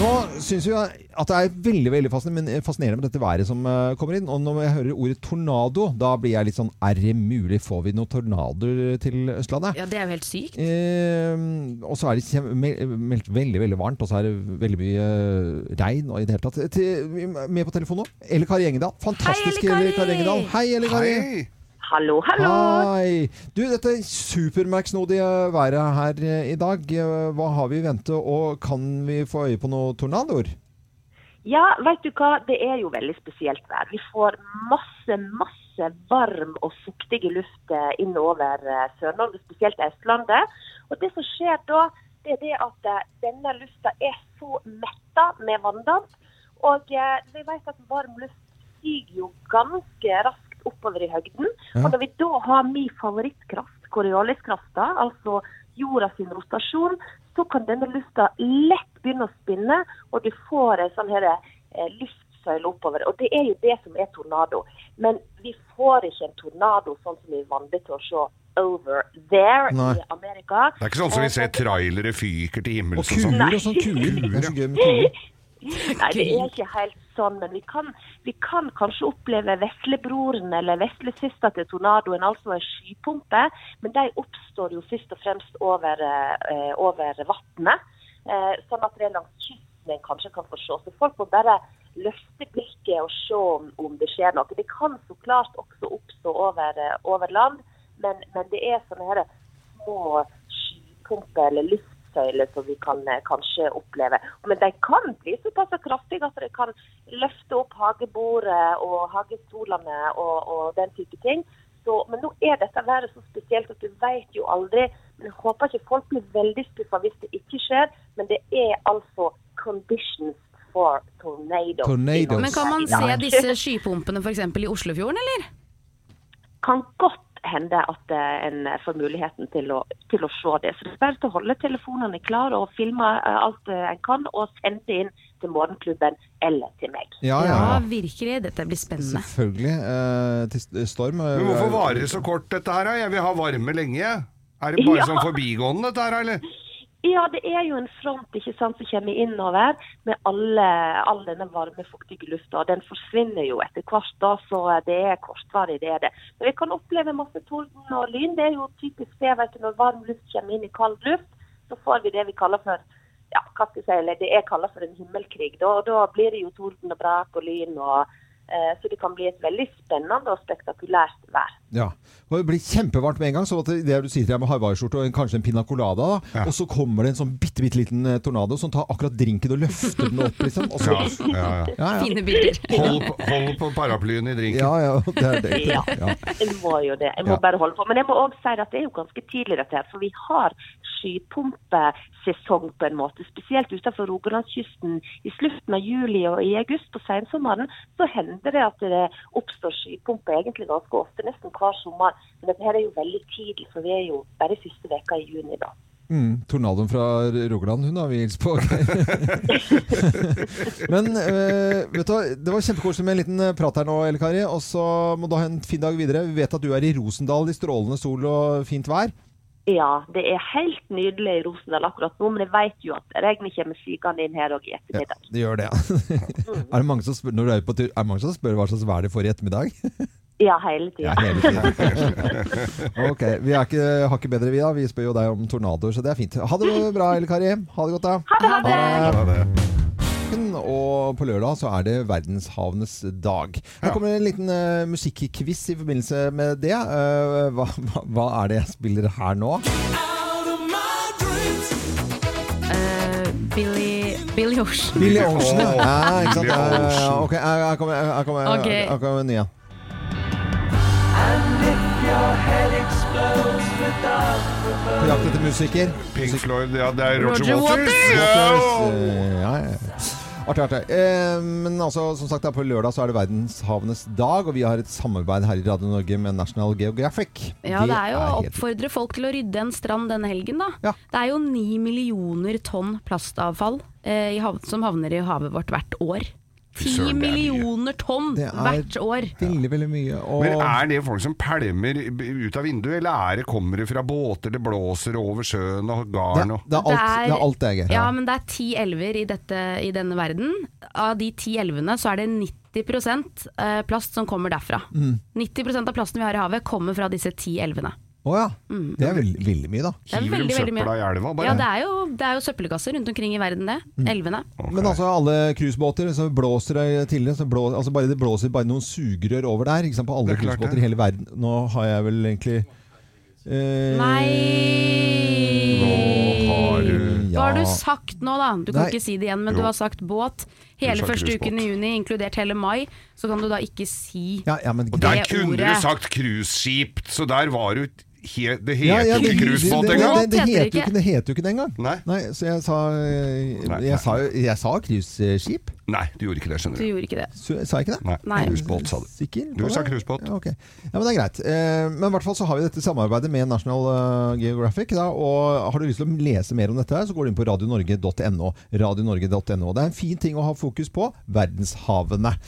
[SPEAKER 1] Nå syns vi at det er veldig veldig fascinerende, men eh, fascinerende med dette været som eh, kommer inn. Og når jeg hører ordet tornado, da blir jeg litt sånn Er det mulig? Får vi noen tornadoer til Østlandet?
[SPEAKER 5] Ja, det er jo helt sykt.
[SPEAKER 1] Eh, og så er det kjem- mel- meldt veldig veldig varmt, og så er det veldig mye eh, regn. Og i det hele tatt. Til, vi er med på telefon nå, Eli Kari Engedal. Fantastisk
[SPEAKER 20] Eli
[SPEAKER 1] Eli
[SPEAKER 20] Kari!
[SPEAKER 1] Kari Engedal. Hei, Eli Kari.
[SPEAKER 20] Hei. Hallo, hallo.
[SPEAKER 1] Hei. Du, dette supermerksnodige været her eh, i dag, eh, hva har vi i vente, og kan vi få øye på noen tornadoer?
[SPEAKER 20] Ja, vet du hva, det er jo veldig spesielt vær. Vi får masse, masse varm og fuktig luft eh, innover eh, Sør-Norge, spesielt Østlandet. Og det som skjer da, det er det at eh, denne lufta er så metta med vanndamp. Og eh, vi vet at varm luft stiger jo ganske raskt oppover i høgden.
[SPEAKER 21] Ja.
[SPEAKER 20] Og når vi da har min favorittkraft, Corioliskrafta, altså jorda sin rotasjon, så kan denne lufta lett begynne å spinne, og du får en sånn her eh, luftsøyle oppover. Og det er jo det som er tornado. Men vi får ikke en tornado sånn som vi er vant til å se over there
[SPEAKER 2] Nei.
[SPEAKER 20] i Amerika.
[SPEAKER 2] Det er ikke sånn som vi ser trailere fyker til himmels
[SPEAKER 1] Og kuer og sånn. Kuer. Det er så gøy med kuer.
[SPEAKER 20] Nei, det er ikke helt sånn, men vi kan, vi kan kanskje oppleve veslebroren eller veslesøster til tornadoen, altså en skypumpe, men de oppstår jo først og fremst over, eh, over vannet, eh, sånn at det er langs kysten en kanskje kan få se. Så folk må bare løfte blikket og se om, om det skjer noe. Det kan så klart også oppstå over, eh, over land, men, men det er sånne her små skypumper eller luftsøyler som vi kan eh, kanskje oppleve. Men de kan bli såpass kraftige at de kan løfte opp hagebordet og hagestolene og, og den type ting. Så, men nå er dette været så spesielt at du vet jo aldri. Men jeg håper ikke folk blir veldig skuffa hvis det ikke skjer. Men det er altså conditions for tornadoes.
[SPEAKER 1] Tornadoes.
[SPEAKER 5] Men kan man se disse skypumpene f.eks. i Oslofjorden, eller?
[SPEAKER 20] kan godt hende at eh, en får muligheten til å, til å se det. Så det er bare til å holde telefonene klare og filme eh, alt eh, en kan, og sende det inn til Morgenklubben eller til meg.
[SPEAKER 1] Ja, ja, ja.
[SPEAKER 5] virkelig. Dette blir spennende.
[SPEAKER 1] Selvfølgelig. eh, til st- storm. eh,
[SPEAKER 2] Men hvorfor varer det så kort, dette her? da? Jeg vil ha varme lenge. Er det bare
[SPEAKER 20] Ja.
[SPEAKER 2] sånn forbigående, dette her, eller?
[SPEAKER 20] Ja, det er jo en front ikke sant, som kommer innover med alle, all denne varme, fuktige lufta. og Den forsvinner jo etter hvert, da, så det er kortvarig. det er det. Men Vi kan oppleve masse torden og lyn. Det er jo typisk det vet du, når varm luft kommer inn i kald luft. Så får vi det vi kaller for ja, hva skal jeg si, eller det jeg kaller for en himmelkrig. Da, da blir det jo torden og brak og lyn og Eh, Så det kan bli et veldig spennende og spektakulært vær.
[SPEAKER 1] Ja. Og det blir kjempevarmt med en gang. sånn at det du sier til deg med hawaiiskjorte og en- kanskje en piña colada, da, og så kommer det en sånn bitte, bitte liten eh, tornado som tar akkurat drinken og løfter den opp, liksom. Og så,
[SPEAKER 2] Ja, ja, ja.
[SPEAKER 5] Fine bilder.
[SPEAKER 2] Hold, på- hold på paraplyen i drinken.
[SPEAKER 1] Ja, ja, det er det.
[SPEAKER 20] Ja,
[SPEAKER 1] Ja.
[SPEAKER 20] jeg må jo det. Jeg må bare holde på. Men jeg må òg si at det er jo ganske tidlig dette her. For vi har skypumpesesong på en måte. Spesielt utenfor Rogalandskysten. I slutten av juli og i august på sensommeren så hender det at det oppstår skypumper egentlig ganske ofte. Nesten hver sommer. Men dette her er jo veldig tidlig, for vi er jo bare i første veka i juni da.
[SPEAKER 1] Mm, tornadoen fra Rogaland, hun har vi hilst på. Men eh, vet du, hva, det var kjempekoselig med en liten eh, prat her nå, Elle Kari. Og så må du ha en fin dag videre. Vi vet at du er i Rosendal i strålende sol og fint vær.
[SPEAKER 20] Ja, det er helt nydelig i Rosendal akkurat nå, men jeg vet jo at regnet kommer sigende inn her òg i
[SPEAKER 1] Ja,
[SPEAKER 20] ettermiddag.
[SPEAKER 1] det gjør det. er det mange som spør, når du er på tur, er det mange som spør hva slags vær de får i ettermiddag?
[SPEAKER 20] Ja, hele tida.
[SPEAKER 1] Ja, hele tiden. ok, vi er ikke, har ikke bedre vi da. Vi spør jo deg om tornadoer, så det er fint. Ha det bra, Elle Kari. Ha det godt, da.
[SPEAKER 20] Ha det.
[SPEAKER 1] Ha det. Og på lørdag så er det verdenshavenes dag. Her kommer en liten uh, musikkquiz i forbindelse med det. Eh, hva, hva, hva er det jeg spiller her nå?
[SPEAKER 14] Eh, Billy, Billy Ocean.
[SPEAKER 1] Billy Ocean, ja.
[SPEAKER 14] Åh,
[SPEAKER 1] ja Ah, ikke sant?
[SPEAKER 14] Billy
[SPEAKER 1] Ja, ja, ja.
[SPEAKER 14] Ocean.
[SPEAKER 1] Ok, her her kommer, her kommer, her
[SPEAKER 14] Ok.
[SPEAKER 1] kommer, her kommer en ny. ja. På jakt etter musiker.
[SPEAKER 2] Pink Floyd, ja, det er Roger,
[SPEAKER 1] Roger
[SPEAKER 2] Waters.
[SPEAKER 1] Waters.
[SPEAKER 2] Ja.
[SPEAKER 1] Eh, Ja, ja. Artig, artig. Eh, Men altså, som sagt, da, på lørdag så er det verdenshavenes dag, og vi har et samarbeid her i Radio Norge med National Geographic.
[SPEAKER 5] Ja, det er jo å
[SPEAKER 1] helt-
[SPEAKER 5] oppfordre folk til å rydde en strand denne helgen, da.
[SPEAKER 1] Ja.
[SPEAKER 5] Det er jo ni millioner tonn plastavfall eh, i hav som havner i havet vårt hvert år. Ti
[SPEAKER 2] søren, det er mye.
[SPEAKER 5] millioner tonn
[SPEAKER 1] Det er
[SPEAKER 5] hvert år!
[SPEAKER 1] Veldig, veldig mye. Og
[SPEAKER 2] Men er det folk som pælmer ut av vinduet, eller er det, kommer det fra båter, det blåser over sjøen og garn og
[SPEAKER 1] Det er alt det, er alt det Geir.
[SPEAKER 5] Ja, men det er ti elver i, dette, i denne verden. Av de ti elvene så er det 90 eh, plast som kommer derfra.
[SPEAKER 1] Mm.
[SPEAKER 5] 90 av plasten vi har i havet kommer fra disse ti elvene.
[SPEAKER 1] Å ja. Det er veldig, veldig mye, da.
[SPEAKER 5] Mm. Det er veldig, veldig mye. Ja, det er, jo, det er jo søppelkasser rundt omkring i verden, det.
[SPEAKER 1] Mm.
[SPEAKER 5] Elvene.
[SPEAKER 1] Men altså alle cruisebåter så blåser det tidligere så blå, altså bare, Det blåser bare noen sugerør over der ikke sant, på alle
[SPEAKER 2] Det er klart
[SPEAKER 1] cruisebåter
[SPEAKER 2] det.
[SPEAKER 1] i hele verden. Nå har jeg vel egentlig eh,
[SPEAKER 5] Nei!
[SPEAKER 1] har du
[SPEAKER 5] Hva har du sagt nå, da? Du kan
[SPEAKER 1] Nei.
[SPEAKER 5] ikke si det igjen, men
[SPEAKER 1] Jo.
[SPEAKER 5] du har sagt båt.
[SPEAKER 1] Du
[SPEAKER 5] Hele
[SPEAKER 1] sa
[SPEAKER 5] første
[SPEAKER 1] cruisebåt.
[SPEAKER 5] uken i juni, inkludert hele mai, så kan du da ikke si
[SPEAKER 1] Ja, ja, men
[SPEAKER 2] Og der
[SPEAKER 5] Det
[SPEAKER 2] kunne
[SPEAKER 5] ordet.
[SPEAKER 2] du sagt cruiseskip, så der var du he, Det
[SPEAKER 1] Ja,
[SPEAKER 2] heter
[SPEAKER 1] ja,
[SPEAKER 2] jo ikke cruisebåt
[SPEAKER 1] det-
[SPEAKER 2] engang.
[SPEAKER 1] Det, det, det,
[SPEAKER 5] Heter
[SPEAKER 1] heter
[SPEAKER 5] det
[SPEAKER 1] jo ikke-
[SPEAKER 5] ikke?
[SPEAKER 1] det heter jo ikke det engang. Nei. så jeg sa eh, Jeg sa, jo- jeg sa cruiseskip.
[SPEAKER 2] Nei, du gjorde ikke det, skjønner
[SPEAKER 5] Du gjorde ikke det.
[SPEAKER 1] Så- Sa jeg ikke det?
[SPEAKER 2] Nei,
[SPEAKER 5] Nei.
[SPEAKER 2] cruisebåt sa du.
[SPEAKER 1] Sikker?
[SPEAKER 2] Du sa cruisebåt.
[SPEAKER 1] Ja, ok. ja, men det er greit. Eh, Men i hvert fall så har vi dette samarbeidet med National eh, Geographic. Da, og har du lyst til å lese mer om dette, her, så går du inn på radionorge.no. radionorge.no. Det er en fin ting å ha fokus på. Verdenshavene.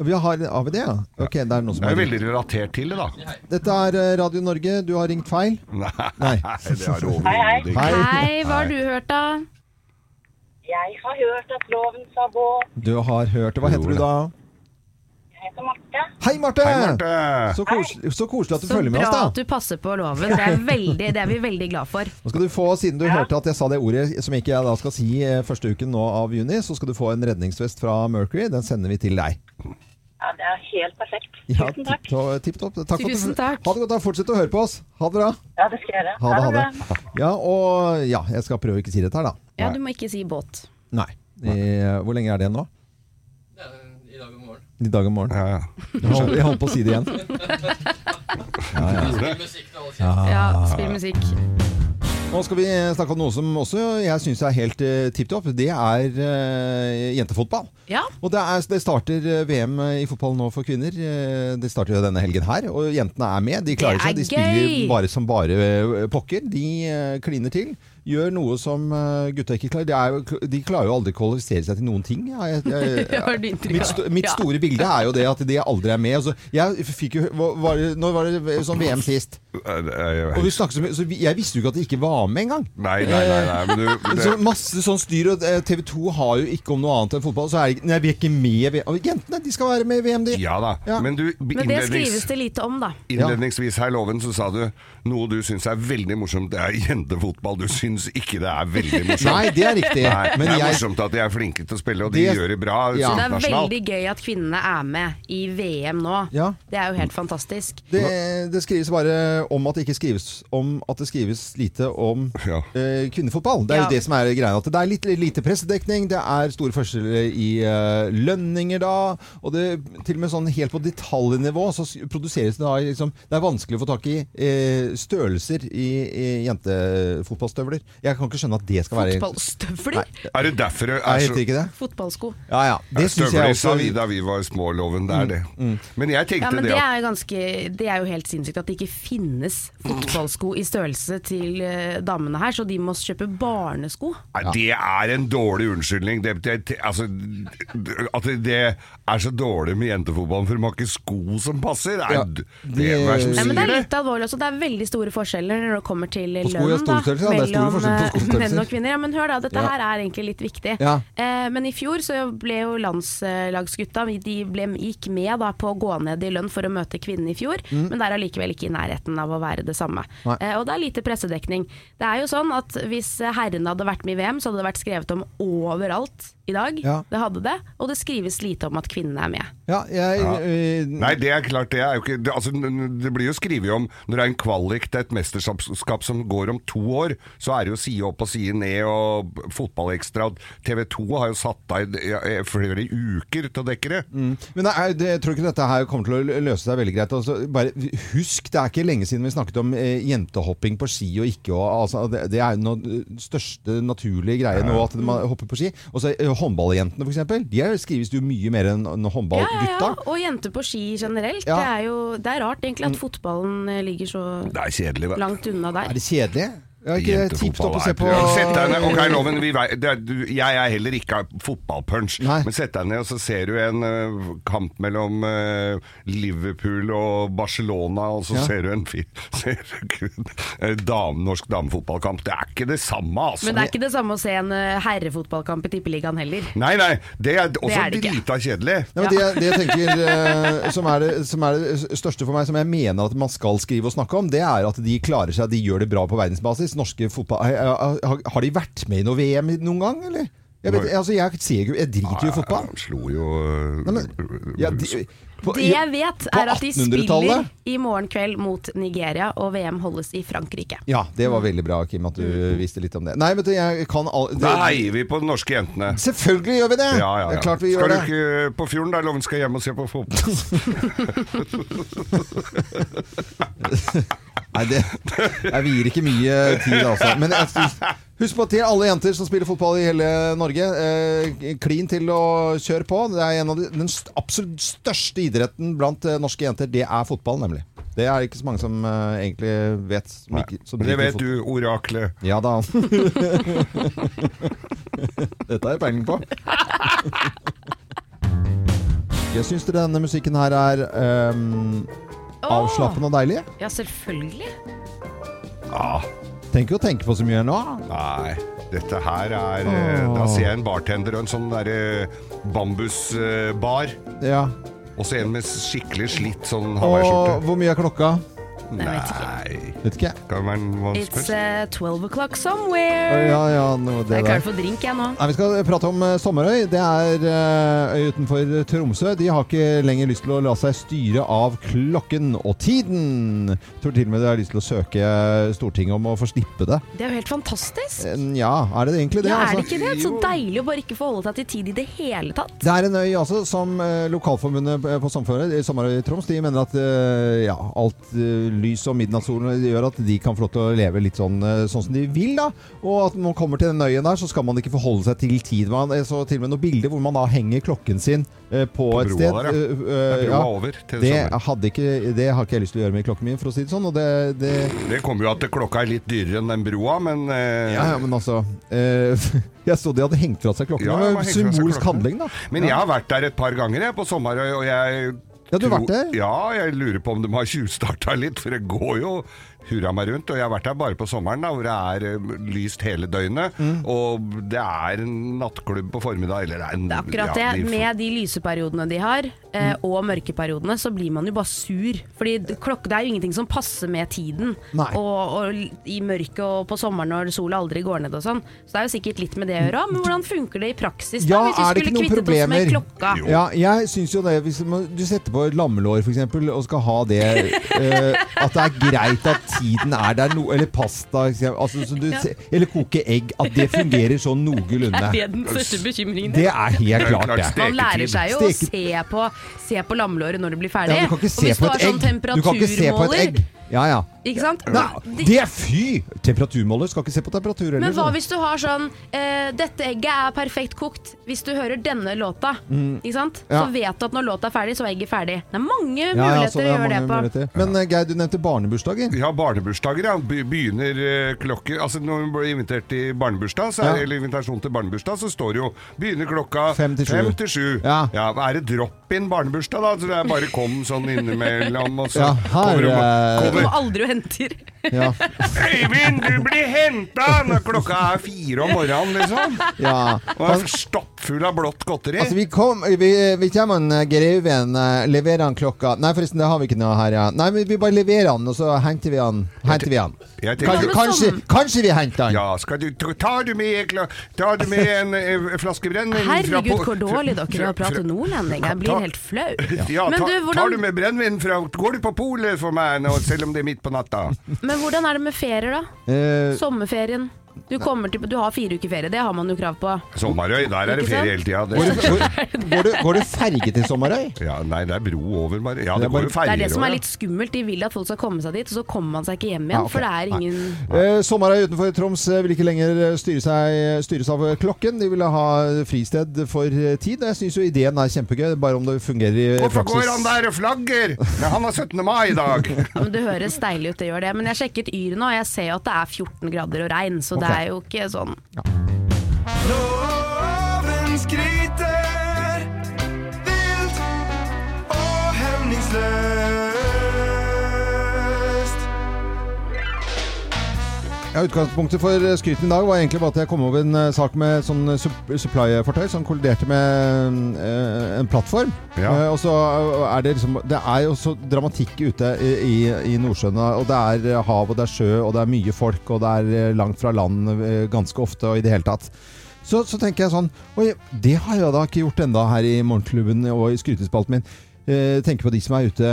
[SPEAKER 1] Vi har, har vi det, ja? Ok, det er noen som
[SPEAKER 2] Det er jo
[SPEAKER 1] har
[SPEAKER 2] veldig relatert til det, da.
[SPEAKER 1] Dette er eh, Radio Norge. Du har ringt feil.
[SPEAKER 2] Nei, det er
[SPEAKER 1] Hei, hei.
[SPEAKER 2] overhodet
[SPEAKER 1] Hei.
[SPEAKER 5] Hei, hva har du hørt, da?
[SPEAKER 21] Jeg har hørt at loven sa båt.
[SPEAKER 1] Du har hørt det. Hva heter du da?
[SPEAKER 21] Jeg heter Marte.
[SPEAKER 1] Hei, Marte!
[SPEAKER 2] Hei, Marte!
[SPEAKER 1] Så, koselig, så koselig at du
[SPEAKER 5] Så
[SPEAKER 1] følger med
[SPEAKER 5] bra
[SPEAKER 1] oss, da.
[SPEAKER 5] at du passer på loven. Det er, veldig, det er vi veldig glad for.
[SPEAKER 1] Nå skal du få, Siden du hørte at jeg sa det ordet som ikke jeg da skal si eh, første uken nå av juni, så skal du få en redningsvest fra Mercury. Den sender vi til deg.
[SPEAKER 21] Ja, det er helt perfekt.
[SPEAKER 1] Ja,
[SPEAKER 21] Tusen takk.
[SPEAKER 1] tipp- tipp topp. Takk for at du-
[SPEAKER 21] Tusen takk.
[SPEAKER 1] Ha det godt. da. Fortsett å høre på oss. Ha det bra.
[SPEAKER 21] Ja, det skal jeg gjøre.
[SPEAKER 1] Ha det, ha det. Ja, og ja, jeg skal prøve å ikke si dette her, da.
[SPEAKER 5] Ja, du må ikke si båt.
[SPEAKER 1] Nei. Eh, hvor lenge er det nå? I dag om morgenen.
[SPEAKER 2] Ja,
[SPEAKER 1] Jeg holdt, jeg holdt på å si det igjen. Ja, ja.
[SPEAKER 5] Ja, spill musikk.
[SPEAKER 1] Nå skal vi snakke om noe som også jeg syns er helt uh, tipp topp. Det er eh, jentefotball.
[SPEAKER 5] Ja.
[SPEAKER 1] Og det, er, det starter eh, VM i fotball nå for kvinner. Eh, Det starter jo denne helgen her, og jentene er med. De klarer
[SPEAKER 5] Det
[SPEAKER 1] seg.
[SPEAKER 5] er
[SPEAKER 1] De spiller
[SPEAKER 5] gøy!
[SPEAKER 1] bare som bare eh, pokker. De eh, kliner til. Gjør noe som eh, gutta ikke klarer. De, er, jo- de klarer jo aldri å kvalifisere seg til noen ting. Jeg, jeg, jeg,
[SPEAKER 5] Har du inntrykk av?
[SPEAKER 1] mitt, sto, mitt
[SPEAKER 5] Ja.
[SPEAKER 1] store bilde er jo det at de aldri er med. Altså, jeg fikk jo, hva- var det, når var det sånn VM sist? Og vi snakket så mye, så vi- Jeg visste jo ikke at de ikke var med engang.
[SPEAKER 2] Nei, nei, nei, nei, men du-
[SPEAKER 1] Eh, Så masse sånn styr, og eh, TV 2 har jo ikke om noe annet enn fotball. Så er det, nei, vi er ikke med i VM. Og Jentene de skal være med i VM, de.
[SPEAKER 2] Ja da.
[SPEAKER 1] Ja.
[SPEAKER 2] Men du,
[SPEAKER 5] Men det
[SPEAKER 2] innlednings,
[SPEAKER 5] skrives det lite om, da.
[SPEAKER 2] innledningsvis her, Loven, så sa du noe du syns er veldig morsomt. Det er jentefotball. Du syns syns ikke det er veldig morsomt.
[SPEAKER 1] Nei, det er riktig.
[SPEAKER 2] Nei,
[SPEAKER 1] Men
[SPEAKER 2] det er
[SPEAKER 1] jeg-
[SPEAKER 2] morsomt at de er flinke til å spille, og de
[SPEAKER 1] Det-
[SPEAKER 2] gjør det bra
[SPEAKER 5] Så det er
[SPEAKER 2] internasjonalt.
[SPEAKER 5] veldig gøy at kvinnene er med i VM nå.
[SPEAKER 1] Ja.
[SPEAKER 5] Det er jo helt fantastisk.
[SPEAKER 1] Det, det skrives bare om at det ikke skrives om at det skrives lite om eh, kvinnefotball. Det er
[SPEAKER 5] Ja.
[SPEAKER 1] jo det som er greia. At det er litt lite pressedekning, det er store forskjeller i eh, lønninger da, og det til og med sånn helt på detaljnivå så s- produseres det da i liksom Det er vanskelig å få tak i eh, størrelser i, i jentefotballstøvler. Jeg kan ikke skjønne at det skal være
[SPEAKER 5] Fotballstøvler?
[SPEAKER 2] Er det derfor det
[SPEAKER 1] Nei,
[SPEAKER 2] er
[SPEAKER 1] heter ikke det?
[SPEAKER 5] Fotballsko.
[SPEAKER 1] Ja, ja. Det syns
[SPEAKER 2] Støvler
[SPEAKER 1] jeg
[SPEAKER 2] sa
[SPEAKER 1] også. Mm,
[SPEAKER 2] vi da vi var små, loven. Det er det. Men jeg
[SPEAKER 5] Ja,
[SPEAKER 2] tenkte
[SPEAKER 5] men
[SPEAKER 2] det
[SPEAKER 5] det
[SPEAKER 2] at
[SPEAKER 5] er, jo ganske, det er jo helt sinnssykt at det ikke finnes fotballsko i størrelse til eh, damene her, så de må kjøpe barnesko.
[SPEAKER 2] Nei, Det er en dårlig unnskyldning. Det, det, altså, at det- det er så dårlig med jentefotballen, for de har ikke sko som passer. Det er,
[SPEAKER 1] Ja,
[SPEAKER 2] det,
[SPEAKER 1] det-
[SPEAKER 2] hva er det
[SPEAKER 5] Eh, Nei, men
[SPEAKER 2] som sier
[SPEAKER 5] det er
[SPEAKER 2] det?
[SPEAKER 5] litt alvorlig også. Det er veldig store forskjeller når det kommer til
[SPEAKER 1] På sko, ja,
[SPEAKER 5] lønn
[SPEAKER 1] store
[SPEAKER 5] da,
[SPEAKER 1] størrelser, ja, det er store
[SPEAKER 5] mellom
[SPEAKER 1] forskjeller på
[SPEAKER 5] eh,
[SPEAKER 1] skostørrelser.
[SPEAKER 5] menn og kvinner. Ja, men hør da, dette
[SPEAKER 1] Ja.
[SPEAKER 5] her er egentlig litt viktig.
[SPEAKER 1] Ja.
[SPEAKER 5] Eh, men i fjor så ble jo landslagsgutta De ble, gikk med da, på å gå ned i lønn for å møte kvinnene i fjor,
[SPEAKER 14] Mm.
[SPEAKER 5] men det er allikevel ikke i nærheten av å være det samme.
[SPEAKER 14] Nei.
[SPEAKER 5] Eh, og det er lite pressedekning. Det er jo sånn at hvis herrene hadde vært med i VM, så hadde det vært skrevet om overalt i dag.
[SPEAKER 1] Ja.
[SPEAKER 5] Det hadde det. Og det skrives lite om at kvinnene er med.
[SPEAKER 1] Ja, jeg,
[SPEAKER 2] Ja.
[SPEAKER 1] eh,
[SPEAKER 2] Nei, det er klart. Det, er jo ikke, det, altså, n- n- det blir jo skrevet om når det er en kvalik til et mesterskap som går om to år, så er det jo side opp og side ned og fotballekstra. TV 2 har jo satt av i- i- flere uker til å dekke det.
[SPEAKER 1] Mm. Men det er, det, jeg tror ikke dette her kommer til å løse seg veldig greit. Altså, bare husk, det er ikke lenge siden vi snakket om eh, jentehopping på ski og ikke. Og, altså, det, det er jo noe- den største naturlige greia nå, at man hopper på ski. Og så eh, håndballjentene, f.eks. De er- skrives det jo mye mer enn enn håndballgutta.
[SPEAKER 5] Og jenter på ski generelt.
[SPEAKER 1] Ja.
[SPEAKER 5] Det, er jo, det er rart egentlig
[SPEAKER 1] Mm.
[SPEAKER 5] at fotballen eh, ligger så
[SPEAKER 2] Det er kjedelig, vet du.
[SPEAKER 5] langt unna der.
[SPEAKER 1] Er det kjedelig? Ja, ikke det tipp topp å se på
[SPEAKER 2] Sett deg ned, ok loven vi vei, det, er- du, Jeg er heller ikke fotballpunch Men sett deg ned og så ser du en eh, kamp mellom eh, Liverpool og Barcelona Og så
[SPEAKER 3] Ja.
[SPEAKER 2] ser du en fi- ser du kun, eh, dam, norsk damefotballkamp Det er ikke det samme altså
[SPEAKER 5] Men det er ikke det samme å se en eh, herrefotballkamp i Tippeligaen heller.
[SPEAKER 2] Nei, nei, det er også
[SPEAKER 5] er det ikke.
[SPEAKER 2] drita kjedelig
[SPEAKER 1] Nei, men det, jeg- det jeg tenker eh, som, er det, som er det største for meg, som jeg mener at man skal skrive og snakke om, det er at de klarer seg, de gjør det bra på verdensbasis. Norske fotball... Har, har- har de vært med i noe VM noen gang, eller? Jeg, vet, altså, jeg, ser, jo- jeg driter jo i fotball.
[SPEAKER 2] Slo jo eh,
[SPEAKER 1] Nei, men, ja, de, på,
[SPEAKER 5] Det jeg vet,
[SPEAKER 1] på
[SPEAKER 5] er at de
[SPEAKER 1] 1800-tallet?
[SPEAKER 5] spiller i morgen kveld mot Nigeria, og VM holdes i Frankrike.
[SPEAKER 1] Ja, det var veldig bra, Kim, at
[SPEAKER 5] Mm.
[SPEAKER 1] du visste litt om det. Nei, vet du, jeg kan all, det,
[SPEAKER 2] Da heier vi på de norske jentene
[SPEAKER 1] Selvfølgelig gjør vi det!
[SPEAKER 2] ja, ja,
[SPEAKER 1] Det
[SPEAKER 2] ja.
[SPEAKER 1] er klart vi
[SPEAKER 2] skal
[SPEAKER 1] gjør det.
[SPEAKER 2] du ikke på fjorden der, Loven skal hjem og se på fotball?
[SPEAKER 1] Nei, det, jeg vier ikke mye tid, altså. Men jeg, synes- husk på til alle jenter som spiller fotball i hele Norge. Eh, klin til å kjøre på. Det er en av de, den st absolutt største idretten blant eh, norske jenter. Det er fotball, nemlig. Det er ikke så mange som eh, egentlig vet. Som ikke, som
[SPEAKER 2] Men det
[SPEAKER 1] driver
[SPEAKER 2] vet du, oraklet
[SPEAKER 1] Ja da. Dette har jeg peiling på. Jeg syns denne musikken her er ehm,
[SPEAKER 5] Åh!
[SPEAKER 1] avslappende og deilig.
[SPEAKER 5] Ja, selvfølgelig.
[SPEAKER 1] Tenker å tenke på så mye nå.
[SPEAKER 2] Nei, dette her er eh,
[SPEAKER 1] Åh.
[SPEAKER 2] Da ser jeg en bartender og en sånn derre bambusbar.
[SPEAKER 1] Ja.
[SPEAKER 2] Og så en med skikkelig slitt sånn
[SPEAKER 1] Og
[SPEAKER 2] hawaiiskjorte.
[SPEAKER 1] hvor mye er klokka?
[SPEAKER 2] Nei
[SPEAKER 1] Vet ikke.
[SPEAKER 2] Kan det være en vanskelig
[SPEAKER 5] It's
[SPEAKER 2] spørsmål?
[SPEAKER 5] uh, 12 o'clock
[SPEAKER 1] Å,
[SPEAKER 5] somewhere.
[SPEAKER 1] Ja, ja, noe
[SPEAKER 5] Jeg
[SPEAKER 1] det
[SPEAKER 5] er klar
[SPEAKER 1] der.
[SPEAKER 5] for drink, jeg nå.
[SPEAKER 1] Nei, vi skal prate om eh, Sommerøy. Det er eh, øy utenfor Tromsø. De har ikke lenger lyst til å la seg styre av klokken og tiden. Jeg tror til og med de har lyst til å søke eh, Stortinget om å få slippe det.
[SPEAKER 5] Det er jo helt fantastisk.
[SPEAKER 1] Eh, Ja, er det egentlig det?
[SPEAKER 5] ja, er det
[SPEAKER 1] altså?
[SPEAKER 5] ikke det? Så deilig å bare ikke forholde seg til tid i det hele tatt.
[SPEAKER 1] Det er en øy altså, som eh, lokalforbundet på Samfunnet, i Sommerøy i Troms, de mener at eh, ja, alt eh, lys og midnattssolen eh, gjør at de kan få lov til å leve litt sånn, eh, sånn som de vil. da. Og at når man kommer til den øyen der, så skal man ikke forholde seg til tid. Man jeg så til og med noen bilder hvor man da henger klokken sin eh, på,
[SPEAKER 2] På
[SPEAKER 1] et
[SPEAKER 2] broa
[SPEAKER 1] sted.
[SPEAKER 2] der, ja.
[SPEAKER 1] eh, eh,
[SPEAKER 2] Det er broa over til
[SPEAKER 1] det,
[SPEAKER 2] sommer.
[SPEAKER 1] hadde ikke, det har ikke jeg lyst til å gjøre med klokken min, for å si det sånn. og det... det
[SPEAKER 2] Det kommer jo at klokka er litt dyrere enn den broa, men eh,
[SPEAKER 1] ja, ja, men altså eh, Jeg så de hadde hengt fra seg klokken.
[SPEAKER 2] Ja, de
[SPEAKER 1] det var
[SPEAKER 2] har hengt fra seg
[SPEAKER 1] symbolsk
[SPEAKER 2] klokken.
[SPEAKER 1] handling, da.
[SPEAKER 2] Men jeg har vært der et par ganger jeg, på sommerøy, og jeg
[SPEAKER 1] Ja, du har vært der?
[SPEAKER 2] Ja, jeg lurer på om de har tjuvstarta litt, for det går jo hurra meg rundt. Og jeg har vært der bare på sommeren, da, hvor det er eh, lyst hele døgnet.
[SPEAKER 1] Mm.
[SPEAKER 2] Og det er en nattklubb på formiddag, eller en,
[SPEAKER 5] Det er akkurat
[SPEAKER 2] ja,
[SPEAKER 5] det.
[SPEAKER 2] de-
[SPEAKER 5] Med de lyseperiodene de har, eh,
[SPEAKER 1] Mm.
[SPEAKER 5] og mørkeperiodene, så blir man jo bare sur. Fordi d- klokk- det er jo ingenting som passer med tiden.
[SPEAKER 17] Nei.
[SPEAKER 5] Og, og l- i mørket og på sommeren når sola aldri går ned og sånn. Så det er jo sikkert litt med det å gjøre òg. Men hvordan funker det i praksis? da,
[SPEAKER 1] Ja,
[SPEAKER 5] hvis vi
[SPEAKER 1] er det ikke
[SPEAKER 5] skulle
[SPEAKER 1] noen
[SPEAKER 5] kvittet oss med
[SPEAKER 1] problemer?
[SPEAKER 5] klokka?
[SPEAKER 1] Ja, jeg syns jo det. Hvis man- du setter på lammelår f.eks. og skal ha det eh, At det er greit at tiden er der no, Eller pasta. ikke sant? Altså, som du,
[SPEAKER 5] Ja.
[SPEAKER 1] se- Eller koke egg. At det fungerer sånn noenlunde.
[SPEAKER 5] Er det den største bekymringen?
[SPEAKER 1] Det er helt klart, det.
[SPEAKER 5] Man lærer seg jo å
[SPEAKER 1] Steke-
[SPEAKER 5] se på, se på lammelåret når det blir ferdig.
[SPEAKER 1] Ja, men du kan ikke
[SPEAKER 5] og
[SPEAKER 1] se
[SPEAKER 5] hvis
[SPEAKER 1] på
[SPEAKER 5] du
[SPEAKER 1] et
[SPEAKER 5] har sånn
[SPEAKER 1] egg. Du kan ikke se på et
[SPEAKER 5] temperaturmåler-
[SPEAKER 1] egg. Ja, ja.
[SPEAKER 5] Ikke sant?
[SPEAKER 1] Nei, det er fy! Temperaturmåler skal ikke se på temperatur heller.
[SPEAKER 5] Men hva hvis du har sånn eh, Dette egget er perfekt kokt Hvis du hører denne låta
[SPEAKER 1] Mm.
[SPEAKER 5] Ikke sant?
[SPEAKER 1] Ja.
[SPEAKER 5] Så vet du at når låta er ferdig, så er egget ferdig Det er mange
[SPEAKER 1] Ja, ja,
[SPEAKER 5] muligheter
[SPEAKER 1] så
[SPEAKER 5] å
[SPEAKER 1] det er
[SPEAKER 5] gjøre det
[SPEAKER 1] mange
[SPEAKER 5] på
[SPEAKER 1] muligheter. Men eh, Geir, du nevnte barnebursdager.
[SPEAKER 2] Ja, barnebursdager ja. Be- begynner eh, klokke Altså Når hun blir invitert til barnebursdag, så,
[SPEAKER 1] Ja.
[SPEAKER 2] eller invitasjon til barnebursdag, så står det jo begynner klokka
[SPEAKER 1] Fem til sju.
[SPEAKER 2] fem til sju. Ja. er det drop-in barnebursdag, da? Så det er bare kom sånn innimellom, og så
[SPEAKER 1] Ja, her,
[SPEAKER 2] kommer hun
[SPEAKER 5] Du
[SPEAKER 1] eh,
[SPEAKER 2] kommer-
[SPEAKER 5] kommer aldri og henter
[SPEAKER 1] Ja.
[SPEAKER 2] Øyvind, du blir henta når klokka er fire om morgenen, liksom.
[SPEAKER 1] Ja.
[SPEAKER 2] Og er stappfull av blått godteri.
[SPEAKER 1] Altså, vi, kom, vi, vi kommer en eh, greven, eh, leverer han klokka Nei, forresten, det har vi ikke noe her, ja. Nei, men vi bare leverer han, og så henter vi han. Henter vi han.
[SPEAKER 2] Jeg tenker-
[SPEAKER 1] Kanskje, kanskje,
[SPEAKER 2] sånn-
[SPEAKER 1] kanskje vi henter han.
[SPEAKER 2] Ja, skal du, tar, du med, kla- tar du med en eh, flaske brennevin fra
[SPEAKER 5] Herregud,
[SPEAKER 2] po-
[SPEAKER 5] hvor dårlig dere har
[SPEAKER 2] fra- fra-
[SPEAKER 5] pratet nordlending Jeg
[SPEAKER 2] Ta-
[SPEAKER 5] blir helt flau
[SPEAKER 2] Ja,
[SPEAKER 5] Men
[SPEAKER 2] ta,
[SPEAKER 5] du,
[SPEAKER 2] tar du
[SPEAKER 5] hvordan,
[SPEAKER 2] med brennevin fra Går du på polet for meg nå, selv om det er midt på natta?
[SPEAKER 5] men hvordan er det med ferier da?
[SPEAKER 1] Eh,
[SPEAKER 5] Sommerferien du, kommer til, du har fire uker ferie, det har man jo krav på
[SPEAKER 2] Sommarøy, der er det
[SPEAKER 5] Ikke
[SPEAKER 2] ferie hele
[SPEAKER 5] sant?
[SPEAKER 2] tida.
[SPEAKER 1] Går det- Går det, går det ferge til Sommarøy?
[SPEAKER 2] Ja, nei, det er bro over, bare. Ja, det
[SPEAKER 1] Det er bare-
[SPEAKER 2] går jo
[SPEAKER 5] Det
[SPEAKER 2] ferger
[SPEAKER 5] er det som er
[SPEAKER 2] over,
[SPEAKER 5] litt skummelt De vil at folk skal komme seg dit, og så kommer man seg ikke hjem igjen
[SPEAKER 1] Ja, ok.
[SPEAKER 5] For det er
[SPEAKER 1] Nei.
[SPEAKER 5] ingen
[SPEAKER 1] Eh, Sommarøy utenfor Troms eh, vil ikke lenger eh, styre seg, styres av eh, klokken. De ville ha fristed for eh, tid. Jeg syns jo ideen er kjempegøy, bare om det fungerer i eh,
[SPEAKER 2] ja. Hvorfor går
[SPEAKER 1] praksis.
[SPEAKER 2] han der og flagger? Nei, han har 17. mai i dag.
[SPEAKER 5] Ja, Men Det høres deilig ut, det gjør det. Men jeg sjekket Yr nå, og jeg ser jo at det er 14 grader og regn, så det
[SPEAKER 1] Ok.
[SPEAKER 5] er jo ikke sånn.
[SPEAKER 17] Loven skryter vilt og hemningsløst.
[SPEAKER 1] Ja, Utgangspunktet for eh, skryten i dag var egentlig bare at jeg kom over en eh, sak med sånn sup- supply-fartøy som kolliderte med eh, en plattform. Eh, og så er det liksom Det er jo så dramatikk ute i, i, i Nordsjøen. Og det er eh, hav, og det er sjø, og det er mye folk, og det er eh, langt fra land eh, ganske ofte, og i det hele tatt. Så, så tenker jeg sånn Oi, det har jeg da ikke gjort enda her i Morgenklubben og i skrytespalten min. Eh, tenker på de som er ute,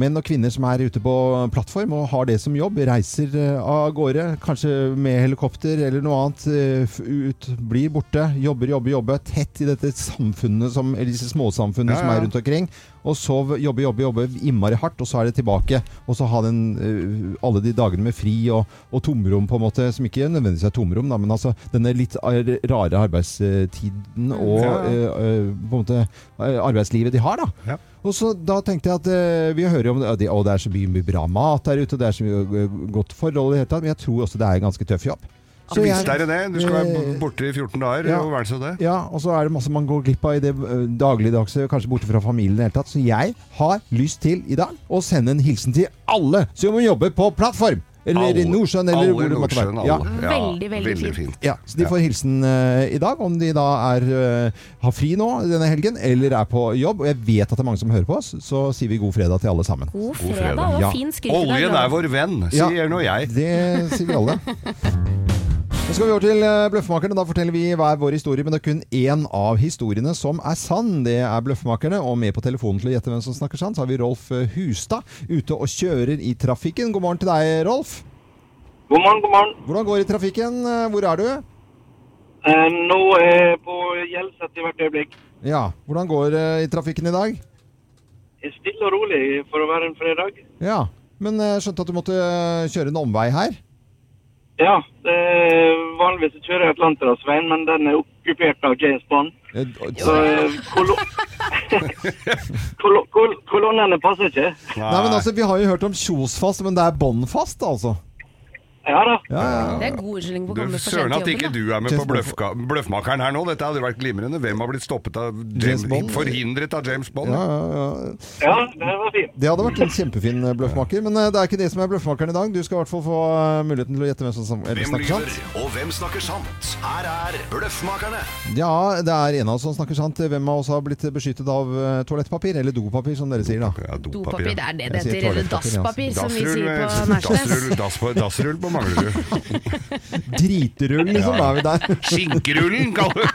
[SPEAKER 1] menn og kvinner som er ute på plattform og har det som jobb. Reiser eh, av gårde, kanskje med helikopter eller noe annet. eh, f- Ut, blir borte, jobber, jobber, jobber. Tett i dette samfunnet som, eller disse småsamfunnene
[SPEAKER 2] Ja,
[SPEAKER 1] som
[SPEAKER 2] ja.
[SPEAKER 1] er rundt omkring. Og så v- jobbe, jobbe, jobbe innmari hardt, og så er det tilbake. Og så ha den, eh, alle de dagene med fri og, og tomrom, på en måte, som ikke nødvendigvis er tomrom, da, men altså denne litt ar- rare arbeidstiden og
[SPEAKER 2] Mm, Ja, ja.
[SPEAKER 1] eh, eh, på en måte eh, arbeidslivet de har, da. Og så da tenkte jeg at eh, vi hører jo om det, og det, og det er så mye, mye bra mat der ute, og det er så mye eh, godt forhold i det hele tatt, men jeg tror også det er en ganske tøff jobb. Så
[SPEAKER 2] Så
[SPEAKER 1] jeg-
[SPEAKER 2] visst er det det. Du skal være
[SPEAKER 1] Eh,
[SPEAKER 2] borte i 14 dager.
[SPEAKER 1] ja.
[SPEAKER 2] og Hva er det så det?
[SPEAKER 1] ja, og så er det masse man går glipp av i det eh, dagligdagse, kanskje borte fra familien i det hele tatt. Så jeg har lyst til i dag å sende en hilsen til alle som jobber på plattform! Eller i
[SPEAKER 2] Alle-
[SPEAKER 1] Nordsjøen, eller
[SPEAKER 2] alle
[SPEAKER 1] hvor det måtte være.
[SPEAKER 2] Nordsjøen,
[SPEAKER 1] Ja.
[SPEAKER 2] alle. Ja, Veldig, veldig veldig fint. fint.
[SPEAKER 1] Ja, så de får hilsen eh, i dag, om de da er, eh, har fri nå denne helgen, eller er på jobb. Og jeg vet at det er mange som hører på oss, så sier vi god fredag til alle sammen.
[SPEAKER 5] God fredag, og
[SPEAKER 1] Ja.
[SPEAKER 5] fin skryt. i dag,
[SPEAKER 2] Oljen
[SPEAKER 5] Loven.
[SPEAKER 2] er vår venn,
[SPEAKER 1] Ja.
[SPEAKER 2] sier nå jeg.
[SPEAKER 1] Det sier vi alle. Nå skal vi over til eh, Bløffmakerne. Da forteller vi hver vår historie, men det er kun én av historiene som er sann. Det er Bløffmakerne. Og med på telefonen til å gjette hvem som snakker sant, så har vi Rolf eh, Hustad ute og kjører i trafikken. God morgen til deg, Rolf.
[SPEAKER 3] God morgen, god morgen.
[SPEAKER 1] Hvordan går det i trafikken? Eh, Hvor er du?
[SPEAKER 3] Eh, nå er jeg på Hjelset i hvert øyeblikk.
[SPEAKER 1] Ja, hvordan går det i trafikken i dag?
[SPEAKER 3] Jeg er Stille og rolig for å være en fredag.
[SPEAKER 1] Ja, men eh, skjønte at du måtte eh, kjøre en omvei her.
[SPEAKER 3] Ja, det er vanligvis så kjører jeg Atlanterhavsveien, men den er okkupert av James
[SPEAKER 1] Eh,
[SPEAKER 3] Så eh, kolo kolo kol kolonnene passer ikke.
[SPEAKER 1] Nei, men altså, Vi har jo hørt om Kjosfast, men det er båndfast, altså?
[SPEAKER 17] Ja da.
[SPEAKER 5] Det er god unnskyldning på å
[SPEAKER 2] Du,
[SPEAKER 5] komme for sent
[SPEAKER 2] Søren at
[SPEAKER 5] til
[SPEAKER 2] ikke
[SPEAKER 5] jobben.
[SPEAKER 2] du er med på bløffka- Bløffmakeren her nå. Dette hadde vært glimrende. Hvem har blitt stoppet av James,
[SPEAKER 1] James Bond?
[SPEAKER 2] forhindret av James Bond?
[SPEAKER 1] Ja, ja, ja.
[SPEAKER 17] det var fint.
[SPEAKER 1] Det hadde vært en kjempefin bløffmaker, men eh, det er ikke det som er bløffmakeren i dag. Du skal i hvert fall få eh, muligheten til å gjette hvem som sam- eller
[SPEAKER 8] Hvem
[SPEAKER 1] snakker sant.
[SPEAKER 8] lyver, og hvem snakker sant? Her er Bløffmakerne.
[SPEAKER 1] Ja, det er en av oss som snakker sant. Hvem av oss har blitt beskyttet av eh, toalettpapir? Eller dopapir, som dere sier, da.
[SPEAKER 5] Dopapir, det er det det
[SPEAKER 1] Jeg sier
[SPEAKER 5] heter. Eller
[SPEAKER 1] toalettpapir, altså. ja.
[SPEAKER 5] dasspapir, som vi
[SPEAKER 2] Dassrull,
[SPEAKER 5] sier på
[SPEAKER 2] eh, dassrull,
[SPEAKER 5] Nærsnes.
[SPEAKER 2] dass på- dassrull på Manglerud.
[SPEAKER 1] Driterull, liksom. Da er vi der.
[SPEAKER 2] Skinkerullen, kaller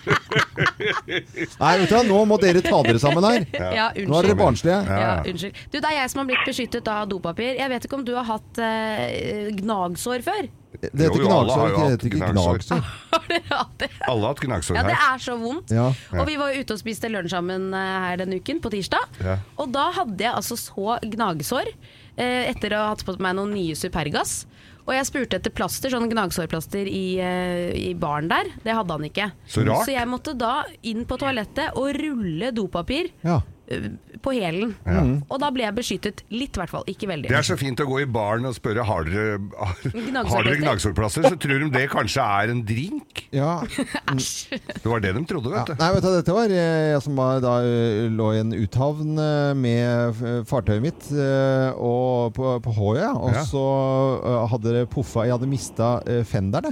[SPEAKER 1] Nei, vet du hva, nå må dere ta dere sammen her.
[SPEAKER 5] Ja, unnskyld.
[SPEAKER 1] Nå er dere barnslige.
[SPEAKER 5] Ja, unnskyld. Du, det er jeg som har blitt beskyttet av dopapir. Jeg vet ikke om du har hatt eh, gnagsår før?
[SPEAKER 1] Det
[SPEAKER 2] Jo,
[SPEAKER 1] heter
[SPEAKER 2] jo, alle har
[SPEAKER 1] gnagsår.
[SPEAKER 2] jo
[SPEAKER 1] Det
[SPEAKER 2] hatt
[SPEAKER 1] heter ikke
[SPEAKER 2] gnagsår.
[SPEAKER 1] gnagsår.
[SPEAKER 2] Alle har hatt gnagsår
[SPEAKER 5] Ja, det
[SPEAKER 2] her.
[SPEAKER 5] er så vondt.
[SPEAKER 1] Ja.
[SPEAKER 5] Og vi var jo ute og spiste lunsj sammen eh, her denne uken, på tirsdag.
[SPEAKER 2] Ja.
[SPEAKER 5] Og da hadde jeg altså så gnagsår eh, etter å ha hatt på meg noen nye Supergas. Og jeg spurte etter plaster, sånn gnagsårplaster i, eh, i baren der. Det hadde han ikke.
[SPEAKER 1] Så rart.
[SPEAKER 5] jeg måtte da inn på toalettet og rulle dopapir
[SPEAKER 1] Ja.
[SPEAKER 5] eh, på hælen.
[SPEAKER 2] Ja.
[SPEAKER 1] Mm.
[SPEAKER 5] Og da ble jeg beskyttet litt, i hvert fall. Ikke veldig.
[SPEAKER 2] Det er så fint å gå i baren og spørre har dere har- har dere
[SPEAKER 5] Gnagsårplaster?
[SPEAKER 2] gnagsårplasser. Så tror de det kanskje er en drink.
[SPEAKER 1] Ja.
[SPEAKER 2] Det var det de trodde, vet du.
[SPEAKER 1] Nei, vet du, dette var eh, jeg som var, da eh, lå i en uthavn eh, med eh, fartøyet mitt eh, og på, på Håøya. Og
[SPEAKER 2] Ja.
[SPEAKER 1] så eh, hadde det puffa Jeg hadde mista eh, fenderne.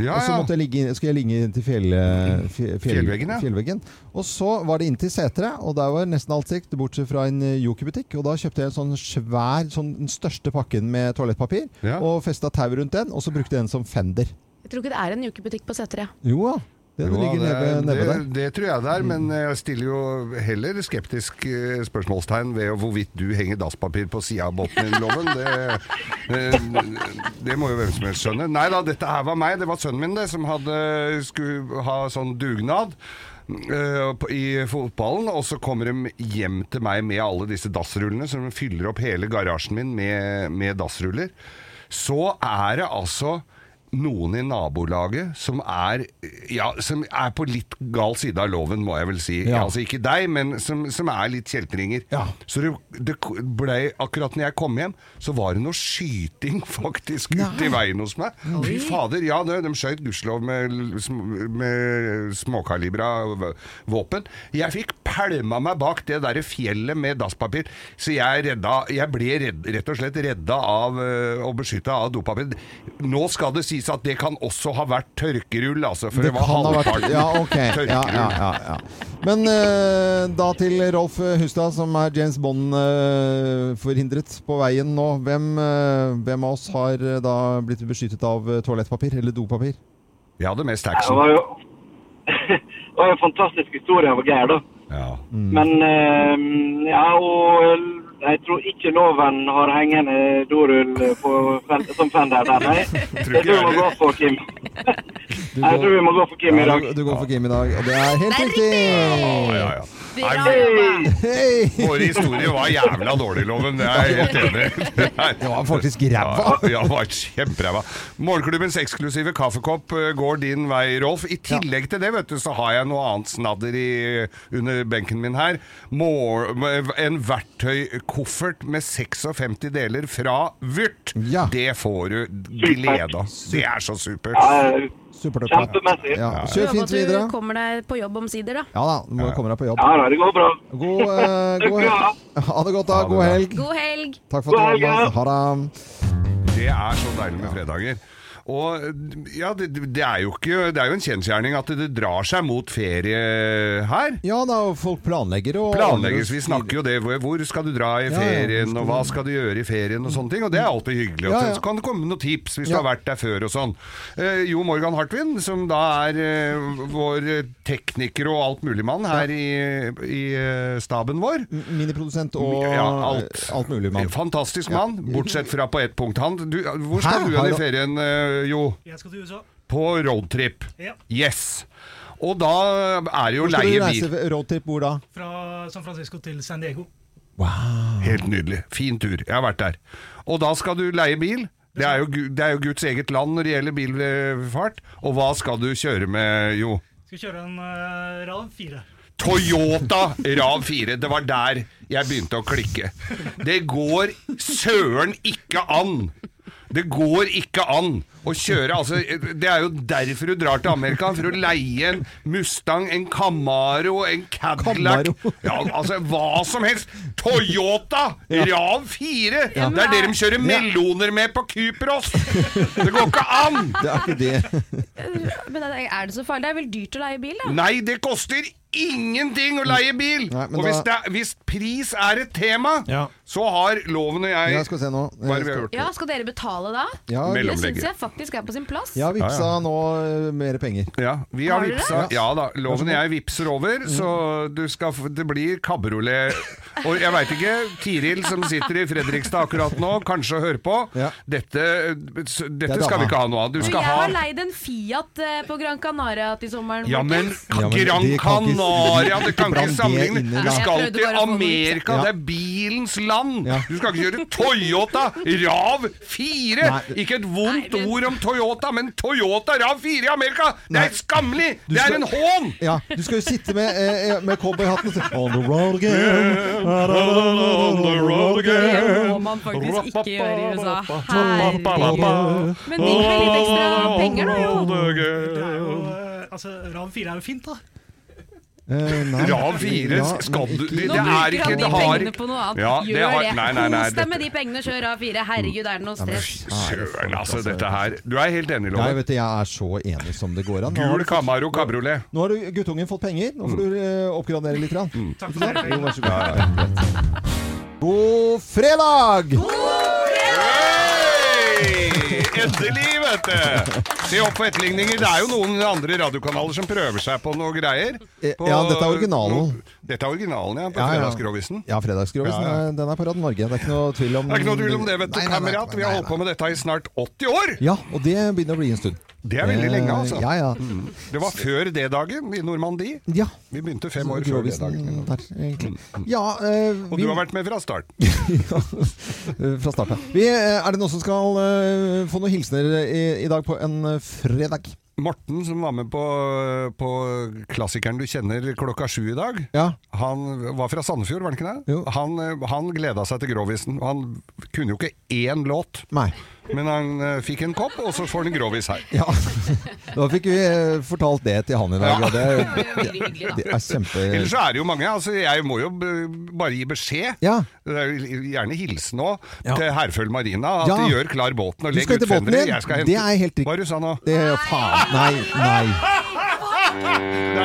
[SPEAKER 2] Ja,
[SPEAKER 1] og så
[SPEAKER 2] ja. Mm.
[SPEAKER 1] måtte jeg ligge, inn- skulle jeg ligge inn til fjell, eh, fje- fjell,
[SPEAKER 2] Fjellveggen, ja.
[SPEAKER 1] fjellveggen. Og så var det inn til Setre, og der var nesten alt sikt, bortsett fra en eh, jokerbutikk. Og da kjøpte jeg en sånn svær, sånn, den største pakken med toalettpapir, og festa tau rundt den, og så brukte jeg den som fender.
[SPEAKER 5] Jeg tror ikke det er en jukebutikk på Setre.
[SPEAKER 1] Jo da. Den
[SPEAKER 2] Jo,
[SPEAKER 1] ligger
[SPEAKER 2] det,
[SPEAKER 1] nede
[SPEAKER 2] er-
[SPEAKER 1] nede der. Mm.
[SPEAKER 2] det, det tror jeg det er, men jeg stiller jo heller skeptisk eh, spørsmålstegn ved hvorvidt du henger dasspapir på sida av båten i loven. Det, eh, det må jo hvem som helst skjønne. Nei da, dette her var meg. Det var sønnen min det, som hadde, skulle ha sånn dugnad. eh, på- I fotballen, og så kommer de hjem til meg med alle disse dassrullene, så de fyller opp hele garasjen min med, med dassruller. Så er det altså noen i nabolaget som er, ja, som er på litt gal side av loven, må jeg vel si.
[SPEAKER 1] Ja.
[SPEAKER 2] Altså ikke deg, men som, som er litt kjeltringer. Så det, det ble, akkurat når jeg kom hjem, så var det noe skyting faktisk ute i veien hos meg. Fy fader, ja, det, de skjøt gudskjelov med, l- sm- med småkalibra v- våpen. Jeg fikk pælma meg bak det derre fjellet med dasspapir, så jeg, redda, jeg ble redd, rett og slett redda av eh, og beskytta av dopapir. Nå skal det sies at det kan også ha vært tørkerull, altså, for det, var
[SPEAKER 1] kan ha vært-
[SPEAKER 2] halvparten
[SPEAKER 1] ja, ok. Ja, ja, ja, ja. Men eh, da til Rolf Hustad, som er James Bond-forhindret på veien nå. Hvem, eh, hvem av oss har eh, da blitt beskyttet av eh, toalettpapir eller dopapir?
[SPEAKER 2] Jeg hadde mest
[SPEAKER 17] Det
[SPEAKER 2] action.
[SPEAKER 17] var jo det var jo en fantastisk historie av Geir, da. Men eh, ja, og jeg tror ikke loven har hengende dorull på, fen- som fender der, nei. Jeg tror vi må gå for Kim. Jeg tror vi må gå for Kim i
[SPEAKER 1] Ja,
[SPEAKER 17] dag.
[SPEAKER 1] du, du går for Kim i dag, og det er helt riktig!
[SPEAKER 2] Nei, men- Våre historier var jævla dårlig, Loven. Det er jeg helt enig i. Det
[SPEAKER 1] var faktisk ræva.
[SPEAKER 2] Ja, ja, det var kjemperæva. Morgenklubbens eksklusive kaffekopp eh, går din vei, Rolf. I tillegg til det, vet du, så har jeg noe annet snadder i, under benken min her. Mor en verktøykoffert med 56 deler fra Vyrt. Det får du glede av. Det er så supert.
[SPEAKER 1] Supert.
[SPEAKER 2] Kjempemessig.
[SPEAKER 1] Ja.
[SPEAKER 2] Ja.
[SPEAKER 1] Kjør
[SPEAKER 5] Håper at
[SPEAKER 1] fint videre.
[SPEAKER 5] du kommer deg på jobb omsider, da.
[SPEAKER 1] Ja da, du må jo komme deg på jobb.
[SPEAKER 17] Ja da, det går bra.
[SPEAKER 1] God, eh,
[SPEAKER 5] Takk
[SPEAKER 1] god
[SPEAKER 5] skal du ha.
[SPEAKER 1] helg. Ha det godt, da. God helg.
[SPEAKER 5] God helg.
[SPEAKER 1] Takk for at du var med. Ha det.
[SPEAKER 2] Det er så deilig med fredager. Og ja, det, det, er jo ikke, det er jo en kjensgjerning at det drar seg mot ferie her.
[SPEAKER 1] Ja da, og folk planlegger og
[SPEAKER 2] Planlegges, vi snakker jo det. hvor- Hvor skal du dra i
[SPEAKER 1] Ja, ja,
[SPEAKER 2] ferien,
[SPEAKER 1] hvor
[SPEAKER 2] og hva skal du gjøre i ferien, og sånne ting. Og det er alltid hyggelig. Og
[SPEAKER 1] Ja, ja.
[SPEAKER 2] så kan det komme noen tips hvis du
[SPEAKER 1] Ja.
[SPEAKER 2] har vært der før og sånn. Eh, jo Morgan Hartvin, som da er eh, vår tekniker og altmuligmann her i, i eh, staben vår.
[SPEAKER 1] Miniprodusent Mm, og
[SPEAKER 2] Ja, alt.
[SPEAKER 1] mulig, mann.
[SPEAKER 2] Fantastisk mann, bortsett fra på ett punkt. Han, du, hvor skal
[SPEAKER 1] Hæ?
[SPEAKER 2] du hen
[SPEAKER 1] Har-
[SPEAKER 2] i ferien, eh, Jo?
[SPEAKER 13] Jeg skal til USA.
[SPEAKER 2] På roadtrip.
[SPEAKER 13] Ja.
[SPEAKER 2] Yes. Og da er det jo
[SPEAKER 1] Hvor skal du
[SPEAKER 2] leie
[SPEAKER 1] reise
[SPEAKER 2] bil.
[SPEAKER 1] roadtrip hvor da?
[SPEAKER 13] Fra San Francisco til San Diego.
[SPEAKER 2] Helt nydelig. Fin tur. Jeg har vært der. Og da skal du leie bil. Det er, jo, Gu- det er jo Guds eget land når det gjelder bilfart. Og hva skal du kjøre med, Jo?
[SPEAKER 13] Skal kjøre en uh, Rav 4.
[SPEAKER 2] Toyota Rav 4. Det var der jeg begynte å klikke. Det går søren ikke an! Det går ikke an å kjøre altså, Det er jo derfor du drar til Amerika, for å leie en Mustang, en Camaro, en Cadillac ja, Altså hva som helst. Toyota!
[SPEAKER 17] Ja.
[SPEAKER 2] Rav 4!
[SPEAKER 17] Ja.
[SPEAKER 2] Det er det de kjører
[SPEAKER 17] Ja.
[SPEAKER 2] meloner med på Kypros! Det går ikke an!
[SPEAKER 1] Det er ikke det.
[SPEAKER 14] Men er det så farlig? Det er vel dyrt å leie bil, da?
[SPEAKER 2] Nei, det koster ingenting å leie bil!
[SPEAKER 1] men
[SPEAKER 2] og hvis, det,
[SPEAKER 1] da-
[SPEAKER 2] er- hvis pris er et tema, så har loven og jeg
[SPEAKER 1] Ja, skal vi se nå.
[SPEAKER 2] Hva er det vi har gjort?
[SPEAKER 14] Ja, skal dere betale da?
[SPEAKER 1] Ja.
[SPEAKER 14] det syns
[SPEAKER 2] Mellomlegger.
[SPEAKER 14] jeg faktisk er på sin plass.
[SPEAKER 1] Jeg har vippsa
[SPEAKER 2] Ja,
[SPEAKER 1] nå eh, mer penger.
[SPEAKER 2] Ja, vi har
[SPEAKER 14] Har dere
[SPEAKER 2] vipsa.
[SPEAKER 1] det?
[SPEAKER 2] Ja da, loven og jeg vipser over,
[SPEAKER 1] Mm.
[SPEAKER 2] så du skal, få- det blir kabriolet. Og jeg veit ikke, Tiril som sitter i Fredrikstad akkurat nå, kanskje hører på. Dette, s- dette
[SPEAKER 1] Det er
[SPEAKER 2] skal vi
[SPEAKER 1] dama.
[SPEAKER 2] ikke ha noe av. Du
[SPEAKER 14] Men
[SPEAKER 2] skal
[SPEAKER 14] jeg har
[SPEAKER 2] ha
[SPEAKER 14] leid en Fiat eh, på Gran Canaria til sommeren.
[SPEAKER 2] ja, men
[SPEAKER 14] folkens.
[SPEAKER 2] Gran
[SPEAKER 1] de kan ikke-
[SPEAKER 2] Canaria, det kan ikke
[SPEAKER 1] Bland det
[SPEAKER 2] sammenligne.
[SPEAKER 1] inn i
[SPEAKER 2] Du
[SPEAKER 1] det.
[SPEAKER 2] skal
[SPEAKER 14] Jeg prøvde
[SPEAKER 2] til
[SPEAKER 14] bare å få noe
[SPEAKER 2] Amerika,
[SPEAKER 1] ut.
[SPEAKER 2] det er bilens land! Du skal ikke kjøre Toyota Rav 4!
[SPEAKER 1] Nei.
[SPEAKER 2] Ikke et vondt ord om Toyota, men Toyota Rav 4 i Amerika! Det
[SPEAKER 1] Nei.
[SPEAKER 2] er skammelig!
[SPEAKER 1] Du
[SPEAKER 2] Det
[SPEAKER 1] skal-
[SPEAKER 2] er en hån!
[SPEAKER 1] Ja, du skal jo sitte med, eh, eh, med cowboyhatten og si On the road again. On the road
[SPEAKER 14] Det må man faktisk ikke gjøre i USA. Herregud. Men det gikk vel litt ekstra penger, da, jo.
[SPEAKER 13] Det er jo, eh, altså, Rav 4 er jo fint, da.
[SPEAKER 1] eh,
[SPEAKER 2] Rav 4
[SPEAKER 1] Ja,
[SPEAKER 2] skal
[SPEAKER 1] men
[SPEAKER 2] du
[SPEAKER 1] ikke-
[SPEAKER 2] det,
[SPEAKER 1] Nå
[SPEAKER 2] det
[SPEAKER 1] bruker
[SPEAKER 2] er ikke,
[SPEAKER 1] han de
[SPEAKER 2] det har,
[SPEAKER 14] pengene på noe annet.
[SPEAKER 2] Ja, det
[SPEAKER 14] Gjør
[SPEAKER 2] har,
[SPEAKER 14] det.
[SPEAKER 2] nei, nei, nei,
[SPEAKER 14] Kos deg
[SPEAKER 2] dette,
[SPEAKER 14] med de pengene, kjør A4. Herregud, er det noe stress?
[SPEAKER 2] Søren, altså, dette her Du er helt enig,
[SPEAKER 1] Nei,
[SPEAKER 2] Loven.
[SPEAKER 1] vet du, jeg er så enig som det går an. Nå har
[SPEAKER 2] Gul
[SPEAKER 1] du fått-
[SPEAKER 2] Camaro Cabriolet.
[SPEAKER 1] Nå har du guttungen fått penger. Nå får du eh, oppgradere litt. Grann. Takk
[SPEAKER 2] for det.
[SPEAKER 1] Jo, vær så god. God fredag!
[SPEAKER 2] Hei! Endelig, vet du! Se opp for etterligninger. Det er jo noen andre radiokanaler som prøver seg på noe greier. På,
[SPEAKER 1] Eh, Ja, dette er originalen.
[SPEAKER 2] noe- Dette er originalen, ja. På
[SPEAKER 1] Ja, ja.
[SPEAKER 2] Fredagsgrovisen.
[SPEAKER 1] Ja,
[SPEAKER 2] Ja,
[SPEAKER 1] Fredagsgrovisen
[SPEAKER 2] ja.
[SPEAKER 1] er- den er på Radio Norge. Det er ikke noe tvil om
[SPEAKER 2] Det er ikke noe tvil om det, vet du,
[SPEAKER 1] Nei, nei, nei.
[SPEAKER 2] kamerat. Vi har holdt på med dette i snart 80 år!
[SPEAKER 1] Ja, og det begynner å bli en stund. Eh,
[SPEAKER 2] Det er veldig lenge, altså.
[SPEAKER 1] Ja, ja.
[SPEAKER 2] Mm. Det var før D-dagen i Normandie.
[SPEAKER 1] Ja.
[SPEAKER 2] Vi begynte fem år før
[SPEAKER 1] Grovisen
[SPEAKER 2] D-dagen.
[SPEAKER 1] der,
[SPEAKER 2] Mm,
[SPEAKER 1] egentlig. Ja, eh,
[SPEAKER 2] Og
[SPEAKER 1] vi-
[SPEAKER 2] du har vært med fra start.
[SPEAKER 1] Eh, Fra starten. Vi, eh, er det noen som skal eh, få noen hilsener i, i dag på en eh, fredag?
[SPEAKER 2] Morten, som var med på, på klassikeren du kjenner klokka sju i dag, han var fra Sandefjord, var han ikke det? Han, eh, han gleda seg til Grovisen. og Han kunne jo ikke én låt, men han eh, fikk en kopp, og så får han en Grovis her.
[SPEAKER 1] Da fikk vi eh, fortalt det til han i dag.
[SPEAKER 2] Ja.
[SPEAKER 1] og Det, det, det er kjempe...
[SPEAKER 2] Ellers så er det jo mange. Altså, jeg må jo b- bare gi beskjed. Det er jo Gjerne hilse nå til Herføl Marina at
[SPEAKER 1] Ja.
[SPEAKER 2] de gjør klar båten og
[SPEAKER 1] Du skal
[SPEAKER 2] legger
[SPEAKER 1] til båten
[SPEAKER 2] utfendere.
[SPEAKER 1] din?
[SPEAKER 2] Jeg skal
[SPEAKER 1] Det
[SPEAKER 2] hente
[SPEAKER 1] er helt riktig.
[SPEAKER 2] Hva du sa nå?
[SPEAKER 1] Det er faen. Nei, nei.
[SPEAKER 2] Der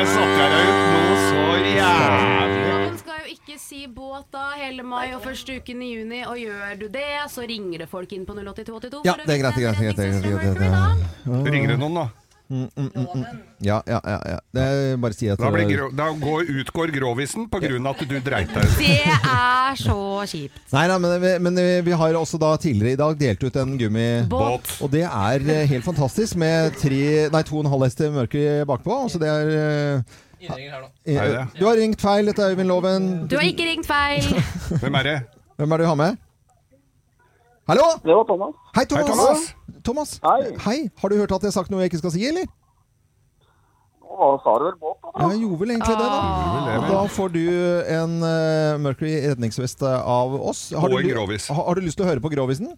[SPEAKER 2] satte jeg deg ut noe så jævlig.
[SPEAKER 14] Man skal jo ikke si båt da hele mai og første uken i juni, og gjør du det, så ringer det folk inn på 08282.
[SPEAKER 1] Ja, det er greit. Det er greit, det er greit, det er greit, det er greit.
[SPEAKER 2] Ringer det noen, da?
[SPEAKER 1] Mm, mm, mm, mm. Ja, ja, ja. ja. Det er bare å si at eh,
[SPEAKER 2] Da, blir, gro- da går, utgår grovisen på grunn av at du dreit deg ut.
[SPEAKER 14] Det er så kjipt.
[SPEAKER 1] Nei, nei, men, vi- men vi- vi har også da tidligere i dag delt ut en gummibåt.
[SPEAKER 2] Båt.
[SPEAKER 1] Og det er eh, helt fantastisk med tre, nei, to og en halv hest mørke bakpå. Så det er eh, eh,
[SPEAKER 2] Er det?
[SPEAKER 1] Du har ringt feil, dette er Øyvind Loven.
[SPEAKER 14] Du har ikke ringt feil.
[SPEAKER 2] Hvem er det?
[SPEAKER 1] Hvem er det du har med? Hallo?
[SPEAKER 9] Det var Thomas.
[SPEAKER 1] Hei, Thomas.
[SPEAKER 9] Hei, Thomas.
[SPEAKER 1] Thomas. Hei. Har du hørt at jeg har sagt noe jeg ikke skal si, eller?
[SPEAKER 9] Hva sa du vel båt, da?
[SPEAKER 1] Jeg gjorde vel egentlig det, da. Og da får du en eh, Mercury redningsvest av oss. Har
[SPEAKER 2] Og
[SPEAKER 1] du,
[SPEAKER 2] en
[SPEAKER 1] ly-
[SPEAKER 2] grovis.
[SPEAKER 1] har, har du lyst til å høre på grovisen?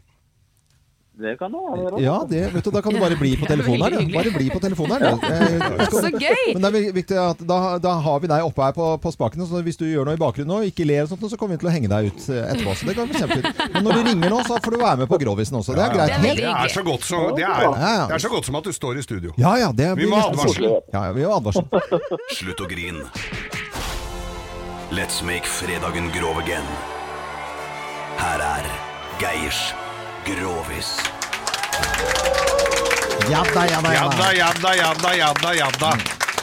[SPEAKER 9] Det kan du gjøre.
[SPEAKER 1] Ja, det, vet du, da kan du bare bli på telefonen her. du. Bare bli på telefonen her. du. Eh,
[SPEAKER 9] Så gøy!
[SPEAKER 1] Men det er viktig at da, da har vi deg oppe her på, på spakene, så hvis du gjør noe i bakgrunnen nå, ikke ler og sånt, så kommer vi til å henge deg ut eh, etterpå. Så det kan bli kjempefint. Men når du ringer nå, så får du være med på Grovisen også. Det er greit.
[SPEAKER 2] Det er så godt som, det er,
[SPEAKER 1] Ja, ja.
[SPEAKER 2] det er så godt som at du står i studio.
[SPEAKER 1] Ja, ja, det
[SPEAKER 2] Vi
[SPEAKER 1] blir
[SPEAKER 2] må ha
[SPEAKER 1] nesten sånn.
[SPEAKER 2] advarsel.
[SPEAKER 1] Ja, ja, vi må ha advarsel.
[SPEAKER 8] Slutt å grine. Let's make fredagen grov again. Her er Geirs Grovis.
[SPEAKER 1] Jadda, jadda,
[SPEAKER 2] Jadda,
[SPEAKER 1] jadda.
[SPEAKER 2] jadda, jadda, jadda, jadda.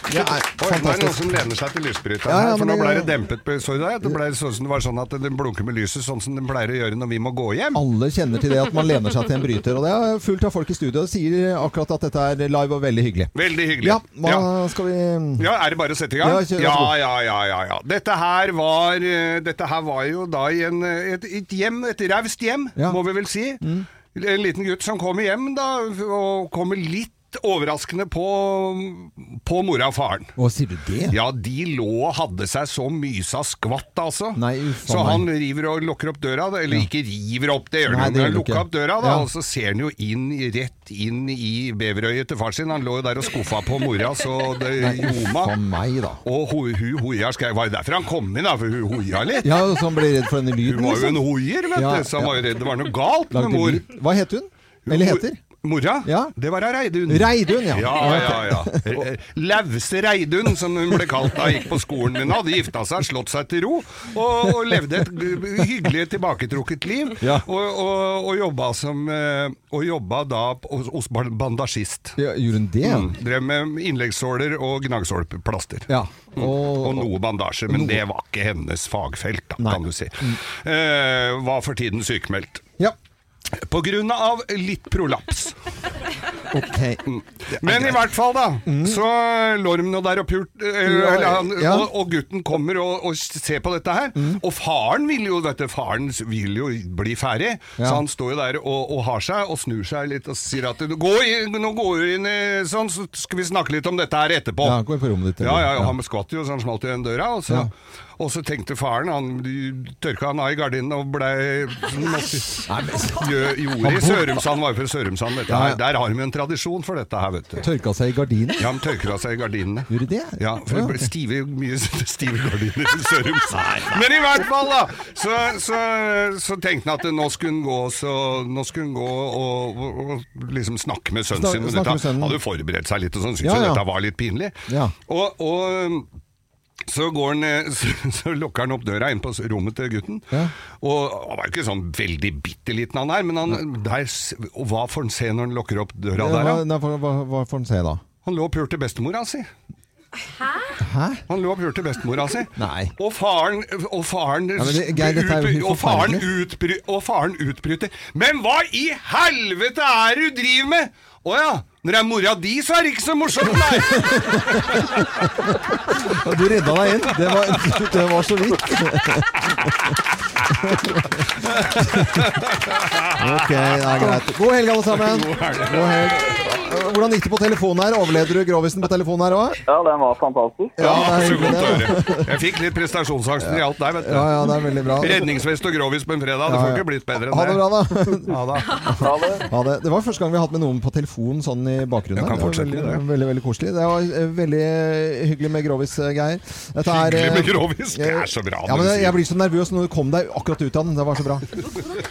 [SPEAKER 1] Det er
[SPEAKER 2] Oi, nå er det noen
[SPEAKER 1] fantastisk.
[SPEAKER 2] som lener seg til lysbryteren
[SPEAKER 1] Ja, ja,
[SPEAKER 2] her, for nå
[SPEAKER 1] men
[SPEAKER 2] ble det
[SPEAKER 1] det-
[SPEAKER 2] dempet. på- Så du det? Det ble sånn som det var sånn at den blunker med lyset, sånn som den pleier å gjøre når vi må gå hjem.
[SPEAKER 1] Alle kjenner til det at man lener seg til en bryter. Og det er fullt av folk i studio og sier akkurat at dette er live og veldig hyggelig.
[SPEAKER 2] Veldig hyggelig.
[SPEAKER 1] Ja, hva
[SPEAKER 2] Ja.
[SPEAKER 1] skal vi
[SPEAKER 2] Ja, Er det bare å sette i gang?
[SPEAKER 1] Ja, kjør, vær så
[SPEAKER 2] ja,
[SPEAKER 1] god.
[SPEAKER 2] ja, ja, ja, ja. Dette her var, eh, dette her var jo da i en, eh, et, et hjem, et
[SPEAKER 1] Mm.
[SPEAKER 2] raust hjem, må vi vel si. En liten gutt som kommer hjem da, og kommer litt litt overraskende på, på mora og faren.
[SPEAKER 1] Å, sier du det?
[SPEAKER 2] Ja, de lå og hadde seg så mysa skvatt, altså.
[SPEAKER 1] Nei, uff
[SPEAKER 2] så
[SPEAKER 1] a meg.
[SPEAKER 2] han river og lukker opp døra, da, eller
[SPEAKER 1] Ja.
[SPEAKER 2] ikke river opp, det gjør
[SPEAKER 1] Nei,
[SPEAKER 2] han,
[SPEAKER 1] det
[SPEAKER 2] men han
[SPEAKER 1] gjør du
[SPEAKER 2] lukker
[SPEAKER 1] ikke.
[SPEAKER 2] opp døra, da,
[SPEAKER 1] Ja.
[SPEAKER 2] og så ser han jo inn, i- rett inn i beverøyet til far sin. Han lå jo der og skuffa på mora, så det
[SPEAKER 1] Nei, uff
[SPEAKER 2] ljoma.
[SPEAKER 1] a meg, da.
[SPEAKER 2] Og ho- hun hoia, skal jeg, var det derfor han kom inn, da, for hun hoia litt?
[SPEAKER 1] Ja, så han ble redd for denne lyden.
[SPEAKER 2] Hun var jo en
[SPEAKER 1] liksom.
[SPEAKER 2] hoier, vet
[SPEAKER 1] Ja,
[SPEAKER 2] du, så han
[SPEAKER 1] ja.
[SPEAKER 2] var jo redd det var noe galt med
[SPEAKER 1] Lagde
[SPEAKER 2] mor.
[SPEAKER 1] lyd. Hva het hun? Eller heter?
[SPEAKER 2] Mora? Det var av Reidun.
[SPEAKER 1] Reidun, ja.
[SPEAKER 2] ja, ja, ja. Eh, Lause Reidun, som hun ble kalt da hun gikk på skolen min. Hadde gifta seg, slått seg til ro og, og levde et g- hyggelig tilbaketrukket liv.
[SPEAKER 1] Ja.
[SPEAKER 2] Og, og, og jobba som eh, Og jobba da p- hos, hos ban- bandasjist.
[SPEAKER 1] Ja, Gjorde hun det? ja?
[SPEAKER 2] Mm, drev med innleggssåler og gnagsårplaster.
[SPEAKER 1] Ja.
[SPEAKER 2] Mm. Og, noe bandasje, men det var ikke hennes fagfelt, da, kan du si.
[SPEAKER 1] Mm.
[SPEAKER 2] Eh, var for tiden sykemeldt.
[SPEAKER 1] Ja.
[SPEAKER 2] På grunn av litt prolaps. Mm.
[SPEAKER 1] Ok.
[SPEAKER 2] Men i hvert fall, da. Så lå de nå der og pult eh, eller han,
[SPEAKER 1] Mm. Ja. Mm.
[SPEAKER 2] og, og gutten kommer og, og ser på dette her. Og faren vil jo dette, faren vil jo bli ferdig. Så
[SPEAKER 1] Ja.
[SPEAKER 2] han står jo der og, og har seg, og snur seg litt og sier at du, gå inn, Nå går du inn i sånn, så skal vi snakke litt om dette her etterpå.
[SPEAKER 1] Ja, gå inn på rommet ditt, eller?
[SPEAKER 2] Ja, ja,
[SPEAKER 1] Ja.
[SPEAKER 2] ja. Han skvatt jo, så han smalt igjen døra. Og så, og så tenkte faren Han tørka han av i gardinen og blei Gjø- Gjorde i Sørumsand, var jo fra Sørumsand, dette
[SPEAKER 1] Ja, ja.
[SPEAKER 2] her. Der har vi en tradisjon for dette her, vet du.
[SPEAKER 1] Tørka seg i gardinen?
[SPEAKER 2] Ja, han tørker av seg gardinene.
[SPEAKER 1] Gjorde det?
[SPEAKER 2] Ja, for det
[SPEAKER 1] Ja, ok.
[SPEAKER 2] ble stive, mye stive gardiner i Sørumsand. Men i hvert fall, da! Så, så, så tenkte han at nå skulle han gå, så, nå skulle han gå og, og, og liksom snakke med sønnen
[SPEAKER 1] Snak-
[SPEAKER 2] sin. Men
[SPEAKER 1] snakke
[SPEAKER 2] dette
[SPEAKER 1] med sønnen.
[SPEAKER 2] hadde jo forberedt seg litt, og sånn syntes
[SPEAKER 1] Ja,
[SPEAKER 2] jo
[SPEAKER 1] ja.
[SPEAKER 2] dette var litt pinlig.
[SPEAKER 1] Ja.
[SPEAKER 2] Og, og um, så, går han, eh, så, så lukker han opp døra inn på s- rommet til gutten. Og han var jo ikke sånn veldig bitte liten, han her, men han, der, s- og hva får han se når han lukker opp døra der, da?
[SPEAKER 1] Hva, nei, hva, hva- hva får han se, da?
[SPEAKER 2] Han lå og pulte bestemora si.
[SPEAKER 1] Hæ?
[SPEAKER 2] Han lå og pulte bestemora si. Og faren Og faren,
[SPEAKER 1] Ja, men det- Geir, dette er jo helt
[SPEAKER 2] og faren,
[SPEAKER 1] forferdelig.
[SPEAKER 2] utbry, og faren utbryter Men hva i helvete er det du driver med?! Å ja, når det er mora di, så er det ikke så morsomt, nei!
[SPEAKER 1] Ja, Du redda deg inn. Det var, det var så vidt. Ok, det er greit. God helg, alle sammen. God helg. Hvordan gikk det på telefonen her? Overleder du grovisen på telefonen her òg?
[SPEAKER 9] Ja, den var fantastisk.
[SPEAKER 2] Ja,
[SPEAKER 1] det er
[SPEAKER 2] så godt å
[SPEAKER 1] hyggelig,
[SPEAKER 2] høre. Jeg fikk litt prestasjonsangst når det gjaldt deg, vet du.
[SPEAKER 1] Ja, ja, det er veldig bra.
[SPEAKER 2] Redningsvest og grovis på en fredag, det
[SPEAKER 1] Ja,
[SPEAKER 2] får
[SPEAKER 1] ja.
[SPEAKER 2] ikke blitt bedre
[SPEAKER 1] Ha det
[SPEAKER 2] enn det.
[SPEAKER 1] bra, da.
[SPEAKER 2] Ha det.
[SPEAKER 1] Ha det. Det var første gang vi har hatt med noen på telefon sånn i bakgrunnen.
[SPEAKER 2] Jeg kan
[SPEAKER 1] her. Det var
[SPEAKER 2] fortsette med
[SPEAKER 1] veldig,
[SPEAKER 2] det.
[SPEAKER 1] veldig, veldig, koselig. Det var eh, veldig hyggelig med grovis, eh, Geir. Dette er,
[SPEAKER 2] Hyggelig med
[SPEAKER 1] eh,
[SPEAKER 2] grovis, det er så bra.
[SPEAKER 1] Ja,
[SPEAKER 2] når
[SPEAKER 1] men
[SPEAKER 2] du
[SPEAKER 1] jeg
[SPEAKER 2] sier
[SPEAKER 1] blir så nervøs når du kom deg akkurat ut av den. Det var så bra.